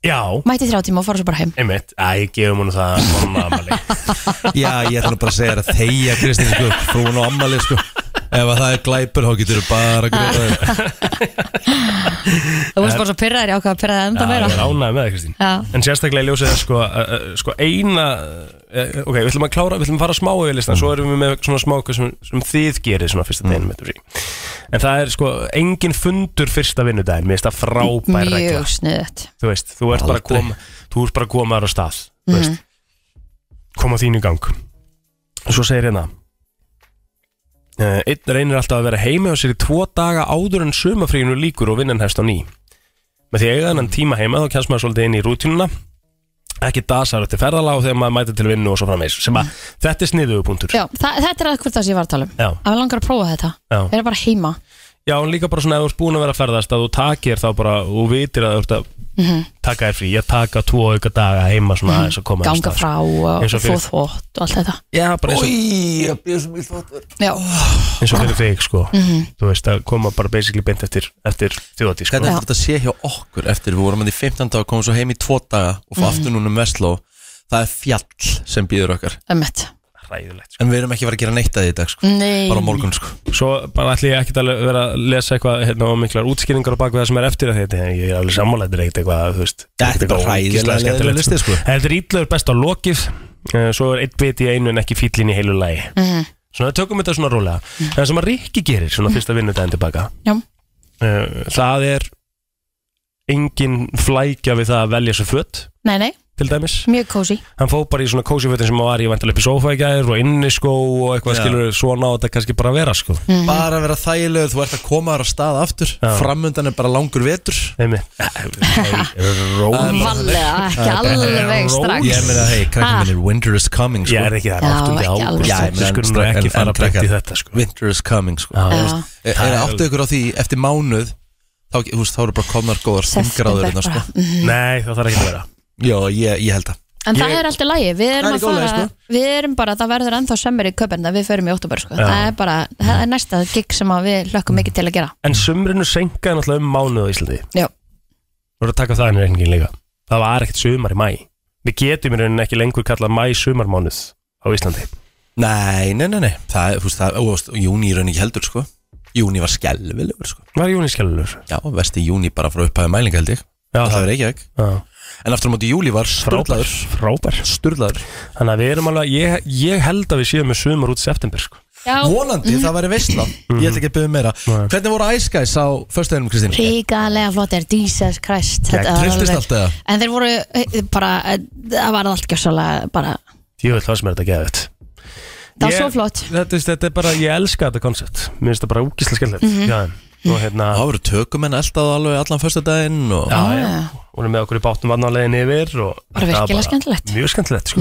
Speaker 2: Já,
Speaker 3: Mætti þrjá tíma og fara svo bara heim
Speaker 2: einmitt Æ, gefum hún það Mamma, amali
Speaker 1: Já, ég ætla nú bara að segja þér að þeia Kristín sko, frún og ammali sko Ef að það er glæpur, þá getur þú bara að greiða þér
Speaker 2: Eh,
Speaker 3: Þú veist bara svo pyrraður, ég ákvað að pyrraði enda
Speaker 2: Það
Speaker 3: meira
Speaker 2: er ánægð með það, Kristín
Speaker 3: Já.
Speaker 2: En sérstaklega í ljósið þess sko, uh, uh, sko eina uh, Ok, við ætlum að klára, við ætlum að fara smá yfir listan Svo erum við með svona smá hvað sem, sem þið gerið svona fyrsta deginum mm. En það er sko, engin fundur fyrsta vinnudaginn Mér finnst það frábær regla
Speaker 3: Mjög sniðut
Speaker 2: Þú veist, þú ert bara að koma Þú ert bara að koma þar á stað mm veist, Koma þín í gang Og svo segir hérna eh, Einn reynir alltaf að vera heima og sér í tvo daga áður en sumafríinu líkur og vinnan hefst á ný Með því að eiga þennan tíma heima þá kemst maður svolítið inn í rútínuna ekki dasar eftir ferðalag og þegar maður mætir til vinnu og svo framvegis sem að þetta er sniðuðu punktur
Speaker 3: Já, þa þetta er eitthvað það sem ég var að tala um
Speaker 2: Já.
Speaker 3: Að við langar að prófa þetta
Speaker 2: Já.
Speaker 3: Vera bara heima
Speaker 2: Já, en líka bara svona ef þú ert búin að vera að ferðast að þú takir þá bara og vitir að þú ert að
Speaker 3: Mhm.
Speaker 2: taka þér frí, ég taka tvo auka daga heima svona aðeins að koma af
Speaker 3: Ganga
Speaker 2: stað, sko.
Speaker 3: frá og
Speaker 2: Eins og
Speaker 3: fóð
Speaker 2: fyrir-
Speaker 3: þvott og allt þetta
Speaker 2: Já, bara eins og,
Speaker 3: Já,
Speaker 2: eins og fyrir þig sko
Speaker 3: Mhm.
Speaker 2: Þú veist að koma bara basically beint eftir, eftir þjóðatí sko
Speaker 1: Hvernig heldur þetta sé hjá okkur eftir við vorum hérna að því 15 dag komum svo heim í tvo daga og fá aftur núna um Vestló Það er fjall sem býður okkar
Speaker 3: ömmett
Speaker 2: Hræðilegt sko
Speaker 1: En við erum ekki að fara að gera neitt að því í dag sko
Speaker 3: Nei,
Speaker 1: Bara á morgun sko
Speaker 2: Svo bara ætli ég ekkert að le- vera að lesa eitthvað hérna og miklar útskýringar á bak við það sem er eftir að þetta Ég er alveg sammálættir eitt eitthvað, þú veist
Speaker 1: Þetta er
Speaker 2: ekkert
Speaker 1: bara
Speaker 2: eitthvað
Speaker 1: hræðilega
Speaker 2: ógeðslega skemmtilegt,
Speaker 1: leiðilegur listi, sko.
Speaker 2: Þetta er ítlöður best á lokið eh, Svo er eitt bit í einu en ekki fýllin í heilu lagi Svona tökum þetta svona rólega En sem að Rikki gerir svona fyrsta vinnudaginn tilbaka
Speaker 3: Já.
Speaker 2: Eh, Það er engin flækja við það að velja sér fött
Speaker 3: nei, nei,
Speaker 2: til dæmis
Speaker 3: mjög kósi
Speaker 2: hann fóð bara í svona kósi fötin sem hann var í vantilega upp í sófa í gæðir og inni sko og eitthvað
Speaker 1: Já.
Speaker 2: skilur svona á þetta kannski bara að vera sko
Speaker 1: Bara að vera þægilegur, þú ert að koma þér á stað aftur
Speaker 2: Já.
Speaker 1: Framundan er bara langur vetur *laughs*
Speaker 2: einmitt
Speaker 6: Mhm.
Speaker 2: Róla
Speaker 3: Vallega, ekki
Speaker 2: bara-
Speaker 3: alveg strax
Speaker 1: Ég meina, hei, krakkið
Speaker 3: Ha.
Speaker 1: minn er winter is coming
Speaker 2: ég
Speaker 1: sko
Speaker 2: er ekki það
Speaker 3: Já,
Speaker 2: er áttundi
Speaker 3: ekki alveg
Speaker 2: ágúst
Speaker 3: strax.
Speaker 2: við skulum nú
Speaker 1: en-
Speaker 2: ekki
Speaker 1: en-
Speaker 2: fara
Speaker 1: en
Speaker 2: að breyta í
Speaker 1: krakkar,
Speaker 2: þetta sko
Speaker 1: Winter is coming sko
Speaker 2: Já.
Speaker 3: Já.
Speaker 1: Er
Speaker 2: Það
Speaker 1: það
Speaker 2: er
Speaker 1: áttu ykkur á því eftir mánuð þá, þú veist, þá eru bara komnar góðar
Speaker 3: September
Speaker 1: fimmgráður
Speaker 3: bara.
Speaker 1: sko.
Speaker 3: Mhm.
Speaker 2: nei það þarf ekki að vera
Speaker 1: Já, ég, ég held að
Speaker 3: En það
Speaker 2: Ég-
Speaker 3: er alltaf lægi, við
Speaker 1: Það er
Speaker 3: erum að
Speaker 1: ekki
Speaker 3: fara
Speaker 1: ólagi,
Speaker 3: Við erum bara, það verður ennþá sömmer í köpinn að við förum í óttúber sko. Það er bara, það er næsta gig sem að við lökkum mikið til að gera
Speaker 2: en sumrinu senkaði náttúrulega um mánuð á Íslandi
Speaker 3: Já.
Speaker 2: þú voru að taka það inn í reyningin líka það var ekkert sumar í mæ við getum í rauninni ekki lengur kallað mæ sumarmánuð á Íslandi
Speaker 1: Nei, nei, nei, nei Það, þú veist, það, ó, þú veist, júni í raun ekki heldur, sko Júni var skelvilegur, sko
Speaker 2: var júniskjálfur
Speaker 1: Já, vesti júni bara frá upphæðu mælinga, held ég
Speaker 2: Já,
Speaker 1: Það er ekki ekki En aftur á móti júli var
Speaker 2: frábær,
Speaker 1: sturlaður
Speaker 2: frábær
Speaker 1: Sturlaður
Speaker 2: Þannig að við erum alveg, ég, ég held að við séum með sumar út september sko.
Speaker 3: Já,
Speaker 1: Vonandi, það væri veistla Ég ætla ekki að byrja meira Hvernig voru Ice Guys á föstuðinum, Kristín?
Speaker 3: Ríkalega flottir, Jesus Christ
Speaker 1: Gekk,
Speaker 3: var
Speaker 1: trylltist
Speaker 3: alveg-
Speaker 1: allt eða?
Speaker 3: En þeir voru eh, bara, eh, það var allt gjössalega bara,
Speaker 2: Ég vil það sem er þetta geðið
Speaker 3: það var
Speaker 2: Ég-
Speaker 3: svo flott
Speaker 2: þetta, er- þetta er bara, ég elska þetta koncept Mér finnst það bara úkislega skellilegt mm
Speaker 3: Mhm.
Speaker 2: -hmm. Og hérna,
Speaker 1: Það voru tökumenn alltaf alveg allan föstudaginn og...
Speaker 2: já,
Speaker 3: Ah.
Speaker 2: já Hún er með okkur í bátum vann á leiðin yfir og
Speaker 3: Bara
Speaker 2: þetta var
Speaker 3: virkilega skemmtilegt. Mhm.
Speaker 2: Mjög skemmtilegt, sko,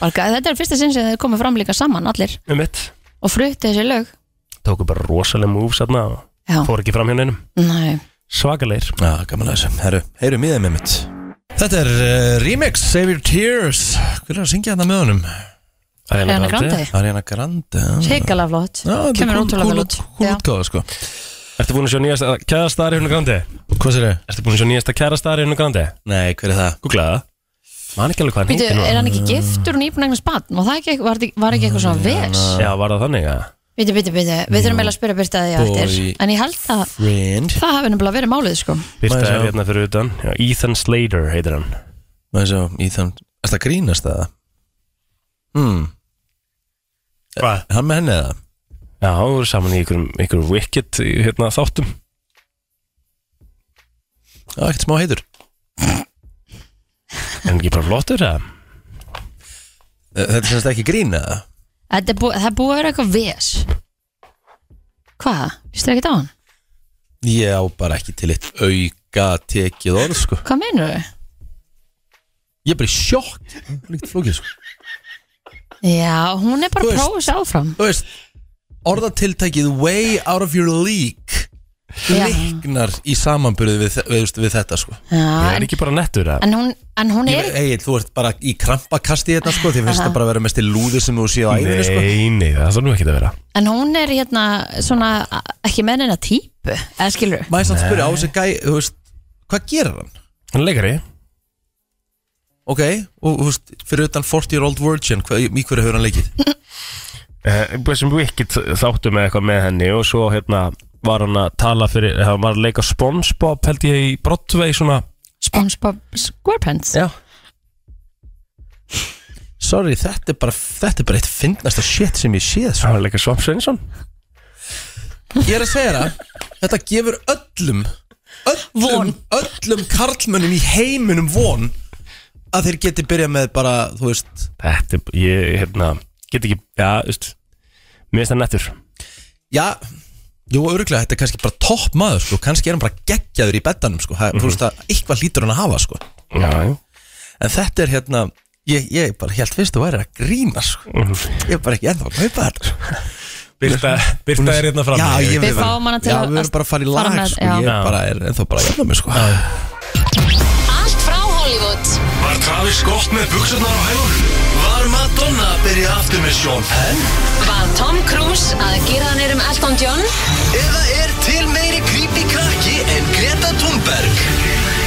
Speaker 3: Bara, Þetta er fyrsta sinn sem þeir komið fram líka saman allir
Speaker 2: um mitt
Speaker 3: og fruttu þessi lög
Speaker 2: Tóku bara rosalega moves aðna og
Speaker 3: Já,
Speaker 2: fór ekki fram hjá neinum
Speaker 3: næ,
Speaker 2: Svakalegir
Speaker 1: Já, gaman að þessu, herru, heyrum í þeim einmitt Þetta er uh, remix, Save Your Tears Hver er að syngja þetta með honum?
Speaker 3: Ariana Grande
Speaker 1: Ariana Grande já.
Speaker 3: Ríkalega flott,
Speaker 1: Já, þetta er
Speaker 3: kemur
Speaker 1: cool-
Speaker 3: ótrúlega
Speaker 1: cool-
Speaker 3: vel út
Speaker 1: Cool
Speaker 3: Já.
Speaker 1: útgáða, sko
Speaker 2: Ertu búin að sjá nýjasta kæðasta Ariana Grande?
Speaker 1: Hvað sér þau?
Speaker 2: Ertu búin að sjá nýjasta kæðasta Ariana Grande?
Speaker 1: Nei, hver er það?
Speaker 2: Googlaða Man ekki alveg hvað hann
Speaker 3: Býtu,
Speaker 2: heitir núna.
Speaker 3: er hann ekki giftur og nýbúnægnast batn og það ekki, var, ekki- var ekki eitthvað
Speaker 1: Mm,
Speaker 3: svona ves?
Speaker 2: Já, var það þannig að
Speaker 3: Býtu, býtu, býtu, við þurfum eiginlega að spyrja Birta því á eftir
Speaker 1: Boy.
Speaker 3: En ég held að
Speaker 1: Friend
Speaker 3: það hafi nefnilega verið málið sko
Speaker 2: Birta
Speaker 1: Má ég
Speaker 2: er
Speaker 1: sjá?
Speaker 2: hérna fyrir utan já, Ethan Slater heitir hann
Speaker 1: Maður svo, Ethan Er það grínast það? Hmm,
Speaker 2: Hvað?
Speaker 1: er hann með henni eða?
Speaker 2: Já, þú eru saman í ykkur, ykkur wicked í, hérna, þáttum
Speaker 1: Já, ekkert smá heitur
Speaker 2: hann ekki bara flottur það?
Speaker 1: Eh, Þetta er semst ekki grín eða?
Speaker 5: Þetta er búið, það er búið að vera eitthvað ves Hvað? Lýstu ekki á hann?
Speaker 1: Ég á bara ekki til eitt auka tekið orð sko
Speaker 5: Hvað meinur þau?
Speaker 1: Ég er bara í sjokk Líkt flókið sko
Speaker 5: Já, hún er bara
Speaker 1: Þú
Speaker 5: að
Speaker 1: veist.
Speaker 5: prófa sér áfram
Speaker 1: Þú veist Orðatiltækið way out of your league
Speaker 5: Já.
Speaker 1: Lignar í samanburði við, við, við, við þetta sko
Speaker 2: Ég
Speaker 5: Já,
Speaker 2: er
Speaker 5: en,
Speaker 2: ekki bara nettur það?
Speaker 5: en, hún, en hún er
Speaker 1: Egil, þú ert bara í krampakasti hérna sko Þið finnst það bara að vera mest í lúði sem þú séu á æðinu sko
Speaker 2: Nei, nei, það þarf nú ekki að vera
Speaker 5: En hún er hérna svona a- ekki með hennar típu eða skilur
Speaker 1: Maður samt spyrja á þessi gæ, þú veist Hvað gerir hann?
Speaker 2: Hann er leikari
Speaker 1: Ok, og þú veist, fyrir utan 40 year old virgin hva, Í hverju hefur hann leikið?
Speaker 2: uh, sem Wicked þáttu með eitthvað með henni og svo hérna var hann að tala fyrir, eh, hann var að leika Spongebob held ég í Broadway svona
Speaker 5: SpongeBob SquarePants
Speaker 1: Já Sorry, þetta er bara, þetta er bara eitt fyndnasta shit sem ég séð sko.
Speaker 2: hann var að leika Swamp Svensson
Speaker 1: Ég er að segja það Þetta gefur öllum Öllum, öllum karlmönnum í heiminum von Að þeir geti byrjað með bara, þú veist
Speaker 2: Þetta, er- ég, hérna, get ekki já, þú veist, mér finnst það nettur
Speaker 1: Já, jú, örgulega, þetta er kannski bara topp maður, sko, kannski er hann bara geggjaður í beddanum, sko, það, þú veist að eitthvað hlýtur hann að hafa, sko,
Speaker 2: Já, já
Speaker 1: en þetta er hérna, ég, ég bara held fyrst að væri að grína, sko, ég er bara ekki ennþá að kaupa þetta, sko.
Speaker 2: Birta, Birta er hérna fram
Speaker 1: Já, ég
Speaker 5: Við fáum hana til
Speaker 1: já,
Speaker 5: að-
Speaker 1: við erum bara að fara í
Speaker 5: fara
Speaker 1: lag,
Speaker 5: með-
Speaker 1: sko,
Speaker 5: já.
Speaker 1: ég
Speaker 2: Já.
Speaker 1: bara er ennþá bara að jæna mig, sko.
Speaker 6: Allt frá Hollywood
Speaker 4: Var Travis gott með buksunar á hælunum? Var Madonna að byrja aftur með Sean Penn?
Speaker 6: Var Tom Cruise að gera hann erum Elton John
Speaker 4: Eða er til meiri creepy krakki en Greta Thunberg?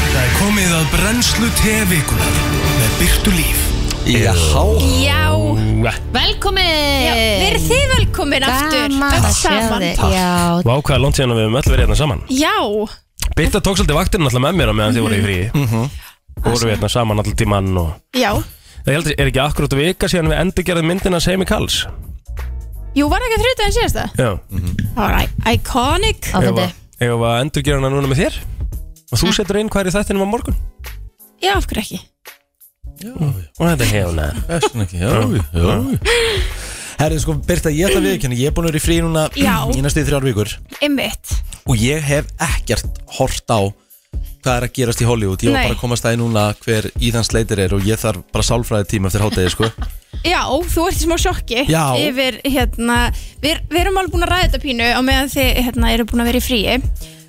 Speaker 4: Það er komið að brennslu tevikunar með Byrtu Líf.
Speaker 1: Já,
Speaker 8: Já,
Speaker 2: eh,
Speaker 5: Velkomin!
Speaker 8: já verið þið velkomin aftur
Speaker 5: Gaman
Speaker 8: öll
Speaker 5: að sjá
Speaker 8: saman.
Speaker 5: þig Já,
Speaker 2: Vá, hvað er langt síðan að við höfum öll verið hérna saman
Speaker 8: Já,
Speaker 2: Birta tók svolítið vaktina alltaf með mér á meðan þið voru í fríi og voru við hérna saman alltaf tíman og
Speaker 8: já
Speaker 2: Það heldur, er ekki akkurát vika síðan við endur gerðum myndina Seimi Kalls
Speaker 8: Jú, var ekki þrjótaðin síðast það?
Speaker 2: Já,
Speaker 8: Það var i- iconic
Speaker 5: á þetta
Speaker 2: Ef að endur gera hana núna með þér og þú setur inn hvað er í þættinum á morgun
Speaker 8: Já, af hverju ekki?
Speaker 2: og þetta er hefna
Speaker 1: best en ekki, já, já. Herri, sko, Birta, ég ætla við ekki, ég er búin að vera í frí núna
Speaker 8: Já.
Speaker 1: í næstu þrjár vikur
Speaker 8: Einmitt
Speaker 1: og ég hef ekkert hort á hvað er að gerast í Hollywood ég var
Speaker 8: Nei.
Speaker 1: bara að komast að núna hver Íðan Sleitir er og ég þarf bara sálfræði tíma eftir hátegi sko.
Speaker 8: Já, þú ert í smá sjokki
Speaker 1: Já.
Speaker 8: yfir, hérna, við, við erum alveg búin að ræða þetta pínu á meðan þið hérna, eru búin að vera í fríi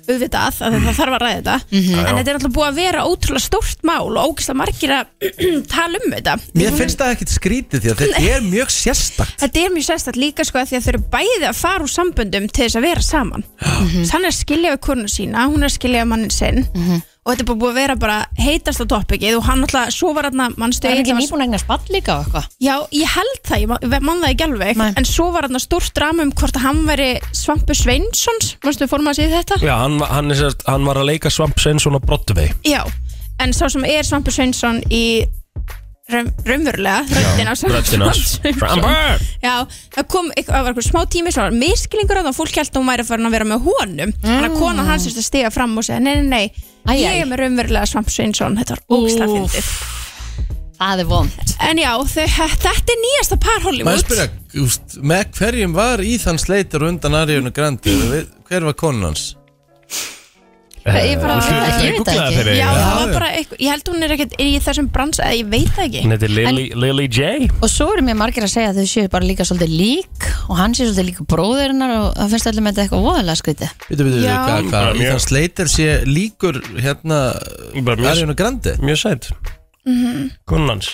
Speaker 8: auðvitað, af því að það þarf að ræða þetta
Speaker 1: Mhm.
Speaker 8: en þetta er alltaf búið að vera ótrúlega stórt mál og ógislega margir að *clears throat* tala um þetta
Speaker 1: mér finnst það ekkert skrítið því að þetta er mjög sérstakt
Speaker 8: Þetta er mjög sérstætt líka sko að því að þau eru bæði að fara úr samböndum til þess að vera saman mm Hann er að skilja við konu sína, hún er að skilja við mannin sinn og þetta er bara búið að vera bara heitasta topikið og hann alltaf, svo var hann mannstu
Speaker 5: Það er
Speaker 8: Egill
Speaker 5: ekki
Speaker 8: var-
Speaker 5: nýbúin að egna spall líka og eitthvað
Speaker 8: Já, ég held það, ég man, ég man það ekki alveg
Speaker 5: Nei.
Speaker 8: en svo var hann stórt drama um hvort að hann væri Svampu Sveinsons, mannstu fórum að segja þetta?
Speaker 2: Já, hann, var- hann, er, sérst- hann var að leika Svamp Sveinsson á Broadway
Speaker 8: Já, en sá sem er Svampu Sveinsson í raun- raunverulega, röddin á Svampu
Speaker 2: Röddin hans.
Speaker 8: Sveinsson
Speaker 2: Svampur!
Speaker 8: Já, það kom, eitthvað- það var eitthvað smá tími svo var miskilningur að það fólk held að hún væri að fara að vera með honum þannig að kona hans þurfti að stiga fram og segja nei, nei, nei,
Speaker 5: Æ, æ.
Speaker 8: ég er með raunverulega Svamp Sveinsson, þetta var ógisla
Speaker 5: Úff.
Speaker 8: fyndið
Speaker 5: Það er vond
Speaker 8: En já, þau, þetta er nýjasta par
Speaker 1: maður
Speaker 8: Hollywood
Speaker 1: spyrja, úst, með hverjum var Íðan Sleitir undan Arjónu Grandi Við- hver var konun hans? Eh,
Speaker 5: Ég bara- ég veit það ekki.
Speaker 8: Já, það var
Speaker 1: já.
Speaker 8: bara eitthvað, ég held hún er ekkert er í þessum brans, eða ég veit það ekki
Speaker 2: Hún heitir Lily, Lily J
Speaker 5: Og svo eru mér margir að segja að þau séu bara líka svolítið lík og hann sé svolítið líka bróðurinnar og það finnst allir með þetta eitthvað voðalega skrítið
Speaker 1: Bitu, bitu,
Speaker 8: Já.
Speaker 1: hvað,
Speaker 2: Bara
Speaker 1: hvað,
Speaker 2: mjög-
Speaker 1: Íðan Sleitir sé líkur hérna
Speaker 2: Bara mjög-
Speaker 1: Arjónu Grandi
Speaker 2: Mjög sætt Gunnans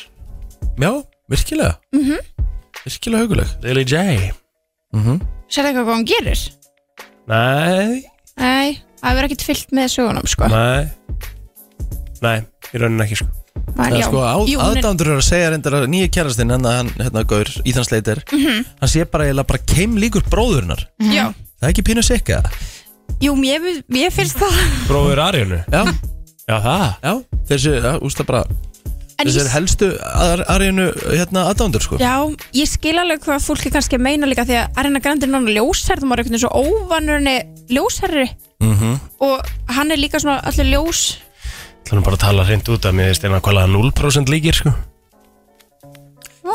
Speaker 1: já, virkilega virkilega huguleg
Speaker 2: Lily J
Speaker 8: Sér eitthvað hvað hún gerir?
Speaker 2: Nei,
Speaker 8: Nei, það verður ekkert fyllt með sögunum, sko
Speaker 2: nei Nei, í rauninni ekki sko
Speaker 8: Man,
Speaker 1: Það er sko
Speaker 8: Jú, hún er-
Speaker 1: aðdándur er að segja reyndar að nýja kærastinn hann, hann hérna gaur, Íðan Sleitir
Speaker 8: Mhm.
Speaker 1: hann sé bara eiginlega bara keim líkur bróðurnar
Speaker 8: Já,
Speaker 1: það er ekki pínu sikka
Speaker 8: jú, mér, mér finnst það
Speaker 2: Bróður Arjónu
Speaker 1: já,
Speaker 2: Já, það
Speaker 1: já, þessi, já, úst það bara
Speaker 8: En
Speaker 1: þessi er
Speaker 8: ég
Speaker 1: helstu ar arjunu hérna aðdándur sko
Speaker 8: Já, ég skil alveg hvað fólk er kannski að meina líka því að Arina Grandi er náttúrulega ljósherð og maður er einhvern veginn svo óvanur henni ljósherri -hmm. og hann er líka svona allir ljós
Speaker 2: ætlum bara að tala hreint út að mér veist eina hvaða 0% líkir sko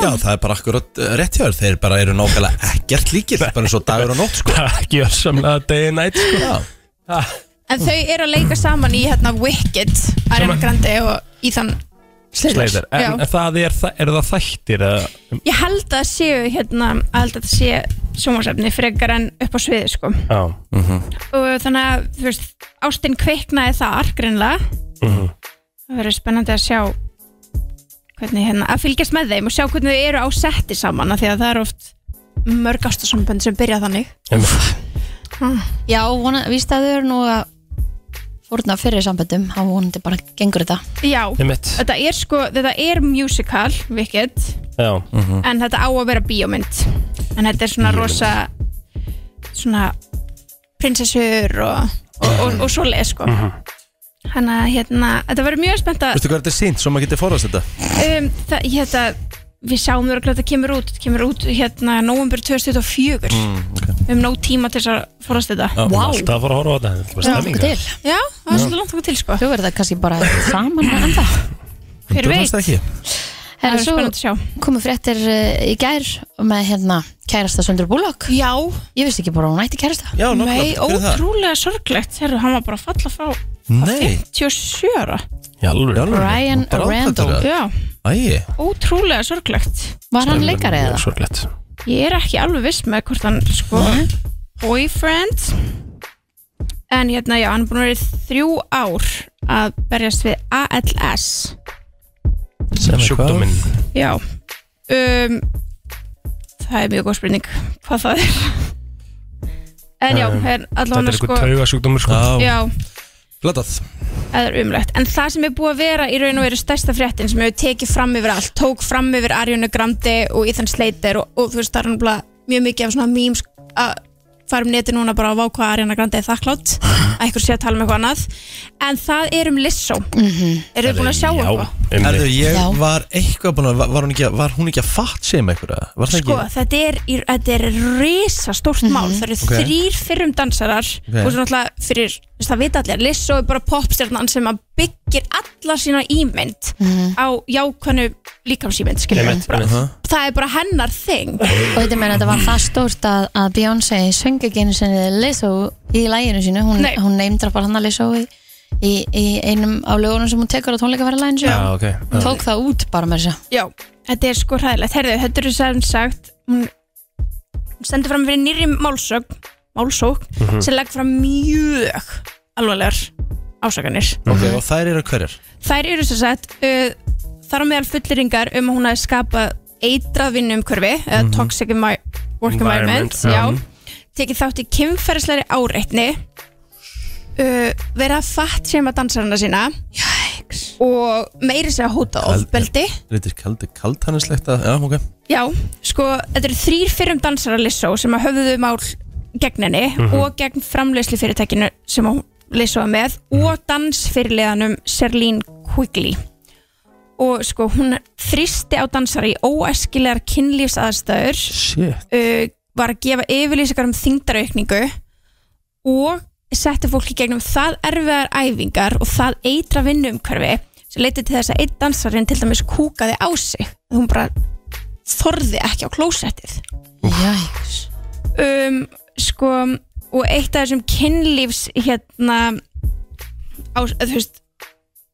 Speaker 1: Já, það er bara akkurat uh, rétt hjá þér Þeir bara eru nákvæmlega ekkert líkir Það er bara eins og dagur og nótt sko
Speaker 2: Það er *laughs* ekki össamlega day and night sko
Speaker 1: Já,
Speaker 8: En þau eru að leika saman í hérna Wicked, Ariana Grande og Ethan Slater
Speaker 2: Slater, eh, en,
Speaker 8: Já.
Speaker 2: en það er, þa- eru það þættir eða
Speaker 8: Ég held að það séu hérna, að held að það sé sjónvarsefni frekar en upp á sviði sko.
Speaker 2: Já,
Speaker 8: og þannig að þú veist, Ástin kveiknaði þar greinlega
Speaker 2: Mhm.
Speaker 8: það verður spennandi að sjá hvernig hérna, að fylgjast með þeim og sjá hvernig þau eru á setti saman af því að það eru oft mörg ástasambönd sem byrja þannig
Speaker 2: en,
Speaker 3: Já, vona, víst að þau eru nú að fórna fyrir samböndum þá vonandi bara gengur þetta
Speaker 8: Já,
Speaker 2: einmitt,
Speaker 8: þetta er sko, þetta er musical Wicked,
Speaker 2: já
Speaker 8: en þetta á að vera bíómynd, en þetta er svona rosa svona prinsessur og, og, og, og svoleið sko þannig að hérna, þetta verður mjög spennt að
Speaker 1: veistu hvað þetta er sínt Svo maður getur forðast þetta
Speaker 8: um, það, ég held að við sjáum þurfa að þetta kemur út þetta kemur út hérna november 2024
Speaker 1: Mm,
Speaker 8: um nóg tíma til þess að forast þetta
Speaker 2: Vá Alltaf að fara að horfa á þetta, þetta er bara
Speaker 3: Já,
Speaker 2: stemming,
Speaker 3: okkur til
Speaker 2: sko.
Speaker 8: já, það er svolítið langt okkur til sko
Speaker 3: Þau verður það kannski bara saman að
Speaker 8: *laughs*
Speaker 3: enda
Speaker 8: hver
Speaker 1: Þú
Speaker 8: veit,
Speaker 1: fannst það ekki
Speaker 8: það
Speaker 3: En
Speaker 8: er
Speaker 3: svo
Speaker 8: spennandi að sjá
Speaker 3: komu fréttir eh, í gær með hérna kærasta Söndur Bullock
Speaker 8: já,
Speaker 3: Ég vissi ekki bara að hún ætti kærasta
Speaker 1: Já,
Speaker 8: mei,
Speaker 1: nákvæmlega, hver er það?
Speaker 8: ótrúlega sorglegt herru, hann var bara að falla frá
Speaker 1: Nei,
Speaker 8: 27 ára
Speaker 2: Já, alveg
Speaker 3: Brian
Speaker 1: Bara
Speaker 3: Randall
Speaker 1: ákvæmlega.
Speaker 8: já,
Speaker 1: Æi,
Speaker 8: ótrúlega sorglegt
Speaker 3: Var hann leikari eða?
Speaker 2: Sorglegt
Speaker 8: ég er ekki alveg viss með hvort hann sko boyfriend en hérna já, hann er búin að vera í þrjú ár að berjast við ALS
Speaker 2: Sjúkdóminn
Speaker 8: já um, það er mjög góð spurning hvað það er en já,
Speaker 2: Um,
Speaker 8: er
Speaker 2: Þetta
Speaker 8: allavega
Speaker 2: er
Speaker 8: sko
Speaker 2: eitthvað taugasjúkdómur sko
Speaker 1: já,
Speaker 8: já,
Speaker 1: glatað
Speaker 8: það er umlegt en það sem er búið að vera í raun og veru stærsta fréttin sem hefur tekið fram yfir allt tók fram yfir Arjónu Grandi og Íðan Sleiter og, og þú veist, það er náttúrulega mjög mikið af svona memes að fara um neti núna bara að vákva Arjónu Grandi er þakklátt að ykkur sé að tala um eitthvað annað en það er um Lissó mm -hmm. eru búin að sjá eitthvað?
Speaker 1: Erðu,
Speaker 2: eitthvað?
Speaker 1: ég
Speaker 3: Já.
Speaker 1: var eitthvað búin að var- Var hún ekki, að- var hún ekki að fatt sem eitthvað? Var það
Speaker 8: Sko,
Speaker 1: ekki?
Speaker 8: þetta er, í- þetta er risastórt mál,
Speaker 2: Mhm.
Speaker 8: það eru
Speaker 1: Ok.
Speaker 8: þrýr fyrrum dansarar og svo náttúrulega fyrir, þú veist, það vita allir, Lissó er bara popstjarnan sem að byggir alla sína ímynd á jákvænu líkamsýmynd, skiljum
Speaker 2: Mhm. Einmitt,
Speaker 8: bara.
Speaker 2: einmitt.
Speaker 8: Það er bara hennar þing.
Speaker 3: Og þetta meina þetta var það stórt að, að Beyoncé söng ekki einu sinni Lizzo í læginu sínu Hún,
Speaker 8: Nei.
Speaker 3: hún neymdra bara hann að Lizzo í, í, í einum á lögunum sem hún tekur á tónleikaferðalæginu
Speaker 2: Já,
Speaker 3: sínu
Speaker 2: ok
Speaker 3: Hún tók það út bara með þess
Speaker 8: Já, þetta er sko hræðilegt. Herðu, þetta eru sem sagt, hún, hún stendur fram fyrir nýri málsók, málsók
Speaker 2: Mhm.
Speaker 8: sem legg fram mjög alvarlegar ásakanir.
Speaker 1: Ok, og þær eru hverjar?
Speaker 8: Þær eru svo sett uh, þar á meðal fulleringar um að hún hafi skapað eitrað vinnumkörfi eða toxic envi- work
Speaker 2: Environment,
Speaker 8: environment,
Speaker 2: já.
Speaker 8: já, tekið þátt í kynferðislegri áreitni uh, verið að fatt sem að dansarana sína Jæks. og meiri sér að hóta
Speaker 1: Kald-
Speaker 8: ofbeldi
Speaker 1: Þetta er kaldi kaldhannislegt að, já, ok
Speaker 8: Já, sko, þetta eru þrýr fyrrum dansarar Lissó sem að höfðu mál gegn henni og gegn framleyslu fyrirtækinu sem hún Lissó er með og dansfyrirliðanum Serlín Quigley og sko, hún þrýsti á dansara í óæskilegar kynlífsaðstæður
Speaker 1: Shit
Speaker 8: uh, var að gefa yfirlýsingar um þingdaraukningu og setti fólki gegnum það erfiðar æfingar og það eitra vinnuumhverfi sem leiti til þess að einn dansarinn til dæmis kúkaði á sig hún bara þorði ekki á klósettið
Speaker 3: að Jæks
Speaker 8: um, sko, og eitt af þessum kynlífs hérna á, þú veist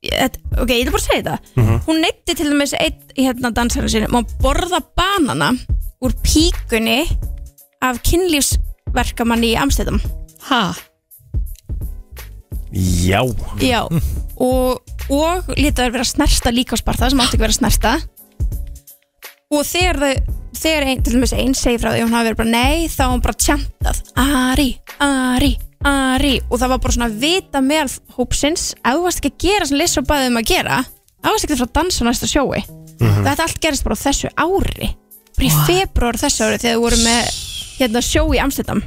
Speaker 8: et, ok, ég ætla bara að segja þetta hún neytti til dæmis einn hérna dansarinn sinni má borða banana úr píkunni af kynlífsverkamanni í Amstæðum
Speaker 3: Ha?
Speaker 2: Já
Speaker 8: já, og, og lítið að vera snerta líkásparta sem átti ekki að vera snerta og þegar þau þegar ein, til dæmis einn segir frá því að hún hafi verið bara nei, þá var hún bara tjantað Ari, Ari, Ari og það var bara svona vita meðal hópsins ef þú varst ekki að gera sem Lissa bæði um að gera þá varst ekki frá að dansa á næsta sjói þetta allt gerist bara á þessu ári bara í februar þessu ári þegar þú voru með hérna, sjó í Amstendam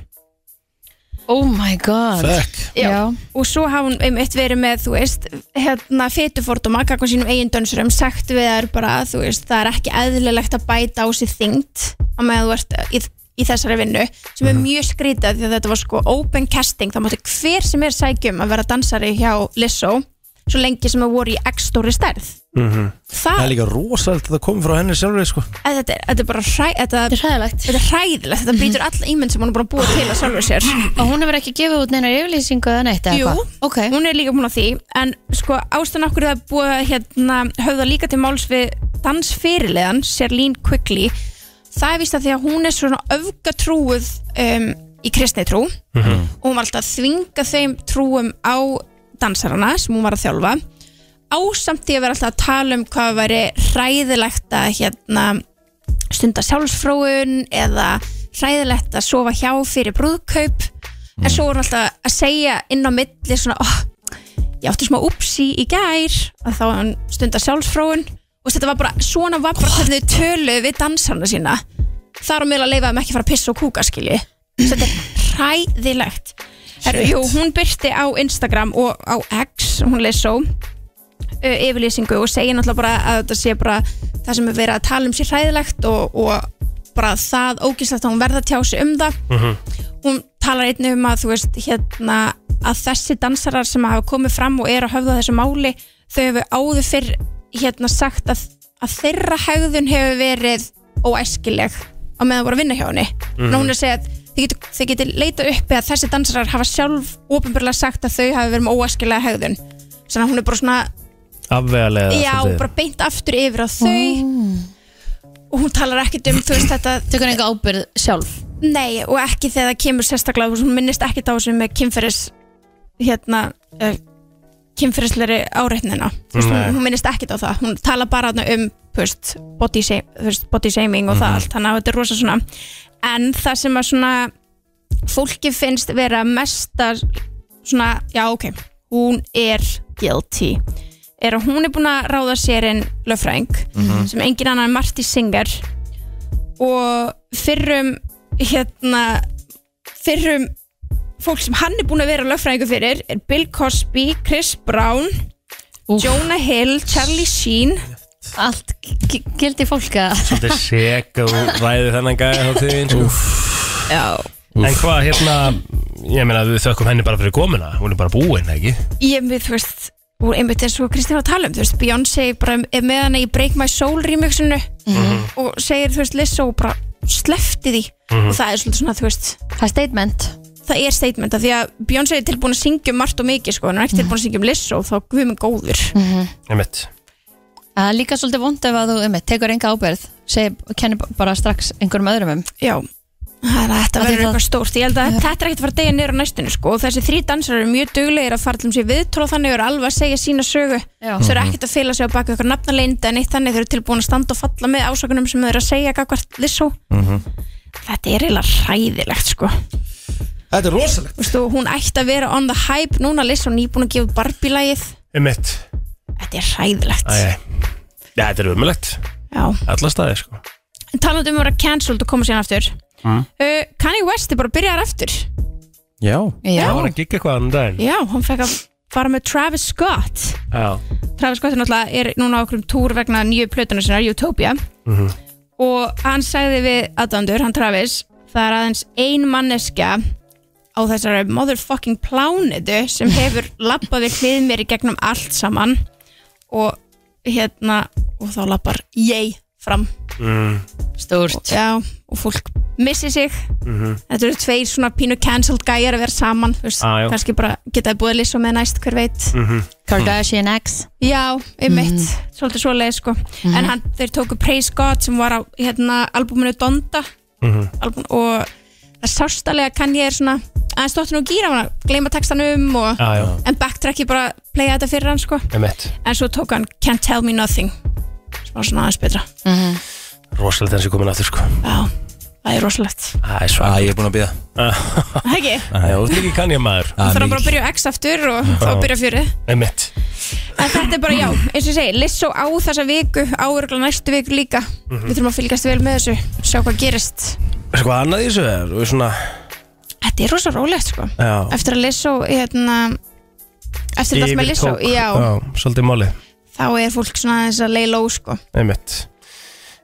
Speaker 3: Oh my god
Speaker 1: Fuck.
Speaker 3: Já.
Speaker 8: og svo hafa hún einmitt verið með þú veist, hérna fetuforduma kakkan sínum eigin dönsurum, sagt við þær bara þú veist, það er ekki eðlilegt að bæta á sér þyngd á meðan þú ert í, í þessari vinnu, sem
Speaker 5: Mhm.
Speaker 8: er mjög skrítið um því að þetta var sko open casting, það mátti hver sem er sækjum að vera dansari hjá Lissó svo lengi sem það voru í X-stóri stærð
Speaker 1: Það
Speaker 5: Mhm.
Speaker 8: það,
Speaker 1: er líka rosalega að það komi frá henni sjálfur sko.
Speaker 8: að þetta, er, þetta er bara hræ, þetta,
Speaker 5: Þetta er hræðilegt Mhm.
Speaker 8: þetta er hræðilegt þetta býtur alla ímynd sem hún er bara búið til að sjálfur sér
Speaker 5: Og hún hefur ekki gefið út neinar yfirlýsingu eða neitt eða
Speaker 8: Jú,
Speaker 5: hvað? Ok,
Speaker 8: hún er líka búin að því en sko ástæðan okkur það er búið að, hérna, höfða líka til máls við dansfyrirlegan, Sérlín Quigley það er vist að því að hún er svona öfgatrúuð um, í kristnitrú og hún var alltaf að þvinga þeim trúum á dansarana sem hún var að þjálfa ásamt því að vera alltaf að tala um hvað væri hræðilegt að hérna, stunda sjálfsfróun eða hræðilegt að sofa hjá fyrir brúðkaup en svo er hún alltaf að segja inn á milli svona, oh, ég átti smá upsi í gær að þá hann stunda sjálfsfróun og þetta var bara, svona var bara hvernig þau töluðu við dansarna sína þar á meðal að leifa þeim ekki að fara að pissa og kúka skilji þetta er hræðilegt Heru, jú, hún byrti á Instagram og á X, hún leið svo uh, yfirlýsingu og segja náttúrulega bara að þetta sé bara það sem er verið að tala um sér hræðilegt og, og bara það ógislegt að hún verða að tjá sig um það hún talar einnig um að þú veist hérna að þessi dansarar sem hafa komið fram og eru að höfða þessu máli þau hefur áður fyrr hérna sagt að, að þeirra hegðun hefur verið óæskileg á meðan voru að vinna hjá henni mm hún er að segja að þið getur, þið getur leita uppi að þessi dansarar hafa sjálf ofinbjörlega sagt að þau hafi verið með óæskilega hegðun þannig að hún er bara svona
Speaker 2: Afvegalega
Speaker 8: Já, bara beint aftur yfir á þau og hún talar ekkert um þú veist þetta,
Speaker 5: tökur enga ábyrð sjálf
Speaker 8: nei og ekki þegar það kemur sérstaklega þú veist, hún minnist ekkert á þessu með kynferðis hérna uh, kynferðisleri áreitnina Þú veist,
Speaker 2: Nei.
Speaker 8: hún, hún minnist ekkert á það, hún talar bara þarna um þú veist, body, shame, þú veist, body shaming og það allt, þannig að þetta er rosa svona en það sem að svona fólki finnst vera mesta svona, já ok hún er guilty er að hún er búin að ráða sér en löffræðing sem engin annar en Marti Singer og fyrrum hérna fyrrum fólk sem hann er búin að vera löffræðingu fyrir er Bill Cosby, Chris Brown Jonah Hill, Charlie Sheen
Speaker 5: Allt gi- gildi fólka
Speaker 2: Svolítið seg og ræði þennan gæði á því eins og
Speaker 8: Já.
Speaker 2: sko. En hvað hérna Ég meina við þökkum henni bara fyrir komuna Hún er bara búin, ekki?
Speaker 8: ég með þú veist og einmitt eins og Kristín var að tala um þú veist, Beyoncé bara er með hana í Break My Soul remixinu og segir þú veist Lizzo bara slefti því og það er svolítið svona þú veist
Speaker 5: Það er statement
Speaker 8: það er statement að því að Beyoncé er tilbúin að syngja um margt og mikið sko, en hún er ekki tilbúin að syngja um Lizzo þá guð minn góður
Speaker 2: Einmitt
Speaker 5: Það er líka svolítið vond ef að þú um, tekur enga ábyrð segir, og kennir bara strax einhverjum öðrum um
Speaker 8: já, það er að þetta
Speaker 5: Af því
Speaker 8: verður
Speaker 5: það-
Speaker 8: eitthvað stórt ég held að þetta er ekkert að fara að deyja niður á næstinu sko, og þessi þrý dansar eru mjög duglegir að fara til um sig viðtróð þannig eru alveg að segja sína sögu
Speaker 5: Já.
Speaker 8: þau eru ekkert að fela sig á baki okkar nafnaleynd en eitt þannig þau eru tilbúin að standa og falla með ásökunum sem þau eru að segja gagvart Lizzo þetta er eiginlega hræðilegt sko
Speaker 1: Þetta er rosalegt
Speaker 8: Vistu, hún ætti að vera on the hype núna Lizzo nýbúin að gefa barbilægið
Speaker 2: Einmitt
Speaker 8: þetta er hræðilegt
Speaker 2: Æ, æ. Já, þetta er umulegt
Speaker 8: Já.
Speaker 2: Alla staði, sko
Speaker 8: talandu um að vera cancelled og koma síðan aftur uh, Kanye West er bara byrjar aftur
Speaker 1: Já
Speaker 5: Já,
Speaker 2: Það var að gigga eitthvað annan daginn
Speaker 8: já, hann fekk að fara með Travis Scott
Speaker 2: Já
Speaker 8: Travis Scott er náttúrulega er núna á okkur um túr vegna nýju plötunar sinna, Utopia og hann sagði við Adandur, hann Travis það er aðeins ein manneska á þessari motherfucking plánetu sem hefur lappað við hlið mér í gegnum allt saman og hérna og þá lappar ég fram
Speaker 5: stúrt
Speaker 8: Já, og fólk missi sig Þetta eru tveir svona pínu cancelled gæjar að vera saman þú veist,
Speaker 2: Á, já.
Speaker 8: kannski bara getaði búið lýsa með næst hver veit
Speaker 5: Kardashian X
Speaker 8: Já, um
Speaker 2: Mm.
Speaker 8: mitt, svolítið svoleið sko En hann, þeir tóku Praise God sem var á hérna, albúminu Donda
Speaker 2: Mhm.
Speaker 8: albúm, og það sástalega kann ég er svona aðeins stóttin og gýra hana, gleyma textanum og,
Speaker 2: Já, já
Speaker 8: en backtracki bara playa þetta fyrir hann sko
Speaker 2: Einmitt
Speaker 8: en svo tók hann Can't Tell Me Nothing sem var svona aðeins betra
Speaker 2: Rosalegt hans er komin aftur, sko
Speaker 8: Já, það er rosalegt
Speaker 2: Það er
Speaker 1: Æ,
Speaker 2: svag
Speaker 1: ég er búin að býða
Speaker 2: *laughs*
Speaker 8: Hægi?
Speaker 2: Ah. Það er ekki kann ég maður
Speaker 8: Það þarf hann bara að byrja á X aftur og þá byrja fjörið.
Speaker 2: Einmitt
Speaker 8: En þetta er bara, já, eins og ég segi, Lissó á þessa viku, áuruglega næstu viku líka.
Speaker 2: Mhm.
Speaker 8: Við þurfum að fylgjast vel með þessu, sjá hvað gerist.
Speaker 2: Sko, hvað annað í þessu er og svona
Speaker 8: Þetta er rosa rólegt, sko.
Speaker 2: Já
Speaker 8: Eftir að Lissó, hérna, eftir þetta allt með Lissó,
Speaker 2: Yfirtók.
Speaker 8: já,
Speaker 2: Svolítið máli
Speaker 8: þá er fólk svona aðeins að leið ló, sko.
Speaker 2: Einmitt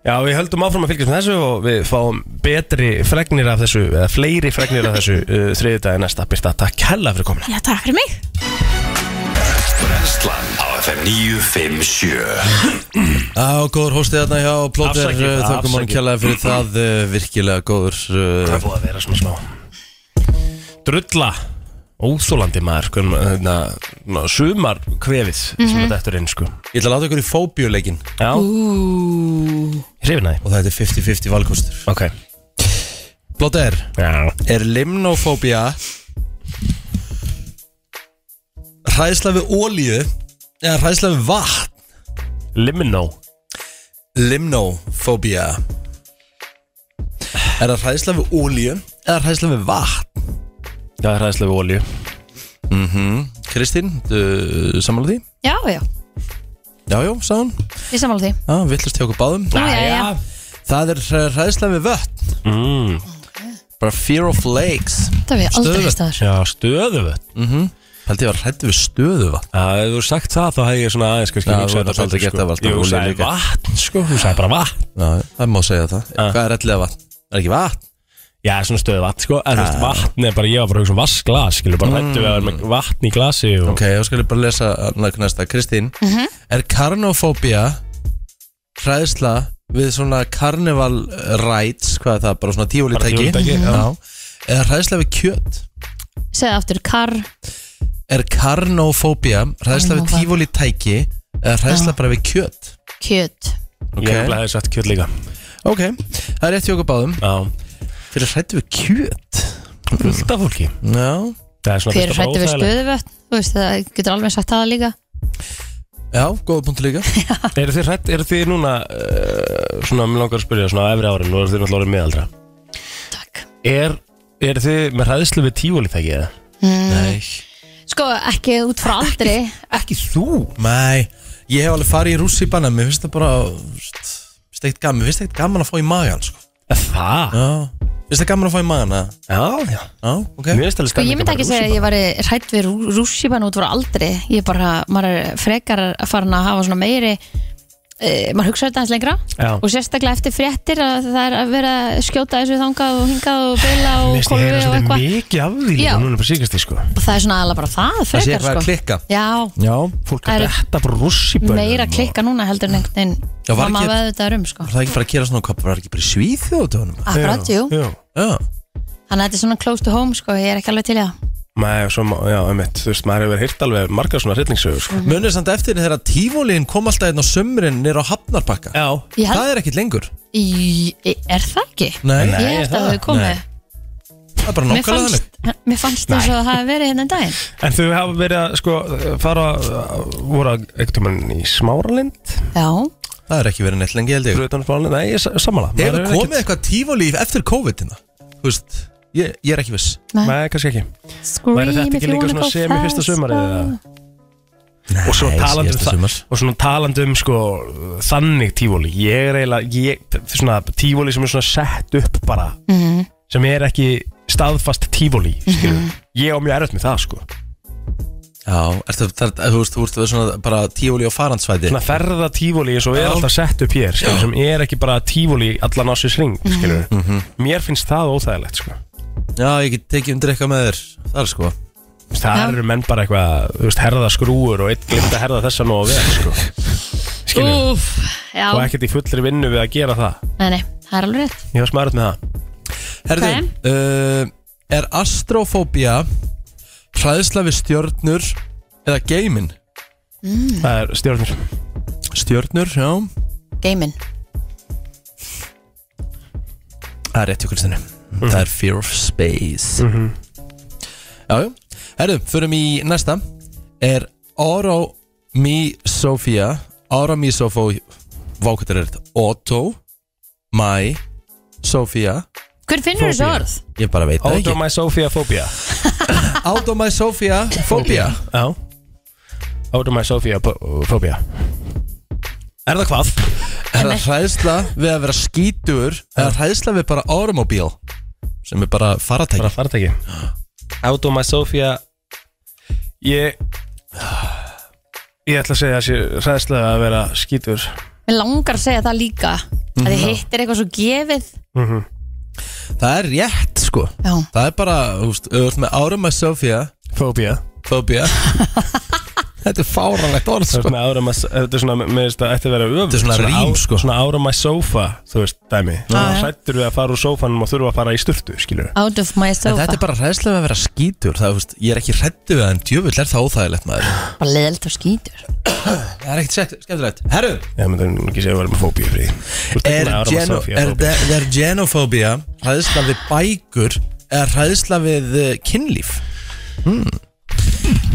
Speaker 2: Já, við höldum áfram að fylgjast með þessu og við fáum betri fregnir af þessu eða fleiri fregnir *laughs* af þessu uh, þriðjudagi næsta Birta, takk hella fyrir komina
Speaker 8: Já, takk fyrir mig.
Speaker 4: Brenslan á FM 957
Speaker 1: Á, góður hóstið þarna hjá Plóter
Speaker 2: Afsakið,
Speaker 1: uh, Þakkum honum
Speaker 2: afsakið.
Speaker 1: kjallaði fyrir það uh, virkilega góður uh,
Speaker 2: Það er búið að vera svona smá Drulla Óþólandi maður sko, na, na, Sumar kvefið sem
Speaker 1: Mhm.
Speaker 2: þetta eftir inn sko.
Speaker 1: Ég ætla að láta ykkur í fóbíuleikin og
Speaker 2: Já Hrifnaði
Speaker 1: það er 50-50 valkostur
Speaker 2: Ok
Speaker 1: Plóter,
Speaker 2: Já
Speaker 1: er limnofóbía hræðsla við ólíu eða hræðsla við vatn
Speaker 2: Liminó
Speaker 1: Limnofóbía Er það hræðsla við ólíu eða hræðsla við vatn
Speaker 2: Já, hræðislega við olju
Speaker 1: Mm, Kristín, uh, sammála því?
Speaker 3: Já, já,
Speaker 1: Já, já, sagði hún
Speaker 3: ég samála því
Speaker 1: Já, villast hjá okkur báðum
Speaker 3: Jæja.
Speaker 1: Það er hræðslega við vötn
Speaker 2: mm,
Speaker 1: Bara fear of lakes
Speaker 3: Það hef ég aldrei
Speaker 1: Stöðugt.
Speaker 3: hlusta þar
Speaker 2: Já, stöðuvöld
Speaker 1: Held ég var hrættu við stöðu vatn
Speaker 2: Já, ef þú sagt það þá hefði ég svona aðeins kannski
Speaker 1: Já,
Speaker 2: hugsað
Speaker 1: þú ert
Speaker 2: þetta
Speaker 1: aldrei
Speaker 2: betur, sko.
Speaker 1: gert það, alltaf
Speaker 2: Jú,
Speaker 1: olíu
Speaker 2: sagði
Speaker 1: líka.
Speaker 2: vatn sko, þú sagði bara vatn
Speaker 1: Já, það má segja það Hvað er hrættilega vatn? Er ekki vatn?
Speaker 2: Já, svona stöðu vatn sko, en þú veist vatn er bara, ég var bara að hugsa um vaskglas, skilur bara hættu við að vera með vatn í glasi og
Speaker 1: Mm. Ok, þá skal ég bara lesa næ- næsta Kristín Er karnofóbía hræðsla við svona carnival rides hvað er það, bara svona
Speaker 2: Bara
Speaker 1: tífólítæki
Speaker 2: tívolítæki, já.
Speaker 1: Eða hræðsla við kjöt
Speaker 3: Segð aftur, kar
Speaker 1: Er karnofóbía hræðsla við
Speaker 3: Karnófa.
Speaker 1: tífólítæki eða hræðsla bara við kjöt
Speaker 3: kjöt
Speaker 2: Ég hef hefði sagt kjöld líka
Speaker 1: Ok, það er rétt hjá okkur báðum
Speaker 2: Já,
Speaker 1: Fyrir hrættu við kjöt
Speaker 2: fullt af fólki
Speaker 1: Já,
Speaker 2: Það er svona fyrst
Speaker 3: Hver er
Speaker 2: bara
Speaker 3: hrættu við
Speaker 2: óþægilegt.
Speaker 3: stöðuvötn Þú veist, það getur alveg sagt það líka
Speaker 1: já, góða punktu líka
Speaker 2: Eru þið hrætt, eru þið núna uh, svona, mér langar að spyrja, svona á efri árin og eru þið náttúrulega orðin miðaldra
Speaker 3: Takk
Speaker 2: Er, er þið með hræðslu við tífólítæki eða?
Speaker 1: Nei
Speaker 3: Sko, ekki út frá aldri
Speaker 2: Ekki þú
Speaker 1: Nei, ég hef alveg farið í rússi í banna Mér finnst það bara veist, finnst ekkert gaman, Mér finnst ekkert gaman að fá í magan sko.
Speaker 2: Það?
Speaker 1: Já Finnst það gaman að fá í magan eða?
Speaker 2: Já, já
Speaker 1: Já, ok
Speaker 2: Mér finnst alveg
Speaker 3: Sko, ég myndi ekki segja að ég var hrætt við rússipan út frá aldri Ég bara, maður er frekar að fara að hafa svona meiri e, maður hugsa þetta aðeins lengra
Speaker 2: Já.
Speaker 3: og sérstaklega eftir fréttir að það er að vera að skjóta þessu þangað og hingað og beila og
Speaker 2: Mér finnst ég
Speaker 3: kólu
Speaker 2: heyra
Speaker 3: og
Speaker 2: svolítið
Speaker 3: eitthvað
Speaker 2: mikið af því
Speaker 3: Já.
Speaker 2: líka núna bara síkast því sko
Speaker 3: og það er svona aðla bara það
Speaker 1: Það sé
Speaker 3: frekar
Speaker 1: eitthvað
Speaker 3: sko.
Speaker 1: að klikka
Speaker 3: Já,
Speaker 1: Já
Speaker 2: Fólk
Speaker 3: Það
Speaker 2: er
Speaker 3: eru
Speaker 2: þetta bara rússibönnum
Speaker 3: meira að klikka núna heldur en einhvern
Speaker 1: Já,
Speaker 3: veginn
Speaker 1: var
Speaker 3: hvað maður
Speaker 1: ekki-
Speaker 3: veður þetta er um sko.
Speaker 1: Var það ekki bara að gera svona kopp Var það ekki bara í svíðu á tónum?
Speaker 3: Akkurat, jú,
Speaker 2: Já
Speaker 1: Já
Speaker 3: þannig að þetta er svona close to home sko, ég er ekki alveg til í það
Speaker 2: Nei, svo, má- já, einmitt, þú veist, maður hefur heyrt alveg margar svona hryllingssögur sko.
Speaker 1: Munið samt eftir þegar tífólin kom alltaf einn á sömurinn Nýr á hafnarbakka
Speaker 2: Já
Speaker 3: Ég held,
Speaker 1: Það er ekkit lengur
Speaker 3: í, er það ekki?
Speaker 1: Nei,
Speaker 3: ég held að
Speaker 2: það-
Speaker 3: það hefur komið
Speaker 1: nei. það er bara
Speaker 3: Mér
Speaker 1: nokkala
Speaker 3: fannst,
Speaker 1: þannig
Speaker 3: mér fannst þess að það hafi verið hérna um daginn
Speaker 2: En þau hafa verið að sko, fara voru að einhvern tímann í Smáralind
Speaker 3: Já,
Speaker 1: Það er ekki verið neitt lengi held ég
Speaker 2: Brutan Smáralind, nei, ég er sammála
Speaker 1: Hefur
Speaker 2: Maður er
Speaker 1: komið eitthvað tífólíf eftir COVID-ina? Þú veist, ég, ég er ekki viss
Speaker 2: ekkert- Nei, kannski ekki Væri þetta ekki líka svona sem í fyrsta sumarið
Speaker 3: oh.
Speaker 2: eða? og svo
Speaker 1: Nei,
Speaker 2: talandi um
Speaker 1: síðasta
Speaker 2: það
Speaker 1: sumar.
Speaker 2: og svona talandi um sko þannig tífóli ég er eiginlega ég, svona tífóli sem er svona sett upp bara
Speaker 1: Mhm.
Speaker 2: sem er ekki staðfast tífóli mm. ég á mjög erfitt með það sko
Speaker 1: Já, ertu, það, þú veist, þú veist, þú veist svona bara tífóli á farandsvæti
Speaker 2: svona ferða tífóli eins og er
Speaker 1: Já.
Speaker 2: alltaf sett upp hér skilur, sem er ekki bara tífóli allan á sér sring
Speaker 1: Mhm.
Speaker 2: skilur mér finnst það óþægilegt sko
Speaker 1: Já, ég get tekið undir eitthvað með þér þar sko
Speaker 2: það
Speaker 3: Já.
Speaker 2: eru menn bara eitthvað þú veist herða skrúur og eitt glimt að herða þessa nú og vel sko skilur
Speaker 3: Úf, já,
Speaker 2: og ekkert í fullri vinnu við að gera það
Speaker 3: nei, nei, það er alveg rétt
Speaker 2: ég var smarðið með það
Speaker 1: Herðu, uh, er astrofóbía hræðsla við stjörnur eða geiminn?
Speaker 2: Það er stjórnir
Speaker 1: Stjörnur, já
Speaker 3: Geimin,
Speaker 1: Það er rétt í kursinu Það er Fear of Space mm -hmm. Já, já Herðu, förum í næsta Er Oromysofía Oromysofó Vákvættir er þetta Otto My Sofía
Speaker 3: hver finnur þessu
Speaker 2: Fóbía.
Speaker 3: orð?
Speaker 1: Ég bara veit það ekki
Speaker 2: Automysofia-fóbia
Speaker 1: Automysofía *laughs* Fóbía
Speaker 2: Já Automysofia-fóbia Er það hvað?
Speaker 1: Er það hræðsla við að vera skítur eða hræðsla við bara ormobíl sem er bara faratæk
Speaker 2: Bara fartæki Automysofia Ég Ég ætla að segja þessi hræðslega að vera skítur
Speaker 3: Mér langar að segja það líka að þið hittir eitthvað svo gefið
Speaker 1: Það er rétt sko
Speaker 3: Já,
Speaker 2: *laughs*
Speaker 1: Það er bara, þú veist, auðvitað með Automysofía
Speaker 2: Fóbia
Speaker 1: fóbía Þetta er fáranlegt orð
Speaker 2: Það er
Speaker 1: sko.
Speaker 2: svona ára maður, þetta er svona, mér finnst að þetta vera öfum
Speaker 1: Þetta er svona rím, sko. Ah.
Speaker 2: Svona ára maður sofa, þú veist, dæmi Sættur við að fara úr sófanum og þurfa að fara í sturtu, skilur
Speaker 5: Out of my
Speaker 1: En
Speaker 5: sofa
Speaker 1: þetta er bara hræðslega við að vera skítur það, þú veist, Ég er ekki hrættu við það en djöfull er það óþægilegt maður
Speaker 5: bara leðilt og skítur
Speaker 1: Það er ekkert sekt- skemmtilegt Herru,
Speaker 2: Já, menn það er nú ekki segja að vera með fóbíu frí Þú ert
Speaker 1: er,
Speaker 2: ekki með ára maður
Speaker 1: geno, er,
Speaker 2: sofa, fóbíu.
Speaker 1: de- er genofóbía hræðsla við bækur eða hræðsla við uh, kynlíf? Hmm.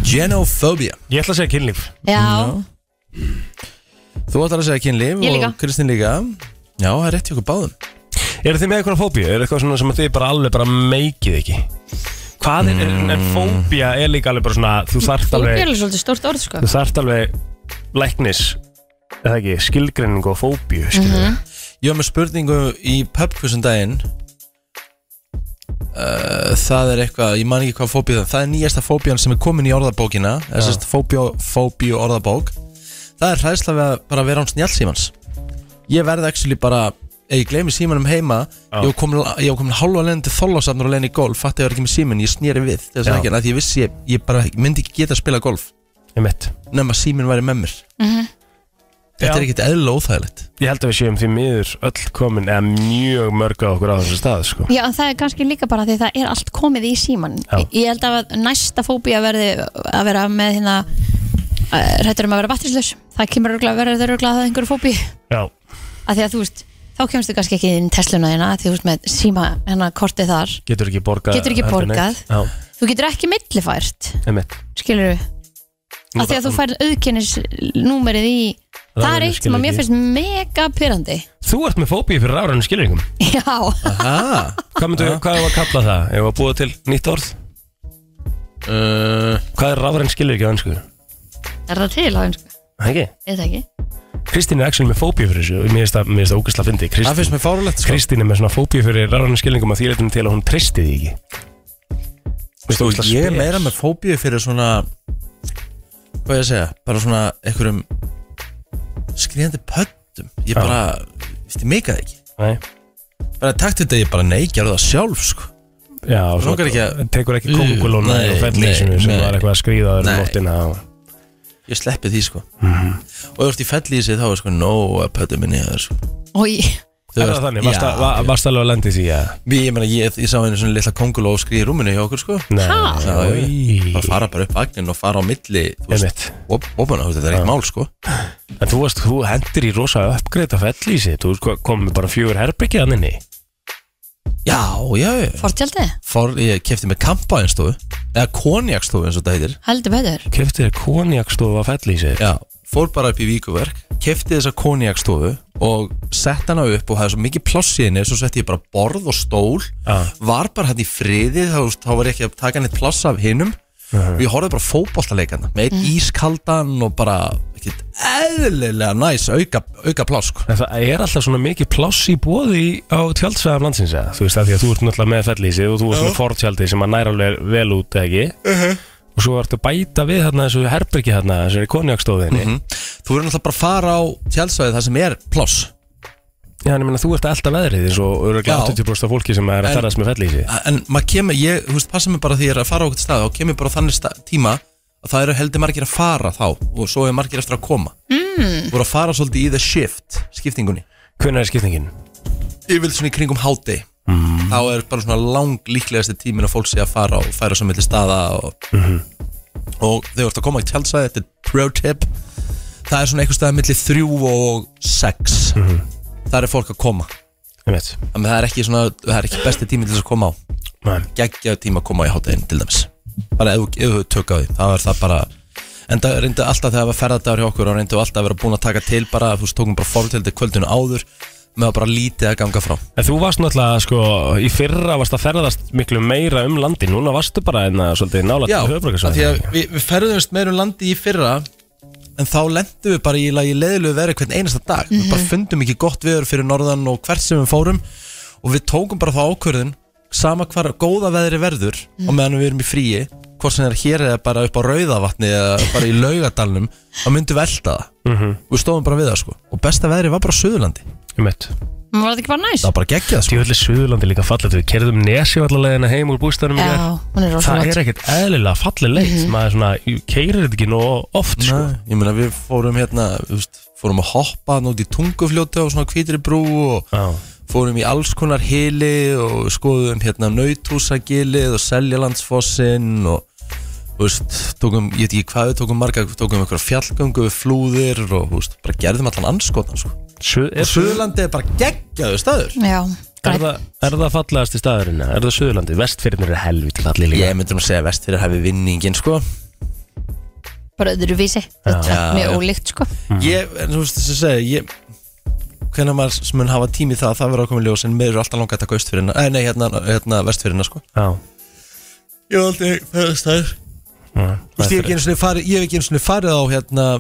Speaker 1: Genofóbía
Speaker 2: Ég ætla að segja kynlíf
Speaker 5: já,
Speaker 1: Þú ætlar að segja kynlíf
Speaker 5: Ég líka.
Speaker 1: og Kristín líka Já, það er rétt í okkur báðum
Speaker 2: Er þið með eitthvað fóbíu? Er eitthvað svona sem þið bara alveg bara meikið ekki? Hvað er, mm. en fóbía er líka alveg bara svona Þú þarft
Speaker 5: fólk er
Speaker 2: alveg,
Speaker 5: alveg svolítið stórt orð sko
Speaker 2: þú þarft alveg læknis eða ekki, skilgreining og fóbíu skilur mm
Speaker 5: Mhm.
Speaker 1: Ég var með spurningu í pubquizum daginn uh, Það er eitthvað, ég man ekki hvað fóbíu það Það er nýjasta fóbían sem er komin í orðabókina Þessast fóbíu, fóbíu orðabók Það er hræðsla við að bara vera án snjálfsímans Ég verði actually bara Ef ég gleymi símanum heima Ég var komin, ég var komin hálfa leiðin til þólasafnur og leiðin í golf Fatti ég var ekki með símin, ég snýri við Þess
Speaker 2: Já.
Speaker 1: að ekki, því ég vissi, ég, ég bara myndi ekki geta að spila golf Nefn að símin væri með mér Þetta er
Speaker 2: Já.
Speaker 1: ekkit eðla óþægilegt
Speaker 2: Ég held að við séum því miður öll komin eða mjög mörg á okkur á þessu stað sko.
Speaker 5: já, en það er kannski líka bara því það er allt komið í síman
Speaker 2: Já.
Speaker 5: ég ég held að næsta fóbía verði að vera með hérna eh, hræddur um að vera batterislaus það kemur örgulega að vera örgulega að það einhverju fóbíu
Speaker 2: Já,
Speaker 5: að því að þú veist þá kemst þú kannski ekki inn Tesluna þína af því þú veist með síma hennar kortið þar
Speaker 2: getur ekki borgað
Speaker 5: Getur ekki
Speaker 2: heldur
Speaker 5: borgað.
Speaker 2: neitt. Já,
Speaker 5: þú getur ekki millifært
Speaker 2: einmitt
Speaker 5: skilur af því að þú færð auðkennis númerið í það er eitt sem að mér finnst mega pyrrandi
Speaker 2: Þú ert með fóbíu fyrir rafræðinu skilringum
Speaker 5: *laughs* já,
Speaker 1: Aha *laughs*
Speaker 2: Hvað myndu, hvað er að kalla það? Ég var búið til nýtt orð
Speaker 1: uh,
Speaker 2: Hvað er rafræðinu skilringi á ennsku?
Speaker 5: er það til á einsku?
Speaker 2: Ekki?
Speaker 5: eða ekki?
Speaker 2: Kristín er actually með fóbíu fyrir þessu Mér finnst það- mér finnst það ógæslega fyndi
Speaker 1: Það finnst mér fárulegt sko.
Speaker 2: Kristín er með svona fóbíu fyrir rafræðinu skilringum að því reyndum til að hún treysti því ekki Mér finnst
Speaker 1: Þú,
Speaker 2: ógeðslega
Speaker 1: ég er
Speaker 2: spes.
Speaker 1: meira með fóbíu fyrir svona Hvað ég að segja Bara svona einhverjum Skriðandi pöttum Ég bara, veist ég meika það ekki
Speaker 2: Nei.
Speaker 1: Bara takt þetta ég bara neikjar það sjálf sko.
Speaker 2: Já, og svo
Speaker 1: Langar ekki að-
Speaker 2: tekur ekki kongulónu
Speaker 1: Nei, nei,
Speaker 2: og fellísinu sem
Speaker 1: nei.
Speaker 2: var eitthvað að skrýða þér um
Speaker 1: Nei.
Speaker 2: nóttina og...
Speaker 1: Ég sleppi því sko
Speaker 2: Mhm.
Speaker 1: Og ef þú ert í felli í sig þá er sko Nó að pöttum minni það sko.
Speaker 5: og ég,
Speaker 1: Þú
Speaker 2: Er
Speaker 1: veist-
Speaker 2: það þannig? Varst,
Speaker 1: Já,
Speaker 2: að, var, varst alveg að landa í því að
Speaker 1: Ég, ég, meina, ég, ég sá einu svona litla konguló skriði í rúminu hjá okkur sko
Speaker 2: Nei
Speaker 1: Já,
Speaker 2: Oj.
Speaker 1: Bara fara bara upp vagnin og fara á milli Þú
Speaker 2: Einmitt.
Speaker 1: op, opana, þú veist, þetta er eitt mál sko
Speaker 2: En þú varst, þú hendir í rosa uppgreitt af fellísi Þú sko- kom með bara fjögur herbyggið hann inni
Speaker 1: Já, já, já
Speaker 5: fortjaldið,
Speaker 1: Fór, ég kefti með kampaðinstofu eða konjakstofu eins og þetta heitir
Speaker 5: heldur betur
Speaker 2: Keftir þér konjakstofu af fellísi
Speaker 1: já, fór bara upp í víkuverk kefti þessa konjakstofu og sett hana upp og hafði svo mikið pláss í henni svo sett ég bara borð og stól
Speaker 2: Já.
Speaker 1: var bara hann í friði þá, þá var ég ekki að taka neitt pláss af hinnum og ég horfði bara á fótboltaleikana með eitt ískaldan og bara ekkert eðlilega næs auka, auka pláss sko.
Speaker 2: En það er alltaf svona mikið pláss í bóði á tjaldsvæðum landsins eða? Þú veist það því að þú ert náttúrulega með fellísi og þú ert með fortjaldi sem að næra alveg vel út eða ekki
Speaker 1: Uh-huh.
Speaker 2: Og svo ertu að bæta við þarna þessu herbyggið þarna þessari konjakstofinni
Speaker 1: Mhm. þú verður náttúrulega bara að fara á tjálsvæði þar sem er pláss
Speaker 2: Já, en ég meina þú ert alltaf veðrið eins og
Speaker 1: Já.
Speaker 2: örugglega 80% af fólki sem er að
Speaker 1: En-
Speaker 2: ferðast með fellísi
Speaker 1: en maður kemur, ég, þú veist, passa mig bara því ég er að fara á okkur stað og kemur bara á þannig stað, tíma að það eru heldur margir að fara þá og svo er margir eftir að koma mm. voru að fara svolítið í the shift skiptingunni,
Speaker 2: Hvernig er skipningin?
Speaker 1: yfirlega svona í kringum háti mm. þá er bara svona lang líklegasti tímin að fólk sé að fara og færa svo milli staða og, og þegar þú ert að koma í tjálsæði, þetta er pro tip það er svona einhver staða milli þrjú og sex þar er fólk að koma
Speaker 2: Ég veit
Speaker 1: Þannig að það er ekki, svona, það er ekki besti tími til þess að koma á geggjaðu tíma að koma í hátæðin til dæmis bara ef ef þú tök á því þá er það bara en það reyndu alltaf þegar það var ferðardagur hjá okkur og reyndu alltaf að vera búin að taka til bara þú veist tókum bara fórtildi kvöldinu áður með að bara lítið að ganga frá
Speaker 2: En þú varst náttúrulega, sko, í fyrra varst að ferðast miklu meira um landi, núna varstu bara einna svolítið nálægt
Speaker 1: Já,
Speaker 2: til
Speaker 1: af því að
Speaker 2: höfbrukarsvæðinu.
Speaker 1: við, við ferðumst meira um landi í fyrra en þá lendum við bara í, í leðilegu verið hvern einasta dag við bara fundum ekki gott veður fyrir norðan og hvert sem við fórum og við tókum bara þá ákvörðin sama hvar góða veðri verður og meðan við erum í fríi hvort sem er hér eða bara upp á rauðavatni eða bara í laugadalnum þá myndum við elda það við stóðum bara við það sko og besta veðri var bara á Suðurlandi
Speaker 2: Ég mitt.
Speaker 3: Var þetta ekki bara næs?
Speaker 1: Það var bara geggjað sko.
Speaker 2: Djúvillig Suðurlandi líka fallið Við kerðum nesi allar leiðina heim úr bústæðanum í gær.
Speaker 3: Já, hún
Speaker 2: Það
Speaker 3: er
Speaker 2: er
Speaker 3: rosalega
Speaker 2: ekkert eðlilega fallið leið Maður svona, keirir þetta ekki nú oft sko.
Speaker 1: Mhm. Nei, Ég meina við fórum hérna þú veist, Fórum að hoppa hann út í tungufljóti á svona hvítri brú og
Speaker 2: Já.
Speaker 1: fórum í alls konar hili og skoðum hérna nauthúsagilið og seljalandsfossinn og þú veist, tókum, ég veit ekki hvað við tókum marga, tókum einhverja fjallgöngu við flúðir og þú veist, bara gerðum allan anskotan sko.
Speaker 2: Suð, er,
Speaker 1: og Suðurlandi er bara geggjaðu staður
Speaker 3: Já,
Speaker 2: er, það, er það fallegast í staðurinn? Er það Suðurlandi? Vestfyrirnir er helvítið fallið líka
Speaker 1: ég myndi nú segja að vestfyrir hefði vinningin sko.
Speaker 3: bara öðruvísi Þetta
Speaker 1: Já,
Speaker 3: er
Speaker 1: já.
Speaker 3: mjög ólíkt sko
Speaker 1: ég, en þú veist þess að segja ég, hvenær maður mun hafa tími í það það verður að koma í ljós en mér eru alltaf langað að taka austfyrirna eh, nei, hérna, hérna vestfyrirna sko.
Speaker 2: Já,
Speaker 1: ég hef aldrei ferðast þær
Speaker 2: já.
Speaker 1: Þú veist, ég hef ekki einu sinni farið, ég hef ekki einu sinni farið á hérna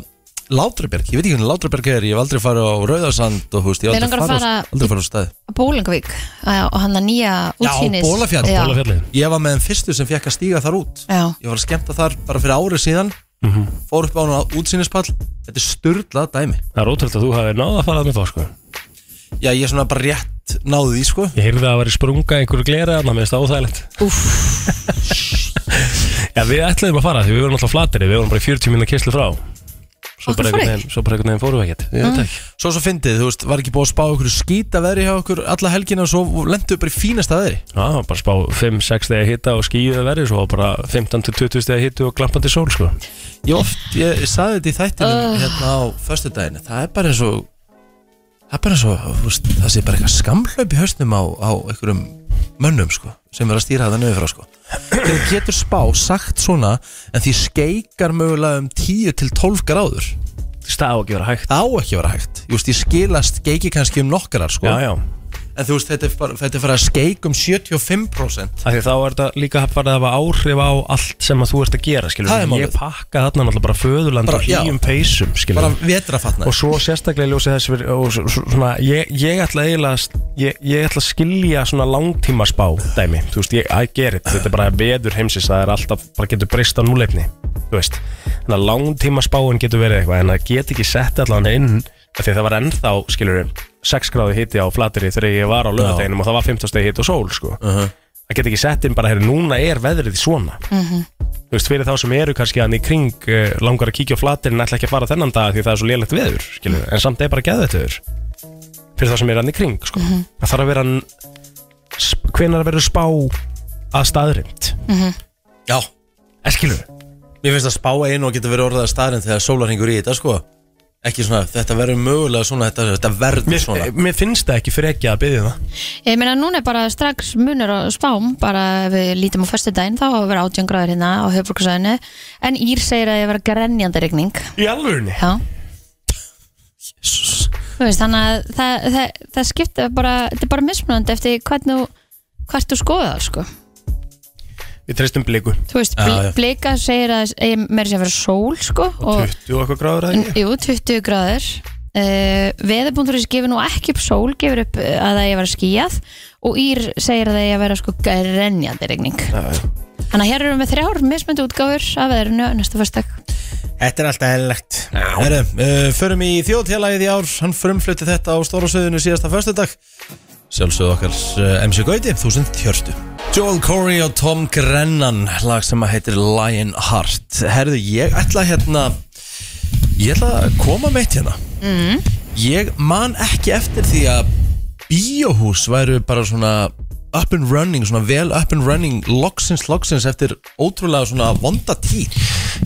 Speaker 1: Látraberg, ég veit ekki hvernig Látraberg er, ég hef aldrei farið á Rauðarsand og þú veist, ég hef
Speaker 3: Mig
Speaker 1: aldrei
Speaker 3: langar að
Speaker 1: farið,
Speaker 3: fara-
Speaker 1: fara... aldrei farið á staði.
Speaker 3: Bólingavík á- og hann að nýja útsýnis
Speaker 1: Bolafjall.
Speaker 3: Já,
Speaker 2: Bólafjallið
Speaker 1: Ég var með þeim fyrstu sem fekk að stíga þar út.
Speaker 3: já,
Speaker 1: Ég var að skemmta þar bara fyrir árið síðan, fór upp á hana útsýnispall, þetta er sturdlað dæmi.
Speaker 2: Það er ótrúlega að þú hafi náða að fara að með þá sko
Speaker 1: Já, ég er svona bara rétt náði því, sko.
Speaker 2: Ég heyrði að það væri sprunga einhverju glera Þannig að mér finnst það óþægilegt *laughs* Já, við ætlaðum að fara Því við vorum alltaf flateri Við vorum bara í 40 minna kesslu frá Svo bara einhvern veginn- svo bara einhvern veginn fórum við ekkert
Speaker 1: Mm.
Speaker 2: Já, takk
Speaker 1: Svo svo fyndið, þú veist, var ekki búið að spá okkur skýta veðri hjá okkur alla helgina og svo lendu bara í fínasta veðri.
Speaker 2: Já, bara spá 5-6 stegar hitta og skýðu verið Svo bara 15-20 stegar hittu og glampandi sól sko
Speaker 1: Ég oft, ég, ég saði þetta í þættinum hérna á föstudaginu, það er bara eins og það er bara eins og þú veist, það sé bara eitthvað skamlaup í hausnum á, á einhverjum mönnum sko, sem er að stýra það nöðu frá sko þeir getur spá sagt svona en því skeikar mögulega um 10 til 12 gráður
Speaker 2: Stá ekki vera hægt
Speaker 1: það á ekki að vera hægt, Just, ég skilast skeiki kannski um nokkrar sko
Speaker 2: Já, já
Speaker 1: en þú veist, þetta er bara, þetta er bara að skeik um 75%
Speaker 2: Af því þá er þetta líka að fara að hafa áhrif á allt sem að þú ert að gera, skilur
Speaker 1: Það er
Speaker 2: við. Ég
Speaker 1: málið.
Speaker 2: pakka þarna náttúrulega bara föðurland og
Speaker 1: Bara, já.
Speaker 2: hlýjum peysum, skilur
Speaker 1: bara
Speaker 2: við.
Speaker 1: vetrafatna
Speaker 2: Og svo sérstaklega í ljósi þess fyrir, og s- s- svona, ég, ég ætla eiginlega, að- ég, ég ætla að skilja svona langtíma spá dæmi, þú veist, ég, I get it, þetta er bara veður heimsins, það er alltaf, bara getur breyst á núleifni, þú veist, þannig að langtíma spáin getur verið eitthvað, en það get ekki sett allan inn, af því að það var ennþá, skilur 6 gráði hitti á flateri þegar ég var á lögadeginum og það var 15 stegi hitt og sól, sko það get ekki sett inn bara, herri, núna er veðrið svona þú veist, fyrir þá sem eru kannski hann í kring uh, langar að kíkja á flatirinn ætla ekki að fara þennan dag því það er svo lélegt veður skilur, en samt er bara geðveitt veður fyrir þá sem eru hann í kring sko.
Speaker 3: Mhm.
Speaker 2: það þarf að vera hann hvenar verður spá að Eh, staðrind
Speaker 1: já,
Speaker 2: en skilur,
Speaker 1: Mér finnst að spá einu og geta verið orðað staðarinn þegar sólar hengur í þetta sko Ekki svona, þetta verður mögulega svona, þetta, þetta verður
Speaker 2: mér,
Speaker 1: svona
Speaker 2: eh, mér finnst það ekki fyrir ekki að byggja það
Speaker 3: Ég meina núna er bara strax munur á spám bara ef við lítum á föstu daginn þá hafa verið átjöngráður hérna á höfbruksæðinu en Ír segir að ég vera grenjandi rigning
Speaker 2: í alvörunni
Speaker 3: Já Þú veist, þannig að það, það, það skipta bara, þetta er bara mismunandi eftir hvernig þú- hvert þú skoðar sko.
Speaker 2: við treystum bliku,
Speaker 3: þú veist,
Speaker 1: Já,
Speaker 3: bl
Speaker 1: já.
Speaker 3: blika segir að mér sé að vera sól sko, og
Speaker 2: 20 og eitthvað gráður að ekki
Speaker 3: Jú, 20 gráður uh, Veðabúndurins gefur nú ekki upp sól gefur upp eh, að það ég vera skíjað og Ír segir að það ég vera sko grenjandi regning Þannig að hér erum við þrjár mismöndu útgáfur af veðrinu næsta fyrstak
Speaker 1: Þetta er alltaf eðlilegt Herru, uh, förum í þjóðtélagið í ár Hann frumflutti þetta á stóra söðinu síðasta föstudag Sjálfsögðu okkar uh, MC Gauti, 1040 Joel Corey og Tom Grennan Lag sem að heitir Lion Heart Herru, ég ætla hérna Ég ætla að koma meitt hérna Ég man ekki eftir því að Bíóhús væru bara svona up and running, svona vel up and running loksins, loksins eftir ótrúlega svona vonda tíð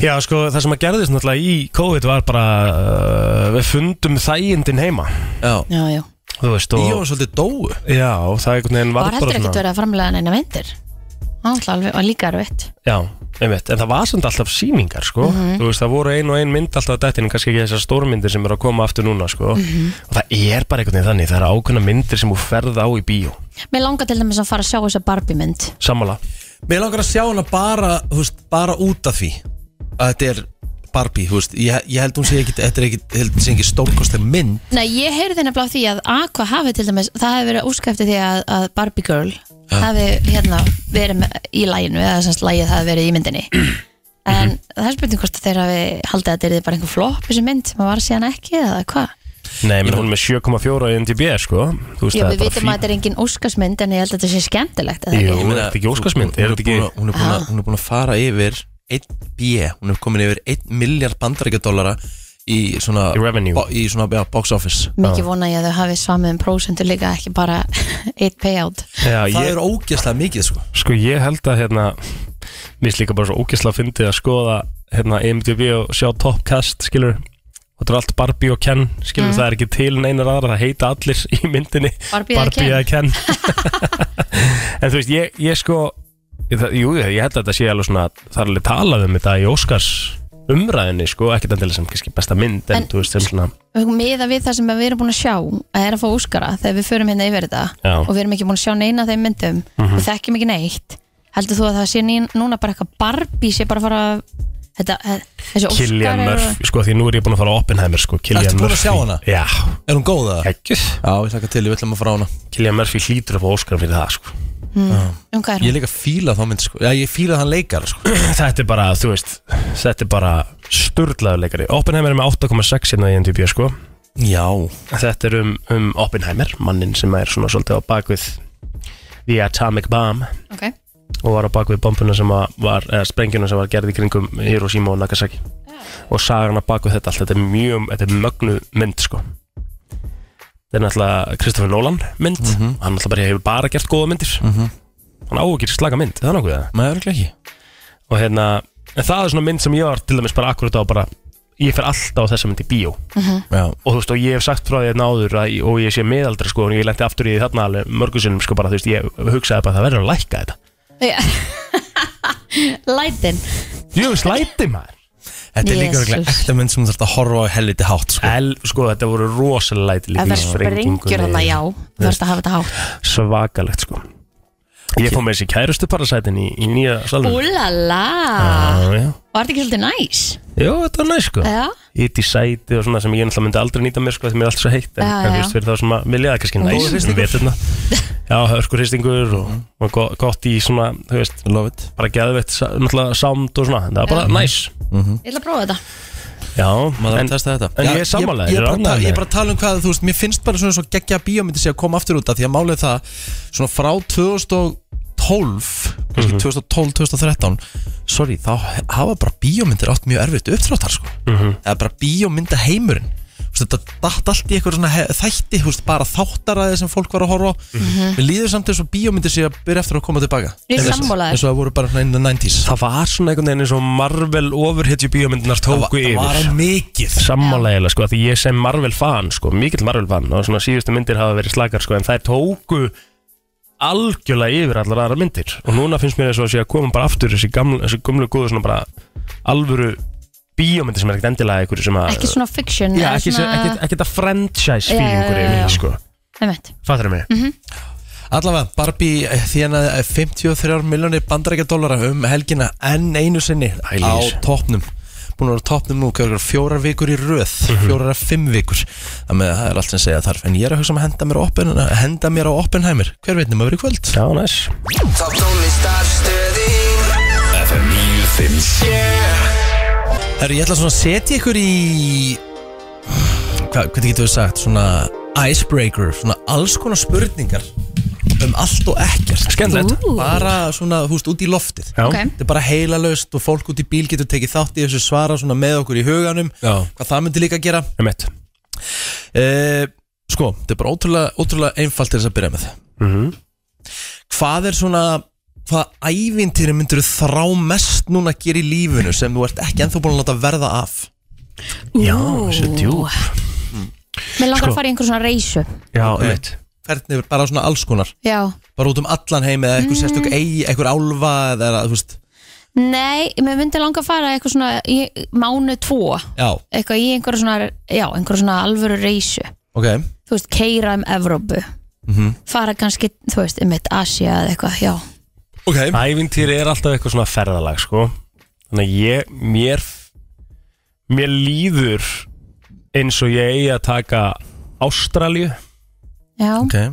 Speaker 2: Já, sko, það sem að gerðist náttúrulega í COVID var bara uh, við fundum þægindin heima
Speaker 1: Já,
Speaker 3: Já, já
Speaker 2: þú veist, og
Speaker 1: Bíó var svolítið dóu
Speaker 2: Já, og það einhvern veginn var,
Speaker 3: Var
Speaker 2: bara
Speaker 3: heldur ekkert
Speaker 2: svona
Speaker 3: verið að framlega neina vindir Það var alveg- var líka erfitt
Speaker 2: Já, einmitt, en það var samt alltaf sýningar sko.
Speaker 5: Mhm.
Speaker 2: þú veist, það voru ein og ein mynd alltaf dættin, en kannski ekki þessar stórmyndir sem eru að koma aftur núna sko.
Speaker 5: Mhm.
Speaker 2: og það er bara einhvern veginn þannig það eru ákveðna myndir sem þú ferð á í bíó
Speaker 3: Mér langar til dæmis að fara að sjá þessa Barbie mynd
Speaker 2: sammála,
Speaker 1: Mér langar að sjá hana bara, þú veist, bara út af því að þetta er Barbie, þú veist ég, ég held hún sé ekki, þetta er ekki, ég held hún sé ekki stórkostleg mynd
Speaker 3: Nei, ég heyrði nefnilega á því að Aqua hafi til dæmis, það hefði verið óskæfti því að, að Barbie Girl hafi hérna verið með, í læginu eða semst lægið hafi verið í myndinni
Speaker 2: Mhm.
Speaker 3: en það er spurning hvort að þeir hafi haldið að þetta er bara einhver flop þessi mynd sem var síðan ekki eða hvað
Speaker 2: Nei, menn hún er með 7,4 í NDB sko Þú veist
Speaker 5: Já,
Speaker 2: það er
Speaker 5: við
Speaker 2: bara
Speaker 5: vitum að
Speaker 2: fín
Speaker 5: þetta er engin óskarsmynd en ég held að þetta sé skemmtilegt eða
Speaker 2: Jú,
Speaker 5: ekki?
Speaker 2: er þetta ekki Óskarsmynd?
Speaker 1: Hún
Speaker 2: Er
Speaker 1: er
Speaker 2: þetta ekki-
Speaker 1: búin að- hún er búin að- hún er búin að fara yfir 1B, hún er komin yfir 1 miljard bandarækjadólara í svona,
Speaker 2: Í revenue.
Speaker 1: bo- í svona ja, box office
Speaker 5: Mikið vona ég að þau hafi samið um prósentu líka ekki bara *laughs* eitt payout
Speaker 2: Já,
Speaker 1: Það
Speaker 2: ég,
Speaker 1: er ógeðslega mikið sko
Speaker 2: sko ég held að hérna Mér er líka bara svo ógæslega fyndið að skoða hérna IMDb og sjá Top Cast skilur og þetta er allt Barbie og Ken skilur það er ekki til neinar aðra það heita allir *laughs* í myndinni
Speaker 5: Mhm. Barbie eða
Speaker 2: eða Ken *laughs* en þú veist ég, ég sko ég, það, jú ég held að þetta sé alveg svona það er alveg talað um þetta í Óskars umræðinni sko ekkert endilega sem kannski besta mynd en,
Speaker 5: En-
Speaker 2: þú veist sem svona
Speaker 5: Miða við það sem við erum búin að sjá að er að fá úskara þegar við förum hérna yfir þetta
Speaker 2: Já. Mhm.
Speaker 5: og við erum ekki búin að sjá neina af þeim myndum við þekkjum ekki neitt heldur þú að það sé ný, núna bara eitthvað Barbie sé bara að fara að- þetta, eh, þessi
Speaker 2: Killian
Speaker 5: Óskar
Speaker 2: Murphy, sko því nú er ég búin að fara á Oppenheimer sko, Killian
Speaker 1: Ertu
Speaker 2: Murphy
Speaker 1: búin að sjá hana?
Speaker 2: Já,
Speaker 1: Er hún góð það?
Speaker 2: ekki
Speaker 1: Já, ég hlaka til, ég vil að maður fara á hana
Speaker 2: Killian Murphy hlýtur að fá Óskar fyrir það sko
Speaker 5: um hvað er
Speaker 1: Ég
Speaker 5: hún?
Speaker 1: er líka fíla þá mynd sko Já, ég fíla hann leikar sko
Speaker 2: Þetta er bara, þú veist, þetta er bara sturlaður leikari Oppenheimer er með 8,6 hérna í NDB sko
Speaker 1: Já
Speaker 2: Þetta er um, um Oppenheimer, mannin sem er svona svolítið á bakvið The Atomic Bomb
Speaker 5: Okay.
Speaker 2: og var á bakvið bombuna sem að var, eða sprengjuna sem var gerð í kringum Hiroshima og Nagasaki og sagan að bakvið þetta allt, þetta er mjög, þetta er mögnu mynd sko Þetta er náttúrulega Kristoffer Nolan mynd hann náttúrulega bara hefur bara gert góða myndir hann á ekki slaga mynd, er það nokkuð það
Speaker 1: Nei, örgulega ekki
Speaker 2: og hérna, en það er svona mynd sem ég var til dæmis bara akkurat á bara ég fer alltaf á þessa mynd í bíó
Speaker 1: Já,
Speaker 2: og þú veist, og ég hef sagt frá því að náður að, og ég sé miðaldra sko, og ég lendi aftur í því þarna alveg mörgusinnum sko bara, þú veist, ég hugsaði bara það verður að lækka þetta
Speaker 5: *laughs* Lætin
Speaker 2: Jú, slæti maður
Speaker 1: þetta er líka
Speaker 5: Jesus.
Speaker 1: örgulega ekta mynd sem þú þarf að horfa á helviti hátt sko
Speaker 2: El, sko, þetta voru rosalega
Speaker 5: Það
Speaker 2: læti líka
Speaker 5: verður sprengjur þannig að já þú verður að hafa þetta hátt
Speaker 2: svakalegt sko ég fór með þessi kærustu parasætin í, í nýja salunum
Speaker 5: Úlala
Speaker 2: já, já.
Speaker 5: Var þetta ekki svolítið næs?
Speaker 2: Jú, þetta var næ sko
Speaker 5: Já
Speaker 2: Ít í sæti og svona sem ég náttúrulega myndi aldrei nýta mér sko því mér er allt svo heitt en
Speaker 5: Já,
Speaker 2: en þú
Speaker 5: já.
Speaker 2: veist fyrir þá sem að vilja það kannski
Speaker 1: Góður
Speaker 2: næst um
Speaker 1: hristingur.
Speaker 2: veturna Já, hörkurhistingur og, og go- gott í svona, þú veist,
Speaker 1: Love it
Speaker 2: bara geðveitt sa- náttúrulega sánd og svona, en það var bara næs
Speaker 5: Ég ætla að prófa þetta
Speaker 2: Já,
Speaker 1: Maður þarf
Speaker 2: en,
Speaker 1: að testa þetta
Speaker 2: en
Speaker 1: Já,
Speaker 2: ég er sammála,
Speaker 1: Ég er
Speaker 2: þér,
Speaker 1: bara að ta- ég
Speaker 2: ánægður með
Speaker 1: er bara að tala um hvað, þú veist, mér finnst bara svona svo geggja bíómyndi sé að koma aftur út af því að málið er það svona frá 2012 kannski
Speaker 2: Mhm.
Speaker 1: 2012-2013 sorry, þá hafa bara bíómyndir átt mjög erfitt upptráttar sko
Speaker 2: Mhm.
Speaker 1: eða bara bíómynda heimurinn þetta datt allt í eitthvað svona he- þætti þú veist, bara þáttaræði sem fólk var að horfa á Mér líður samt eins og bíómyndir sé að byrja eftir að koma tilbaka
Speaker 5: Ég er
Speaker 1: eins
Speaker 5: sammálaður
Speaker 1: og það voru bara svona in the 90s
Speaker 2: Það var svona einhvern veginn eins og Marvel overhitju bíómyndinar
Speaker 1: það var,
Speaker 2: tóku
Speaker 1: það var
Speaker 2: yfir
Speaker 1: mikið
Speaker 2: Sammálaðilega sko, af því ég sem Marvel fan sko, mikill Marvel fan og svona síðustu myndir hafa verið slakar sko, en þær tóku algjörlega yfir allar aðra myndir og núna finnst mér þess að sé að koma bara aftur þessi gamlu, þessi gamlu góðu svona bara alvöru bíómyndir sem er ekkert endilega einhverju sem að
Speaker 5: Ekki svona fiction
Speaker 2: Já,
Speaker 5: eða
Speaker 2: ekki, svona...
Speaker 5: svona-
Speaker 2: ekki, ekki þetta franchise
Speaker 5: Já, já, já,
Speaker 2: fílingur yfir
Speaker 5: já. Mhm.
Speaker 2: því sko
Speaker 5: Einmitt.
Speaker 2: Fattur mig?
Speaker 1: Allavega, Barbie eh, þjánaði 53 miljónir bandarækja dólara um helgina enn einu sinni
Speaker 2: Ælis.
Speaker 1: á toppnum Búin að vera á toppnum nú hverjar fjórar vikur í röð fjórar að fimm vikur Þannig að það er allt sem segja þarf En ég er að hugsa um að henda mér á, open, henda mér á Oppenheimer Hver veit nema verið kvöld?
Speaker 2: Já, næs
Speaker 4: Top tónlist af stöðin FM 957
Speaker 1: Herru, ég ætla svona að setja ykkur í Hva, Hvernig getur við sagt? Svona icebreaker Svona alls konar spurningar Um allt og ekkert
Speaker 2: Skemmtilegt.
Speaker 5: Ú.
Speaker 1: Bara svona, húst, út í loftið
Speaker 2: Já,
Speaker 5: Ok.
Speaker 1: þetta er bara heilalaust og fólk út í bíl getur tekið þátt í þessu svara svona með okkur í huganum
Speaker 2: Já.
Speaker 1: hvað það myndi líka að gera
Speaker 2: um eitt
Speaker 1: e, sko, þetta er bara ótrúlega, ótrúlega einfalt til þess að byrja með
Speaker 2: Mhm.
Speaker 1: hvað er svona hvaða ævintýri myndur þú þrá mest núna að gera í lífinu sem þú ert ekki ennþá búin að láta verða af
Speaker 2: Já, þessi djúb
Speaker 5: Mér langar
Speaker 2: Sko.
Speaker 5: að fara í einhver svona reysu
Speaker 2: Já, um eitt
Speaker 1: hvernig er bara svona alls konar
Speaker 5: Já
Speaker 1: bara út um allan heim eða eitthvað sérstök eigi, eitthvað álfa eða þú veist,
Speaker 5: Nei, mér myndi langa að fara eitthvað svona í mánu tvo
Speaker 1: já,
Speaker 5: Eitthvað í einhver svona, já, einhver svona alvöru reysu
Speaker 1: ok
Speaker 5: Þú veist, keira um Evrópu
Speaker 1: Mhm.
Speaker 5: Fara kannski, þú veist, um eitt Asia eða eitthvað, já
Speaker 1: ok,
Speaker 2: Ævintýri er alltaf eitthvað svona ferðalag sko Þannig að ég, mér Mér líður eins og ég eigi að taka Ástralju
Speaker 5: Já,
Speaker 1: okay.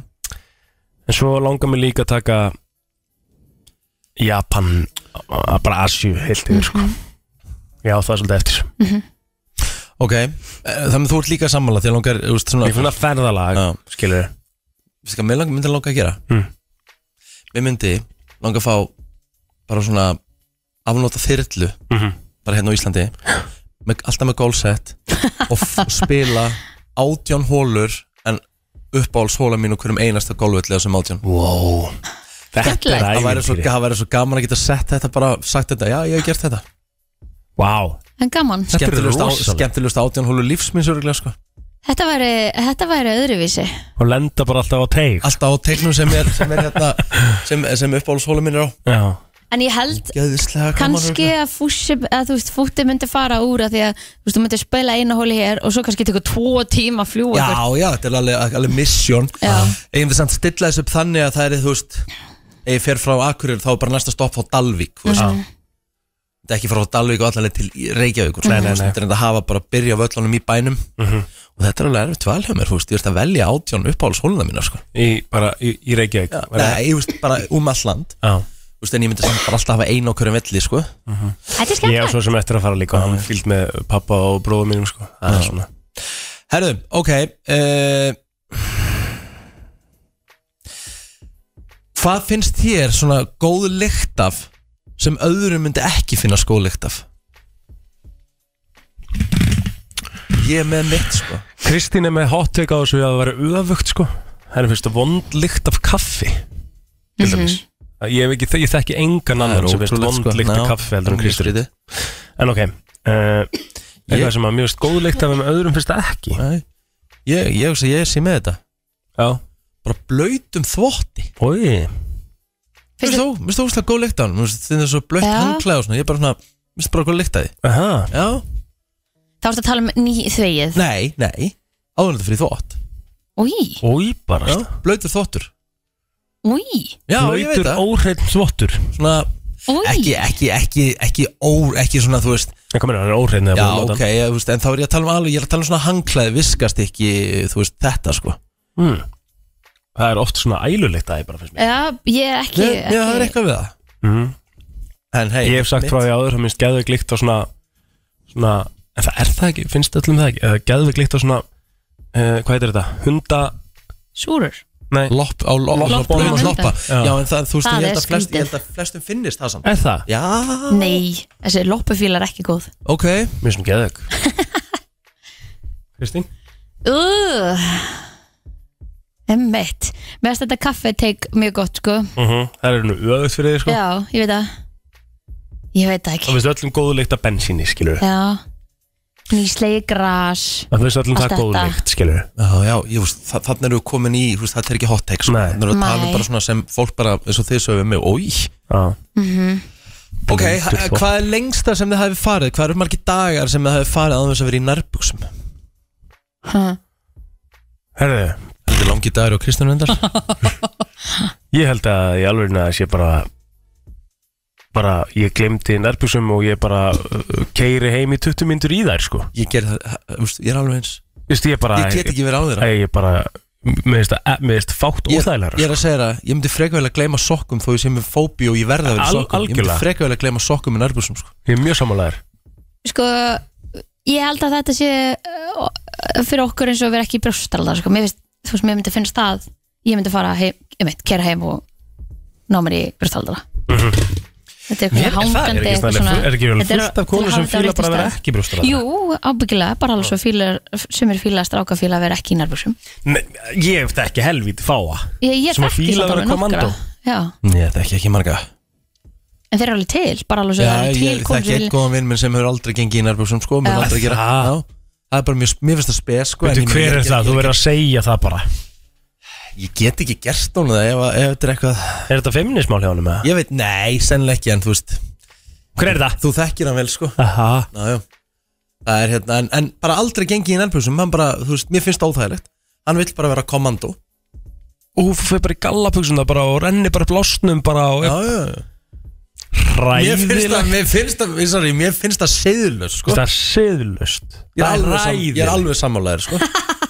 Speaker 2: En svo langar mér líka að taka Japan að bara Asju heilt yfir sko Já, það er svolítið eftir
Speaker 1: ok, Ok, eh, þannig þú ert líka sammála þegar langar, þú veist, svona
Speaker 2: Ég finna ferðalag,
Speaker 1: Já.
Speaker 2: skilur þau
Speaker 1: Veistu hvað, mér langar, myndi langa að gera
Speaker 2: Mm.
Speaker 1: Mér myndi langa að fá bara svona afnóta þyrlu
Speaker 2: Mhm.
Speaker 1: bara hérna á Íslandi með, alltaf með gólsett og, f- og spila átján hólur en uppáhalds hóla mín og hverjum einasta gólvöldi þessum átján
Speaker 2: Wow Þetta
Speaker 3: Skemmtilegt.
Speaker 2: er
Speaker 1: Það væri, svo,
Speaker 2: ævintýri
Speaker 1: það væri svo gaman að geta sett þetta bara sagt þetta, já ég hef gert þetta
Speaker 2: Vá
Speaker 3: En gaman,
Speaker 2: Þetta er
Speaker 1: Skemmtilegust á-
Speaker 2: rosalegt.
Speaker 1: Skemmtilegust átján hólu lífsmins örgulega sko
Speaker 3: þetta væri, þetta væri öðruvísi
Speaker 2: Og lenda bara alltaf á teig
Speaker 1: Alltaf á teiknum sem er, sem er hérna sem, sem uppáhaldshóla mín er á
Speaker 2: Já
Speaker 3: En ég held
Speaker 1: Gæðislega
Speaker 3: kannski að fúsi, að þú veist, fúti myndi fara úr að því að þú veist, þú myndi spila einu hóli hér og svo kannski tekur tvo tíma að fljúa
Speaker 1: Já,
Speaker 3: eitthvað.
Speaker 1: já, þetta er alveg, alveg misjón
Speaker 3: Já.
Speaker 1: Ég myndi samt stilla þessu upp þannig að það er, þú veist Ef ég fer frá Akureyri þá er bara næsta stopp á Dalvík þú veist. Þetta er ekki frá Dalvík og allanlega til Reykjavík
Speaker 2: Nei, nei, nei.
Speaker 1: Þetta er enda að hafa bara að byrja völlunum í bænum
Speaker 2: Mhm.
Speaker 1: Og þetta er alveg erfitt val hjá mér, þú veist Ég veist að velja átján uppáhaldshóluna mína, sko
Speaker 2: Í, bara, í, í Reykjavík Bara-
Speaker 1: Nei, ég veist, bara um all land
Speaker 2: Já
Speaker 1: Þú veist, en ég myndi samt bara alltaf hafa einu okkur um velli, sko
Speaker 5: Þetta er
Speaker 2: Ég á
Speaker 5: skemmt
Speaker 2: svo sem eftir að fara líka Hann er fyllt með pappa og bróðu mínum sko Það er svona
Speaker 1: Herðu, ok uh, Hvað finnst þér svona góð lykt af sem öðrum myndi ekki finna góð lykt af? Ég er með mitt sko
Speaker 2: Kristín er með hot take á þessu að það væri öfugt sko Henni finnst það vond lykt af kaffi Til
Speaker 3: Mhm.
Speaker 2: dæmis Ég hef ekki, ég þekki engan annan sem finnst vond sko.
Speaker 1: sko.
Speaker 2: lykt af kaffi heldur en Kristín
Speaker 1: Kristi
Speaker 2: En ok, uh, eitthvað sem að mjög veist góð lykt af um öðrum finnst það ekki
Speaker 1: Ég, ég, ég, hugsa, ég sé með þetta
Speaker 2: Já,
Speaker 1: Bara blöytum þvotti
Speaker 2: oi
Speaker 1: Mér
Speaker 3: Finnst
Speaker 1: finnst þú, mér finnst þú ógeðslega góð lykt af hann Mér finnst þetta svo blöytt
Speaker 3: Já.
Speaker 1: handklæð og svona Ég er bara svona, mér finnst bara góð lykt af því
Speaker 2: Aha,
Speaker 1: Já,
Speaker 3: Þá ertu að tala um ný þvegið
Speaker 1: nei, nei Áður en þetta fyrir þvott
Speaker 3: Új,
Speaker 2: oi bara
Speaker 1: Blöytur þvottur
Speaker 3: új,
Speaker 1: Já, ég veit
Speaker 2: Blöytur
Speaker 1: það
Speaker 2: óhreinn þvottur
Speaker 1: Svona, ekki,
Speaker 3: új
Speaker 1: ekki, ekki, ekki, ó, ekki svona, þú veist
Speaker 2: Ég kom inn að hann er óhreinn
Speaker 1: Já, ok, ég, þú veist, en þá er ég að tala um alveg Ég er að tala um svona hangklæði, viskast ekki, þú veist, þetta, sko
Speaker 2: mm. Það er oft svona ælulikt að ég bara finnst mér
Speaker 3: Já, ég er ekki,
Speaker 1: Ég, ég, það er
Speaker 3: ekki
Speaker 1: eitthvað við það
Speaker 2: mm.
Speaker 1: En hei,
Speaker 2: Ég hef sagt
Speaker 1: mitt-
Speaker 2: frá því áður, það minnst geðveglikt á svona, svona En það er það ekki, finnst öllum það ekki Eða geðveglikt á svona, uh, hvað heitir þetta? Hunda,
Speaker 3: Súrur
Speaker 2: nei,
Speaker 1: Lopp, á lopp,
Speaker 2: Lopp-
Speaker 1: lopp,
Speaker 2: lopp-
Speaker 1: lopp, loppa
Speaker 2: Já.
Speaker 1: Já, en það, þú veist,
Speaker 3: Það
Speaker 1: ég
Speaker 3: er
Speaker 1: held, að flest,
Speaker 3: skrítið.
Speaker 1: ég held að flestum finnist það samt
Speaker 2: er það?
Speaker 1: Já,
Speaker 3: Nei, þessi loppufílar er ekki góð
Speaker 1: ok
Speaker 2: Mér sem geðveg
Speaker 1: *laughs*
Speaker 2: Kristín?
Speaker 3: Úh Emmett Mér finnst þetta kaffeteik mjög gott sko
Speaker 2: Uh Það er nú öðvögt fyrir þig sko
Speaker 3: Já, ég veit það Ég veit það
Speaker 2: Það
Speaker 3: ekki
Speaker 2: finnst öllum góðulikt að bensíni, skilur við
Speaker 3: Já Nýslegi gras
Speaker 2: Það finnst öllum
Speaker 3: Allt
Speaker 2: það
Speaker 3: þetta.
Speaker 2: góðulikt, skilur við
Speaker 1: Já, já, ég veist, þa- þarna erum við komin í, þú veist, þetta er ekki hot take, sko
Speaker 2: Nei.
Speaker 1: Þannig að tala um
Speaker 3: Nei.
Speaker 1: bara svona sem fólk bara, eins og þið sögum mig, ói
Speaker 2: Já,
Speaker 1: Ok,
Speaker 2: Blöytur
Speaker 1: h-
Speaker 2: þvott.
Speaker 1: hvað er lengsta sem þið hafi farið? Hvað eru margir dagar sem þið hafi farið án þess að vera í nærbuxum?
Speaker 3: huh.
Speaker 2: herðu
Speaker 1: Þetta er langi dagur og Kristján Vendar
Speaker 2: Ég held að ég alveg að sé bara bara ég glemdi nærbjörnsum og ég bara uh, keiri heim í 20 myndur í þær sko
Speaker 1: *laughs* Ég ger það, úst, ég er alveg eins
Speaker 2: Vist, ég bara,
Speaker 1: Ég get ekki verið á þeirra
Speaker 2: Æ, ég bara, mér finnst það mér finnst
Speaker 1: Ég,
Speaker 2: fátt
Speaker 1: ég
Speaker 2: óþægilega
Speaker 1: er að segja það, ég myndi frekvæðilega að gleyma sokkum þó ég sé með fóbi og ég verða að vera í
Speaker 2: Al-
Speaker 1: sokkum Ég myndi
Speaker 2: algjörlega.
Speaker 1: frekvæðilega að gleyma sokkum í nærbúsum sko.
Speaker 2: ég er mjög samanlegar
Speaker 3: Sko Ég held að þetta sé uh, fyrir okkur eins og vera ekki í brjóstalda sko. Mér finnst, þú veist, mér myndi finnst það Ég myndi fara heim, ég mynd, kera heim og ná mér í brjóstalda Þetta er
Speaker 2: Mhm. Mér er það,
Speaker 3: eitthvað
Speaker 2: er
Speaker 3: hangandi
Speaker 2: ekki,
Speaker 3: eitthvað
Speaker 2: svona,
Speaker 3: svona-
Speaker 2: er ekki vel
Speaker 3: Þetta er-
Speaker 2: fullt af konu
Speaker 3: til að
Speaker 2: sem
Speaker 3: hafa þetta á
Speaker 2: fíla
Speaker 3: réttum
Speaker 2: bara að vera
Speaker 3: stað.
Speaker 2: ekki brjóstar
Speaker 3: Jú, ábyggilega, bara alveg svo fílar, sumir fílar strákafílar vera ekki í nærbúsum
Speaker 2: ég hef það ekki helvítið fáa
Speaker 3: Ég, ég
Speaker 2: Sem að
Speaker 3: þekki
Speaker 2: fílar vera
Speaker 3: samt alveg nokkra.
Speaker 2: kommandó.
Speaker 3: Já,
Speaker 1: Nei, það er ekki, ekki marga
Speaker 3: en þeir eru alveg til, bara alveg svo það eru til
Speaker 1: ég, Það er ekki
Speaker 3: komið
Speaker 1: einn góðan vinn minn sem hefur aldrei gengið í nærbúsum sko, mun
Speaker 3: Já.
Speaker 1: aldrei gera
Speaker 2: Það?
Speaker 1: Já. Það er bara mjög, mér finnst það spes sko, en
Speaker 2: veitu
Speaker 1: ég meina,
Speaker 2: hver
Speaker 1: ég-
Speaker 2: er það, þú
Speaker 1: ég-
Speaker 2: verður að segja það bara
Speaker 1: Ég get ekki gert hún það ef, að- ef þetta er eitthvað
Speaker 2: er þetta feminismál hjá honum eða?
Speaker 1: Ég veit, nei, sennilega ekki, en þú veist
Speaker 2: hver er það?
Speaker 1: Þú þekkir hann vel sko
Speaker 2: Aha.
Speaker 1: Já, já. Það er hérna, en, en bara aldrei gengið í nærbuxum, hann bara, þú veist, mér finnst það óþægilegt Hann vill bara vera kommando
Speaker 2: Ú, fyrir bara í gallabuxuna bara og renni bara blásnum bara og
Speaker 1: Já, já, já Mér finnst
Speaker 2: ræðilegt
Speaker 1: það, mér finnst það, sorry, mér finnst það seðlust, sko
Speaker 2: Sko? Það er siðlust
Speaker 1: Ég er alveg, sam, ég er alveg sammálaður, sko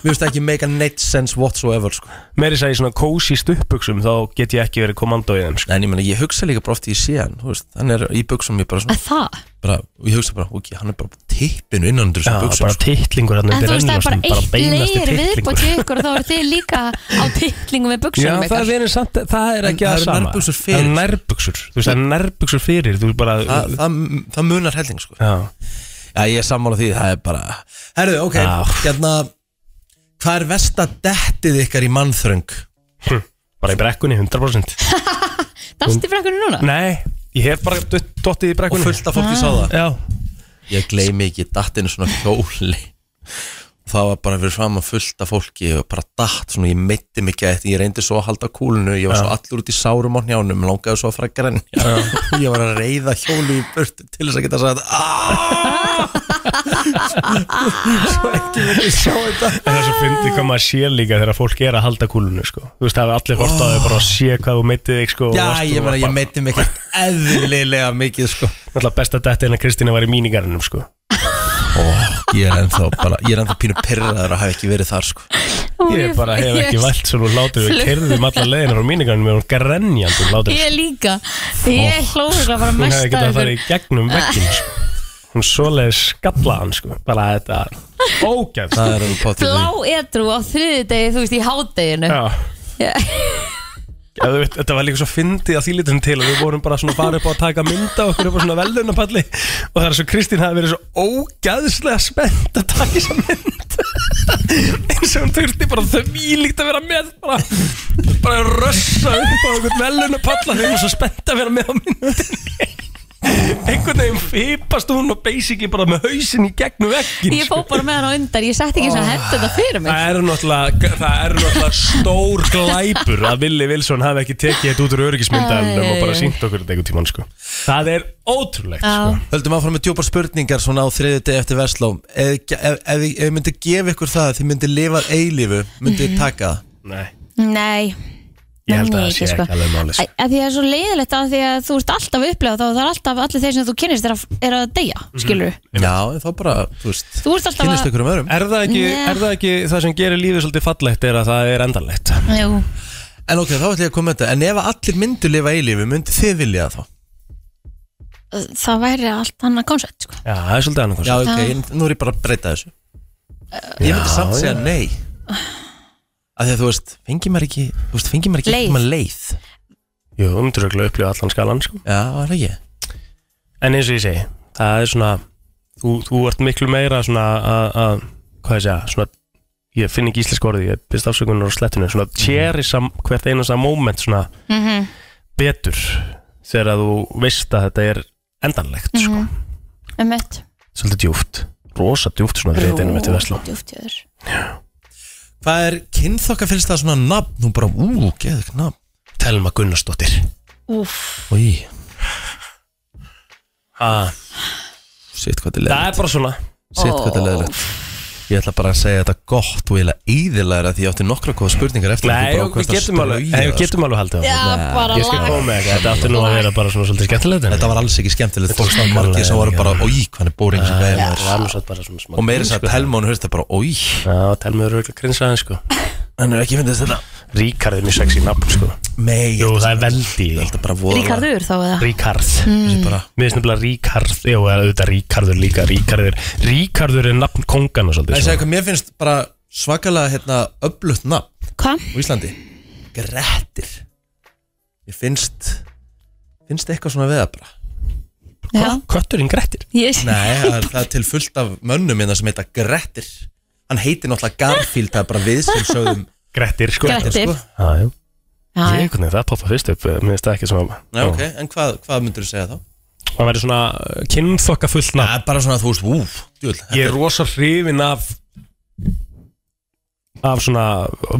Speaker 1: Mér finnst það ekki make a net sense whatsoever, sko
Speaker 2: Meiri sagði svona kósi stuppbuxum Þá get ég ekki verið kommando í þeim sko.
Speaker 1: En ég meina, ég hugsa líka bara oft í síðan, þú veist Hann er í buxum, ég bara svona,
Speaker 3: Það,
Speaker 1: bara, og ég hugsa bara, ok, hann er bara tippinu innan
Speaker 2: Já, bara
Speaker 1: sko.
Speaker 2: titlingur hann
Speaker 5: En þú veist það
Speaker 2: um,
Speaker 5: er bara eitt leir viðbóti
Speaker 2: titlingur
Speaker 5: ykkur og þá eru þið líka
Speaker 2: *laughs*
Speaker 5: á titlingum við
Speaker 1: um
Speaker 2: Já,
Speaker 5: buksunum
Speaker 2: það er, samt, það er ekki
Speaker 1: En
Speaker 2: að
Speaker 1: það eru
Speaker 2: sama
Speaker 1: nærbuxur fyrir.
Speaker 2: Það eru nærbuxur Þú veist, það eru nærbuxur fyrir Þú er bara
Speaker 1: það, það, það munar helling sko.
Speaker 2: Já,
Speaker 1: Já, ég er sammála því, það er bara Herðu, ok,
Speaker 2: Já.
Speaker 1: hérna Hvað er versta dettið ykkar í mannþröng?
Speaker 2: bara í brekkunni, 100%
Speaker 5: Dast í frekkunni núna?
Speaker 2: Nei, ég hef bara dott- dottið í
Speaker 1: Og
Speaker 2: brekkunni
Speaker 1: fullt af fólki sá það
Speaker 2: Já,
Speaker 1: Ég gleymi ekki dattinu svona hjóli Það var bara fyrir fram að fullt af fólki og bara datt svona, ég meitti mig gætt ég reyndi svo að halda kúlinu, ég var svo allur út í sárum á njánum, langaði svo að fara að grenja ég var að reyða hjóli í burtu til þess að geta sagt "Ah!" Svo ekki verið sjá þetta
Speaker 2: En það er svo fyndið hvað maður sé líka þegar fólk er að halda kúlunu sko. Þú veist, það hefur allir hort á þau bara að sé hvað þú meittið þig sko, og
Speaker 1: Oh. Já,
Speaker 2: varst-
Speaker 1: ég meina,
Speaker 2: þú var
Speaker 1: ég
Speaker 2: bara-
Speaker 1: meiti mig ekkert eðlilega mikið, sko
Speaker 2: Náttúrulega besta dætti en að Kristína var í mínigarninum sko.
Speaker 1: Ég er ennþá bara, ég er ennþá pínu pyrraður að hafa ekki verið þar, sko
Speaker 2: Ég bara hef ekki vælt svo nú látur
Speaker 1: *laughs*
Speaker 2: við kerðum alla leiðina frá mínigarninum og hún grenjandi um látur
Speaker 5: Ég líka Ég hlóður að fara
Speaker 2: Hún hefði
Speaker 5: mest
Speaker 2: getað
Speaker 5: að
Speaker 2: að
Speaker 5: ykkur
Speaker 2: fara í gegnum veggin sko. Hún svoleiði skalla hann sko. bara þetta ógæft
Speaker 1: Það er alveg potið
Speaker 5: Blá edru á þriði degi, þú veist, í hádeginu
Speaker 2: Já
Speaker 5: Já.
Speaker 2: Já, þú veit, þetta var líka svo fyndið að þýlitum til og við vorum bara svona bara upp á að taka mynda okkur upp á svona velunapalli og það er svo Kristín hafi verið svo ógæðslega spennt að taka þessa mynd eins og hún þurfti bara þvílíkt að vera með bara, bara að rössa upp á einhvern velunapalla þegar hún var svo spennt að vera með á myndinni einhvern veginn fipast hún og basically bara með hausin í gegnum veggin
Speaker 5: Ég fó bara með hann á undan, ég setti ekki eins og hent þetta fyrir mig
Speaker 2: Það eru náttúrulega, það eru náttúrulega stór glæpur að Willi Wilson hafi ekki tekið þetta út úr öryggismyndanum
Speaker 5: Æ,
Speaker 2: og bara
Speaker 5: æ, æ.
Speaker 2: sínt okkur þetta einhvern tímann sko. Það er ótrúlegt sko.
Speaker 5: Já.
Speaker 1: Höldum áfram með djúpar spurningar svona á þriðið deg eftir versló Ef þið myndi gefa ykkur það, að þið myndi lifað eilífu, myndi
Speaker 5: Mhm.
Speaker 1: þið taka það
Speaker 2: Nei,
Speaker 5: Nei,
Speaker 2: ég held að
Speaker 5: Nei,
Speaker 2: það sé
Speaker 5: ekki,
Speaker 2: ekki
Speaker 5: sko.
Speaker 2: alveg máli
Speaker 5: Æ,
Speaker 2: sko.
Speaker 5: af því að það er svo leiðilegt að því að þú ert alltaf að upplega þá það er alltaf allir þeir sem þú kynist er að, er að deyja,
Speaker 2: Mhm.
Speaker 5: skilur
Speaker 1: Já, en þá bara, þú veist,
Speaker 5: Þú ert alltaf
Speaker 1: kynnist
Speaker 5: að
Speaker 1: ykkur um öðrum
Speaker 2: Er það, ekki,
Speaker 5: Nei.
Speaker 2: er það ekki það sem gerir lífið svolítið fallegt er að það er endanlegt
Speaker 5: Jú,
Speaker 1: En ok, þá ætlum ég að koma með þetta En ef að allir myndu lifa eilífu, myndi þið vilja það þá?
Speaker 5: það væri allt annað koncept sko.
Speaker 2: Já, það er svolítið annað
Speaker 1: Já,
Speaker 2: konsept.
Speaker 1: ok,
Speaker 5: Já. Uh,
Speaker 1: en nú er ég bara að breyta þessu Ég myndi
Speaker 2: Já,
Speaker 1: samt
Speaker 2: já.
Speaker 1: segja nei Af því að þú veist, fengi maður ekki, þú veist, fengi maður ekki
Speaker 5: Leið.
Speaker 1: einhvern leið
Speaker 2: Jú, um umtrögglega upplifa allan skalan sko.
Speaker 1: Já, var það ekki
Speaker 2: En eins og ég segi, það er svona þú, þú ert miklu meira svona að- að, hvað ég segja, svona ég finn ekki íslensk orðið, ég byrst afsökunar á slettinu, svona
Speaker 1: Mhm.
Speaker 2: cherish sam, hvert einasta moment svona betur þegar að þú veist að þetta er endanlegt,
Speaker 1: Mhm.
Speaker 2: sko
Speaker 5: um eitt
Speaker 2: svolítið djúft, rosa djúft svona fyrir þetta einum eftir Vestló
Speaker 5: djúpt í þér
Speaker 1: Hvað er kynþokka finnst það svona nafn? Nú bara, ú, geðug nafn
Speaker 2: Telma Gunnarsdóttir
Speaker 5: Úff,
Speaker 1: Í,
Speaker 2: ha,
Speaker 1: sitt hvað þetta er
Speaker 2: Það
Speaker 1: leðilegt
Speaker 2: er bara svona
Speaker 1: Sitt hvað þetta er leðilegt Ég ætla bara að segja þetta gott og ég ætla íðilega því ég átti nokkra góða spurningar eftir
Speaker 2: Nei,
Speaker 1: Þú bara
Speaker 2: við
Speaker 1: ákvaðst að
Speaker 2: getum alveg,
Speaker 1: strauja
Speaker 2: nei, við
Speaker 1: það,
Speaker 2: getum alveg haldið á
Speaker 5: já, bara
Speaker 2: Ég skal
Speaker 5: lag
Speaker 2: koma með eitthvað, þetta átti nú að vera bara svona svolítið skemmtilegt
Speaker 1: sko.
Speaker 2: en-
Speaker 1: Þetta var alls ekki skemmtilegt Þú veist,
Speaker 2: Þetta var
Speaker 1: margir sem voru bara,
Speaker 2: leiðilegt.
Speaker 1: oi, hvað hann er bóring sem gæði
Speaker 2: Það
Speaker 1: mér
Speaker 2: var nú satt bara svona smá
Speaker 1: Og meira þess að
Speaker 2: grins, sko.
Speaker 1: Telma hún hörst það bara, oi
Speaker 2: Já, telma eru auðvitað grinsaðin sko
Speaker 1: Hann er ekki fyndist þetta
Speaker 2: Ríkard er mjög sexy nafn sko
Speaker 1: Nei,
Speaker 2: Jú,
Speaker 1: ég
Speaker 2: það er veldi
Speaker 1: held að bara voða
Speaker 5: Ríkardur þá eða
Speaker 2: Ríkard
Speaker 1: bara,
Speaker 2: Mér finnst nefnilega Ríkard Jú, það er auðvitað Ríkardur líka Ríkardur Ríkardur er nafn kongan og
Speaker 1: Það
Speaker 2: svolítið
Speaker 1: er
Speaker 2: sko.
Speaker 1: segja hvað mér finnst bara svakalega hérna öflutt nafn
Speaker 5: Hvað?
Speaker 1: á Íslandi Grettir Ég finnst finnst eitthvað svona við það bara
Speaker 5: Já,
Speaker 2: Kötturinn Grettir
Speaker 5: ég sé
Speaker 1: Nei, það er, það er til fullt af mönnum hérna sem heita Grettir Hann heitir náttúrulega Garfield, það er bara við sem sögðum
Speaker 2: Grettir sko
Speaker 5: Grettir.
Speaker 1: sko.
Speaker 2: Já, jú Ég
Speaker 5: Já,
Speaker 2: einhvern veginn það poppa fyrst upp eh, Mér finnst það ekki svona
Speaker 1: Já, ok, en hvað, hvað myndur þú segja þá?
Speaker 2: Það verður svona kynþokka fullt
Speaker 1: Það
Speaker 2: nafn
Speaker 1: er bara svona að þú veist, úf, djúl
Speaker 2: Ég er rosa hrifin af af svona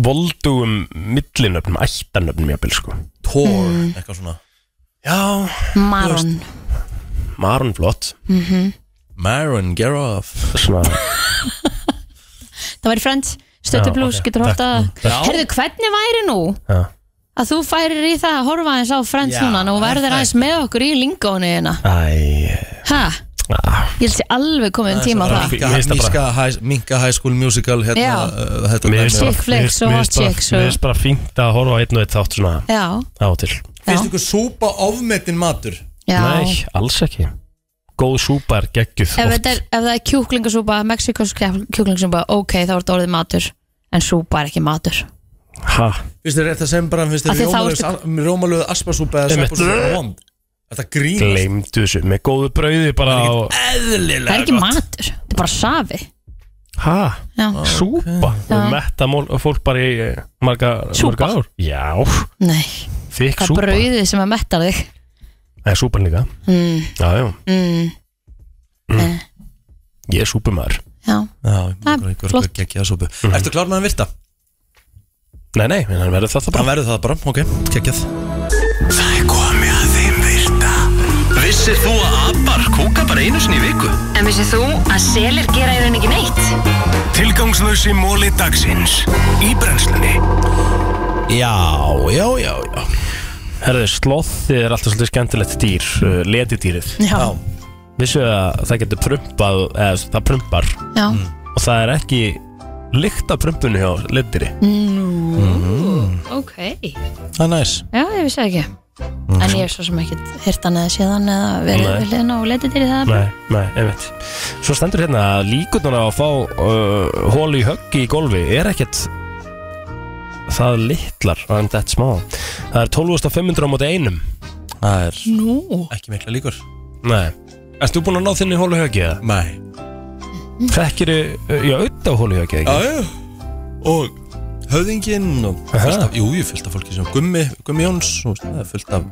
Speaker 2: voldugum millinöfnum, ættanöfnum jáfnvel sko
Speaker 1: Tór,
Speaker 3: Mm.
Speaker 1: eitthvað svona
Speaker 2: Já,
Speaker 5: Maron
Speaker 2: Maron flott
Speaker 1: Maron Geroff
Speaker 2: Svona
Speaker 5: Það var í Friends, Stöttu
Speaker 2: Já,
Speaker 5: Blues,
Speaker 2: ok.
Speaker 5: getur horft að Herðu, hvernig væri nú
Speaker 2: Já.
Speaker 5: að þú færir í það að horfa aðeins á Friends
Speaker 1: Já,
Speaker 5: núna og verður aðeins með okkur í lingónu hérna
Speaker 2: Æ,
Speaker 5: Hæ?
Speaker 2: Ah.
Speaker 5: Ég held sér alveg komið um tíma á það
Speaker 2: Mér finnst það bara-
Speaker 1: Minka High School Musical
Speaker 5: Já.
Speaker 1: hérna, uh, þetta dæmi.
Speaker 2: Mér finnst bara-
Speaker 5: Chick flicks
Speaker 2: mér finnst-
Speaker 5: og
Speaker 2: mér
Speaker 5: hot
Speaker 2: finnst bara-
Speaker 5: chicks og-
Speaker 2: Mér finnst bara fínt að horfa á einn og einn þátt svona
Speaker 5: Já,
Speaker 2: á og til
Speaker 5: já,
Speaker 1: Finnst ykkur súpa ofmetinn matur?
Speaker 5: já
Speaker 2: Nei, alls ekki góð súpa er geggjuð
Speaker 3: ef,
Speaker 2: oft.
Speaker 3: þetta er, ef það er kjúklingasúpa, mexikos kjúklingasúpa ok, þá er þetta orðið matur en súpa er ekki matur
Speaker 2: Ha,
Speaker 1: Finnst þér þetta sem bara, finnst
Speaker 3: Af því þá
Speaker 1: þér rómalöðu aspasúpa eða
Speaker 2: Einmitt.
Speaker 1: sveppasúpa er vond? Þetta grínast
Speaker 2: gleymdu þessu með góðu brauði bara á
Speaker 1: eðlilega
Speaker 3: það er ekki
Speaker 1: gott.
Speaker 3: matur, þetta er bara safi
Speaker 2: ha,
Speaker 3: Já.
Speaker 2: Ah. súpa
Speaker 3: Já.
Speaker 2: og metta mól, fólk bara í eh, marga,
Speaker 3: Súpa.
Speaker 2: marga ár já,
Speaker 3: nei,
Speaker 2: þykk
Speaker 3: það er
Speaker 2: súpa
Speaker 3: brauðið sem að metta þig
Speaker 2: það er súpan líka
Speaker 5: Hmm.
Speaker 3: mm,
Speaker 2: já, já,
Speaker 3: mm, Eh,
Speaker 2: ég er súpumæður
Speaker 1: Já,
Speaker 3: já, Það er
Speaker 1: einhver- einhver
Speaker 3: flott.
Speaker 1: geggjaða súpu Ertu klár með að virta?
Speaker 2: nei, nei, en hann verður það það
Speaker 1: Hann
Speaker 2: bara
Speaker 1: verður það bara, ok, geggjað
Speaker 4: Það er komið að þeim virta Vissir þú að abar kúka bara einu sinni í viku?
Speaker 6: En vissið þú að selir gera í rauninni ekki neitt?
Speaker 4: Tilgangslösi móli dagsins Í brennslunni
Speaker 1: Já, já, já, já
Speaker 2: herðu, slothið er alltaf svolítið skemmtilegt dýr uh, letidýrið
Speaker 3: já,
Speaker 1: Já.
Speaker 2: vissu að það getur prumpað eða það prumpar
Speaker 3: já.
Speaker 2: og það er ekki lykt af prumpunni hjá letidýri
Speaker 3: Mm.
Speaker 5: Ok Já,
Speaker 1: Það er næs
Speaker 5: ég vissi það ekki En ég er svo sem ekkit hirtan eða séðan eða verið
Speaker 2: Nei.
Speaker 5: við hliðina og letið til í það
Speaker 2: Nei, nei, einmitt Svo stendur hérna að líkurnar á að fá uh, hólu í höggi í golfi er ekkert það litlar en þetta smá Það er 12.500 á móti einum
Speaker 1: Það er
Speaker 3: nú
Speaker 1: ekki mikla líkur
Speaker 2: Nei Erst þú búin að ná þinni hólu í höggi eða?
Speaker 1: Nei
Speaker 2: Þekkir þið, uh, já, auðvitað hólu í höggi eða
Speaker 1: Já,
Speaker 2: ekki?
Speaker 1: já Og höfðinginn og fullt af, jú, ég fullt af fólki sem Gummi, Gummi Jóns og það er fullt af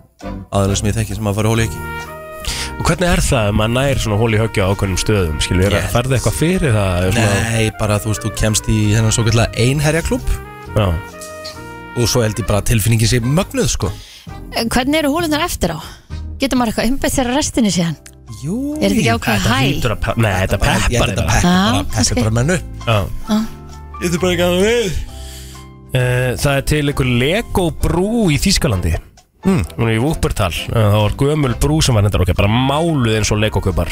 Speaker 1: aðeins sem ég þekki sem að fara í hóli ekki
Speaker 2: Og hvernig er það ef maður nær svona hólu í höggi á ákveðnum stöðum? Skilur, er
Speaker 1: Yes.
Speaker 2: það ferði eitthvað fyrir það? eða Svona,
Speaker 1: Nei, bara þú veist, þú kemst í hennan svo kallega einherjaklub
Speaker 2: já,
Speaker 1: og svo held ég bara að tilfinningin sé mögnuð, sko
Speaker 3: hvernig eru hólunar eftir á? getur maður eitthvað umbeitt þegar restinni síðan?
Speaker 1: Jú,
Speaker 3: er þetta ekki ákveð
Speaker 2: Þetta
Speaker 3: hæ?
Speaker 2: hlýtur að pe- Nei, þetta
Speaker 1: Ég
Speaker 2: peppar
Speaker 1: held að
Speaker 2: þetta
Speaker 1: peppa
Speaker 3: Já,
Speaker 1: bara, peppa
Speaker 3: kannski.
Speaker 1: bara mennu
Speaker 2: Já.
Speaker 1: Ég þurf bara ekki að við
Speaker 2: Eh, Það er til einhver Lego brú í Þýskalandi
Speaker 1: Hmm.
Speaker 2: Hún er í Wuppertal Eh, Það var gömul brú sem var hendar okkar Bara máluð eins og Lego köpar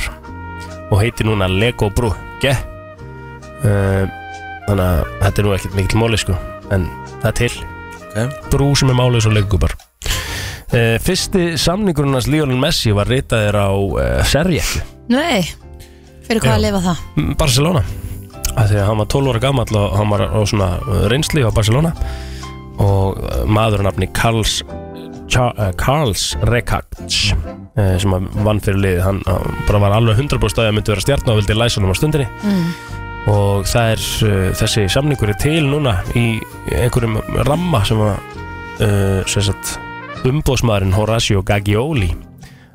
Speaker 2: Og heitir núna Lego brú Ge Þannig að þetta er nú ekkert mikill móli sko En það er til
Speaker 1: Ok.
Speaker 2: Brú sem er máluð eins og Lego köpar Eh, Fyrsti samningurinn hans Lionel Messi var ritaðir á uh, Serjekku
Speaker 3: nei, fyrir hvað
Speaker 2: Já.
Speaker 3: að lifa það?
Speaker 2: Barcelona af því að hann var 12 ára gammal og hann var á svona uh, reynsli á Barcelona og uh, maður nafni Karls Cha- uh, Karls Rekats sem að vann fyrir liðið hann uh, bara var alveg 100% að það myndi vera stjarn og vildi læsa hann á stundinni og það er uh, þessi samningur er til núna í einhverjum ramma sem að uh, sem sagt umbóðsmaðurinn Horacio Gaggioli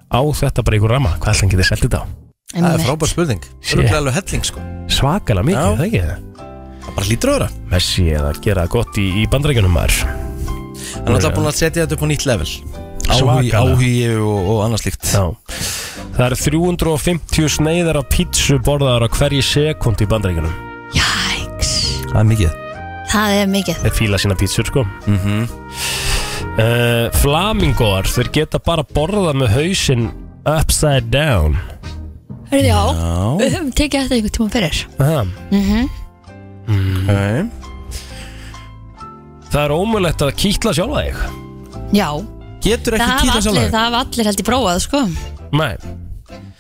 Speaker 2: á þetta bara í einhver ramma hvað ætla hann getið seldið á?
Speaker 1: Það er
Speaker 3: Einmitt.
Speaker 1: frábær spurning
Speaker 2: Shit.
Speaker 1: Það er alveg helling, sko
Speaker 2: Svakalega mikið,
Speaker 1: Já.
Speaker 2: er það ekki það?
Speaker 1: Það bara hlýtur að vera
Speaker 2: Messi eða gera það gott í, í bandarækjunum maður
Speaker 1: Hann er alltaf búin að setja þetta upp á nýtt level Áhugi,
Speaker 2: Svakalega.
Speaker 1: áhugi og, og annað slíkt
Speaker 2: Já. Það eru 350 sneiðar af pítsu borðaðar á hverji sekund í bandarækjunum
Speaker 3: Jæks.
Speaker 1: Það er mikið
Speaker 3: það er mikið
Speaker 2: Þeir fíla sína pítsur sko
Speaker 1: mm -hmm.
Speaker 2: uh, Flamingoar, þeir geta bara borðað með hausinn upside down
Speaker 3: Hörðu, já,
Speaker 1: Já,
Speaker 3: við höfum tekið þetta einhvern tíma fyrir
Speaker 2: Aha.
Speaker 3: mm
Speaker 1: ok
Speaker 2: Það er ómulegt að kýtla sjálfa þig
Speaker 3: Já,
Speaker 1: Getur
Speaker 3: það
Speaker 1: ekki
Speaker 3: hafa
Speaker 1: kýla
Speaker 3: allir,
Speaker 1: sjálf
Speaker 3: það hafa allir held í prófað, sko
Speaker 2: Nei,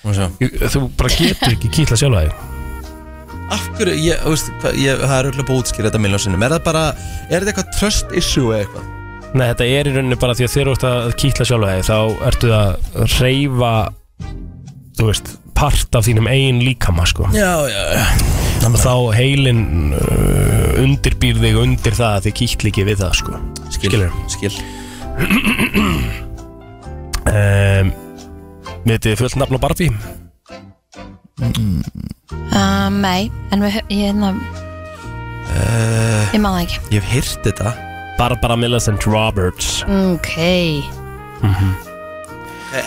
Speaker 1: það
Speaker 2: þú bara getur ekki kýtla sjálfa þig
Speaker 1: Af hverju, ég, þú veist, hvað- ég, það er öll að bútskýra þetta milljón sinnum Er það bara, er þetta eitthvað trust issue eða eitthvað?
Speaker 2: Nei, þetta er í rauninni bara því að þeir eru að kýtla sjálfa þig þá ertu að reyfa þú veist, part af þínum eigin líkama sko
Speaker 1: Já, já, já
Speaker 2: Og þá heilin uh, undirbýr þig undir það að þið kýtli ekki við það sko.
Speaker 1: Skil,
Speaker 2: Skilur.
Speaker 1: skil
Speaker 2: Um, Vitið þið fullt nafn á Barbie?
Speaker 3: uh, Nei, en við, hö- ég, na,
Speaker 1: uh,
Speaker 3: ég maður það ekki
Speaker 1: Ég hef heyrt þetta
Speaker 2: Barbara Millicent Roberts
Speaker 3: Ok,
Speaker 1: Eh,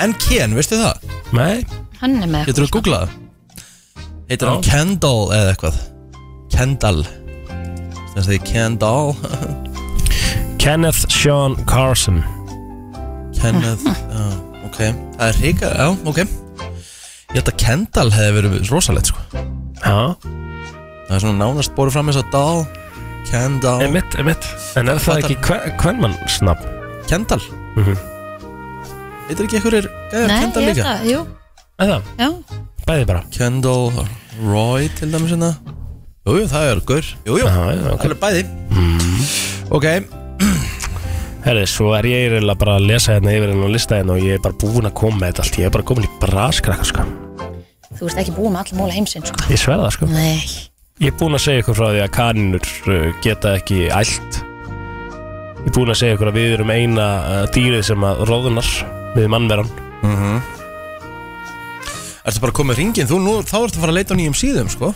Speaker 1: En Ken, veistu það?
Speaker 2: Nei,
Speaker 3: hann er með sko.
Speaker 1: Getur þú googlað? Heitir hann
Speaker 2: Já.
Speaker 1: Kendall eða eitthvað? Kendall Það segir Kendall
Speaker 2: Kenneth Sean Carson
Speaker 3: *laughs*
Speaker 1: Kenneth já, Ok, það er hríka, já, ok Ég held að Kendall hefði verið rosalegt sko
Speaker 2: Já,
Speaker 1: Það er svona nánast borið fram þess að Dahl Kendall
Speaker 2: emitt, emitt En er það ekki hvernmannsnafn?
Speaker 1: Kendall
Speaker 2: Mhm.
Speaker 1: Heitir ekki einhverjir gæjar
Speaker 3: Nei,
Speaker 1: Kendall
Speaker 3: ég veit
Speaker 1: líka?
Speaker 3: það, jú
Speaker 2: Eða,
Speaker 5: Já,
Speaker 2: bæði bara
Speaker 1: Kendall Roy til dæmis hérna Jújú, það er gaur Jújú,
Speaker 2: Já,
Speaker 1: það
Speaker 2: já, ok.
Speaker 1: er bæði Ok,
Speaker 2: Herri, svo er ég eiginlega bara að lesa hérna yfir hérna og lista hérna og ég er bara búinn að koma með þetta allt Ég er bara komin í braskrakka, sko
Speaker 3: Þú ert ekki búið með alla móla heimsinn sko.
Speaker 2: Ég sverða það, sko
Speaker 3: Nei,
Speaker 2: Ég er búinn að segja ykkur frá því að kaninur uh, geta ekki ælt Ég er búinn að segja ykkur að við erum eina uh, dýrið sem að róðunar við mannveran
Speaker 1: ertu bara að koma með ringin Þú nú, þá ertu að fara að leita á nýjum síðum, sko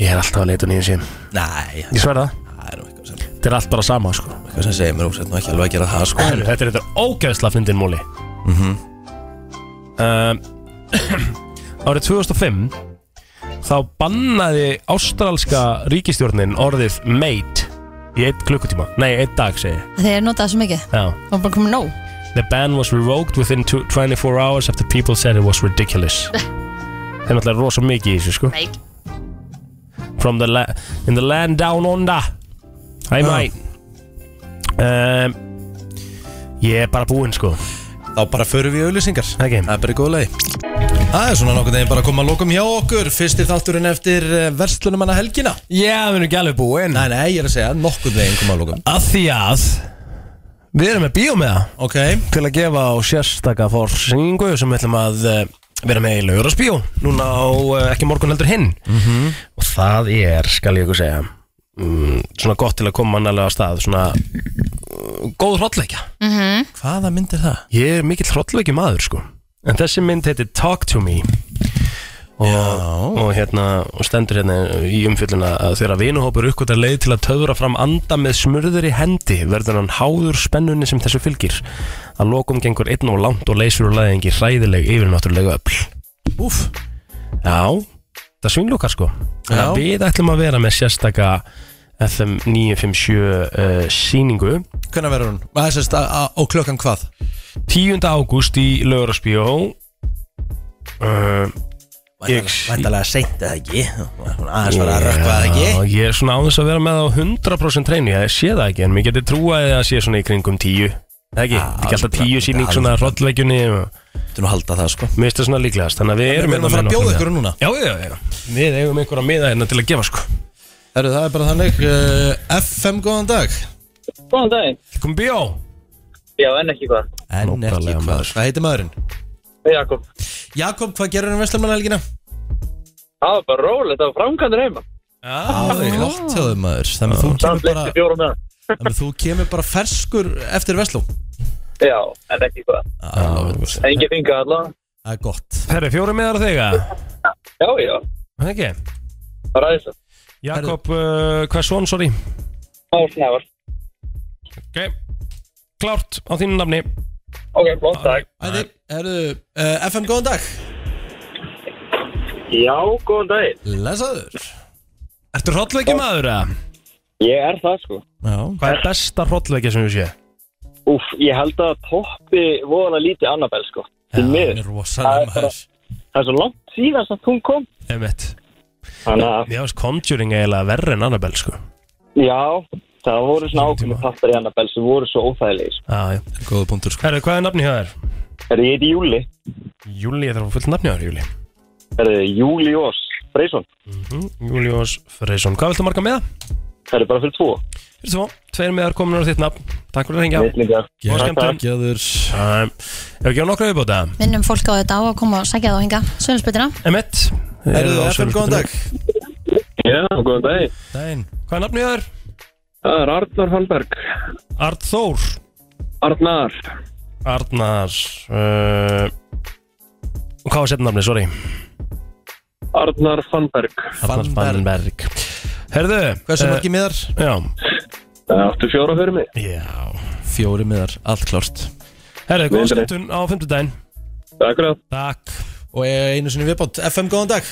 Speaker 2: Ég er alltaf að leita nýjum síðan
Speaker 1: Nei,
Speaker 2: Ég sverða það,
Speaker 1: það er nú eitthvað sem
Speaker 2: þetta er allt bara sama, sko
Speaker 1: Eitthvað sem segir mér, þú sett nú ekki alveg að gera það, sko
Speaker 2: Herru, þetta er þetta ógæðsla fyndin múli mm *clears throat* Árið 2005 þá bannaði ástralska ríkistjórnin orðið mate í eitt klukkutíma, nei, eitt dag segi ég.
Speaker 3: þeir notaði svo mikið
Speaker 2: Já.
Speaker 3: Það var bara komið nóg
Speaker 2: The ban was revoked within two- 24 hours after people said it was ridiculous Það er náttúrulega rosa mikið í þessu sko
Speaker 3: Mate.
Speaker 2: From the la In the land down under Hey mate um, Ég er bara búinn sko
Speaker 1: Þá bara förum við í auðlýsingar
Speaker 2: Ok.
Speaker 1: Það er bara í góð leið Það er svona nokkuð neginn bara að koma að lokum hjá okkur Fyrsti þátturinn eftir eh, verslunum hana helgina
Speaker 2: Já, við erum ekki alveg búin
Speaker 1: Nei, nei, ég er að segja, nokkuð neginn koma að lokum
Speaker 2: Að því að Við erum með bíómiða
Speaker 1: Ok,
Speaker 2: Til að gefa á sérstaka fórsingu Sem við ætlum að eh, vera með í laugurasbíó Núna á eh, ekki morgun heldur hinn -hmm. Og það er, skal ég ykkur segja mm, Svona gott til að koma annarlega á stað Svona uh, góð hrottleikja
Speaker 1: hvaða myndir það?
Speaker 2: Ég er mikill hrottleiki maður sko En þessi mynd heitir Talk to me Og, og hérna og stendur hérna í umfjölluna að þegar vinuhópur uppgötar leið til að töðra fram anda með smurður í hendi verður hann háður spennunni sem þessu fylgir að lokum gengur einn og langt og leysur og leiðingi hræðileg yfirnáttúrulega öll
Speaker 1: Úf,
Speaker 2: Já, það svinglúkar sko
Speaker 1: Já.
Speaker 2: Já. Við ætlum að vera með sérstaka FM 957 uh, síningu
Speaker 1: hvernig verður hún? Það er sérst að- að- á klokkan hvað?
Speaker 2: 10. ágúst í Laurarsbjó uh, Ég-
Speaker 1: Væntalega seint eða ekki Hún aðeins var að rökkva eða
Speaker 2: Já,
Speaker 1: ekki
Speaker 2: ég er svona á þess að vera með á 100% reyni Ég sé það ekki, en mér getur trúa að það sé svona í kringum 10 Það ekki, ekki alltaf
Speaker 1: alveg-
Speaker 2: 10 síning
Speaker 1: alveg-
Speaker 2: svona hrollveikjunni Mér
Speaker 1: Þú nú halda það sko
Speaker 2: finnst það svona líklegast Þannig að við erum
Speaker 1: Við erum
Speaker 2: hérna
Speaker 1: að fara að
Speaker 2: með
Speaker 1: bjóða
Speaker 2: nokkra
Speaker 1: ykkur
Speaker 2: miða.
Speaker 1: núna
Speaker 2: Já, já, já Við eigum einhverja miða hérna til að gefa sko
Speaker 1: Herru, það er bara þannig uh, FM, góðan dag
Speaker 9: Góðan daginn.
Speaker 2: Kom bjó
Speaker 9: Já, en ekki hvað.
Speaker 1: En ekki
Speaker 2: Nákvæmlega,
Speaker 1: hvað
Speaker 2: maður.
Speaker 1: Hvað heitir maðurinn?
Speaker 9: Hey, Jakob.
Speaker 1: Jakob, hvað gerur hann Vestlumannahelgina?
Speaker 9: Það var bara rólegt, það var framkvæmdur heima.
Speaker 1: Það er gott hjá þau maður Þannig að þú
Speaker 9: Það
Speaker 1: kemur
Speaker 9: var
Speaker 1: bara,
Speaker 9: leitt fjórum meðan.
Speaker 1: þannig að þú kemur bara ferskur eftir Vestlum
Speaker 9: Já, en ekki hvað.
Speaker 1: Það
Speaker 9: Engi finga allavega.
Speaker 1: er gott
Speaker 2: Herri, fjóra miðar á þig að
Speaker 9: Já, já,
Speaker 2: Ekki
Speaker 9: það ræðist það.
Speaker 2: Jakob, uh, hvað er svon, sorry
Speaker 9: Már snævar.
Speaker 2: Ok Klárt á þínu nafni
Speaker 9: Ok, flott, takk.
Speaker 1: Æði, herru, uh, FM, góðan dag
Speaker 9: Já, góðan daginn.
Speaker 1: Lesaður
Speaker 2: Ertu hrollveiki maður að?
Speaker 9: Ég er það, sko.
Speaker 1: Já
Speaker 2: Hvað er besta hrollveiki sem þú sé?
Speaker 9: Úf, ég held að toppi voðan að lítið Annabelle, sko. Í
Speaker 1: Hún
Speaker 9: miður.
Speaker 1: er rosalega
Speaker 9: Það er bara-
Speaker 1: maður
Speaker 9: Það er svo langt síðan sem hún kom.
Speaker 2: Emmett
Speaker 9: Þannig að,
Speaker 2: Mér finnst Conjuring eiginlega verri en Annabelle sko
Speaker 9: já, það voru svona ákveðni partar í Annabelle sem voru svo óþægilegi, sko.
Speaker 2: ah,
Speaker 1: Góða punktur sko
Speaker 2: Herru, hvað er nafni hjá þér?
Speaker 9: Er ég heiti Júli?
Speaker 2: Júli, ég þarf að fá fullt nafni hjá þér, Júli
Speaker 9: Er þið Júli Jós Freysson?
Speaker 2: mm, Júli Ós Freysson, hvað viltu marga með það?
Speaker 9: Það er bara fyrir tvo.
Speaker 2: Fyrir svo, tveir meðar komin á þitt nafn Takk fyrir að hengja
Speaker 9: Veitlingar.
Speaker 2: Góða skemmtun
Speaker 1: Gjöður
Speaker 2: Um, Ef ekki á nokkra viðbóta
Speaker 3: Minnum fólk á þetta á að koma og sækja þá hinga Sönnsbytina
Speaker 2: Emmett
Speaker 1: Herru, FM, góðan dag
Speaker 9: Já, góðan daginn.
Speaker 1: Dæin
Speaker 2: Hvað er nafni hjá þér?
Speaker 9: Það er Arnar Hallberg.
Speaker 2: Arnþór
Speaker 9: Arnar.
Speaker 2: Arnar uh, Hvað var setn nafni, sorry?
Speaker 9: Arnar Fannberg.
Speaker 2: Arnar Fannberg Herðu
Speaker 1: Hversu
Speaker 2: eh,
Speaker 1: margi miðar?
Speaker 2: Já,
Speaker 9: Það Eh, áttu fjóra fyrir mig.
Speaker 2: já
Speaker 1: Fjóri miðar, allt klárt
Speaker 2: Herðu, góða
Speaker 9: Vindurinn.
Speaker 2: skemmtun á fimmtudaginn
Speaker 9: Takk fyrir það.
Speaker 2: Takk
Speaker 1: Og einu sinni viðbátt, FM góðan dag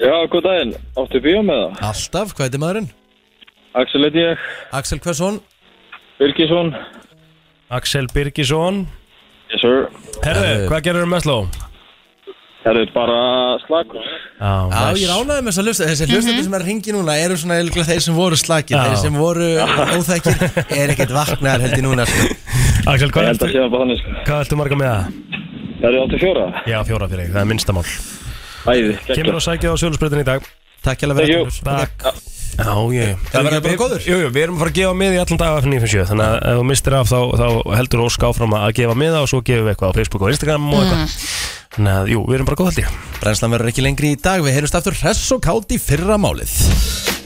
Speaker 9: Já, góð daginn. Áttu bíó með það.
Speaker 1: Alltaf, hvað heitir maðurinn?
Speaker 9: Axel heiti ég,
Speaker 1: Axel Hversson
Speaker 9: Vilkisson.
Speaker 2: Axel Birgisson
Speaker 9: Yes, sir.
Speaker 2: Herðu, hvað gerir þú um með sló?
Speaker 9: Það er bara slagur.
Speaker 1: Já, ég er ánægði með þess að hlusta Þessi
Speaker 9: Mhm.
Speaker 1: hlustandi sem er að ringi núna eru svona eiginlega þeir sem voru slakir
Speaker 2: Já.
Speaker 1: Þeir sem voru óþækir
Speaker 9: *laughs*
Speaker 1: er ekkert vaknar held ég núna sko.
Speaker 2: Axel,
Speaker 9: Ég
Speaker 2: hvað
Speaker 9: held að
Speaker 2: ertu,
Speaker 9: sé það bara þannig, sko.
Speaker 2: hvað ertu marga með það?
Speaker 9: Það eru 84
Speaker 2: Já, fjóra fyrir þig, það er minnsta mál
Speaker 9: Æði,
Speaker 2: Kemur og sækja á sölusbreytin í dag
Speaker 1: Takk hjá fyrir
Speaker 9: Jú.
Speaker 1: Arnur.
Speaker 2: Takk Já, ég
Speaker 1: Það verður bara góður.
Speaker 2: Jú, jú, við erum að fara að gefa miða í allan dag af FN957 Þannig að ef þú mistir af þá, þá heldur Ósk áfram að gefa miða og svo gefum við eitthvað á Facebook og Instagram og eitthvað Þannig að, jú, við erum bara góð held ég
Speaker 1: Brennslan verður ekki lengri í dag Við heyrjumst aftur hress og kátt í fyrra málið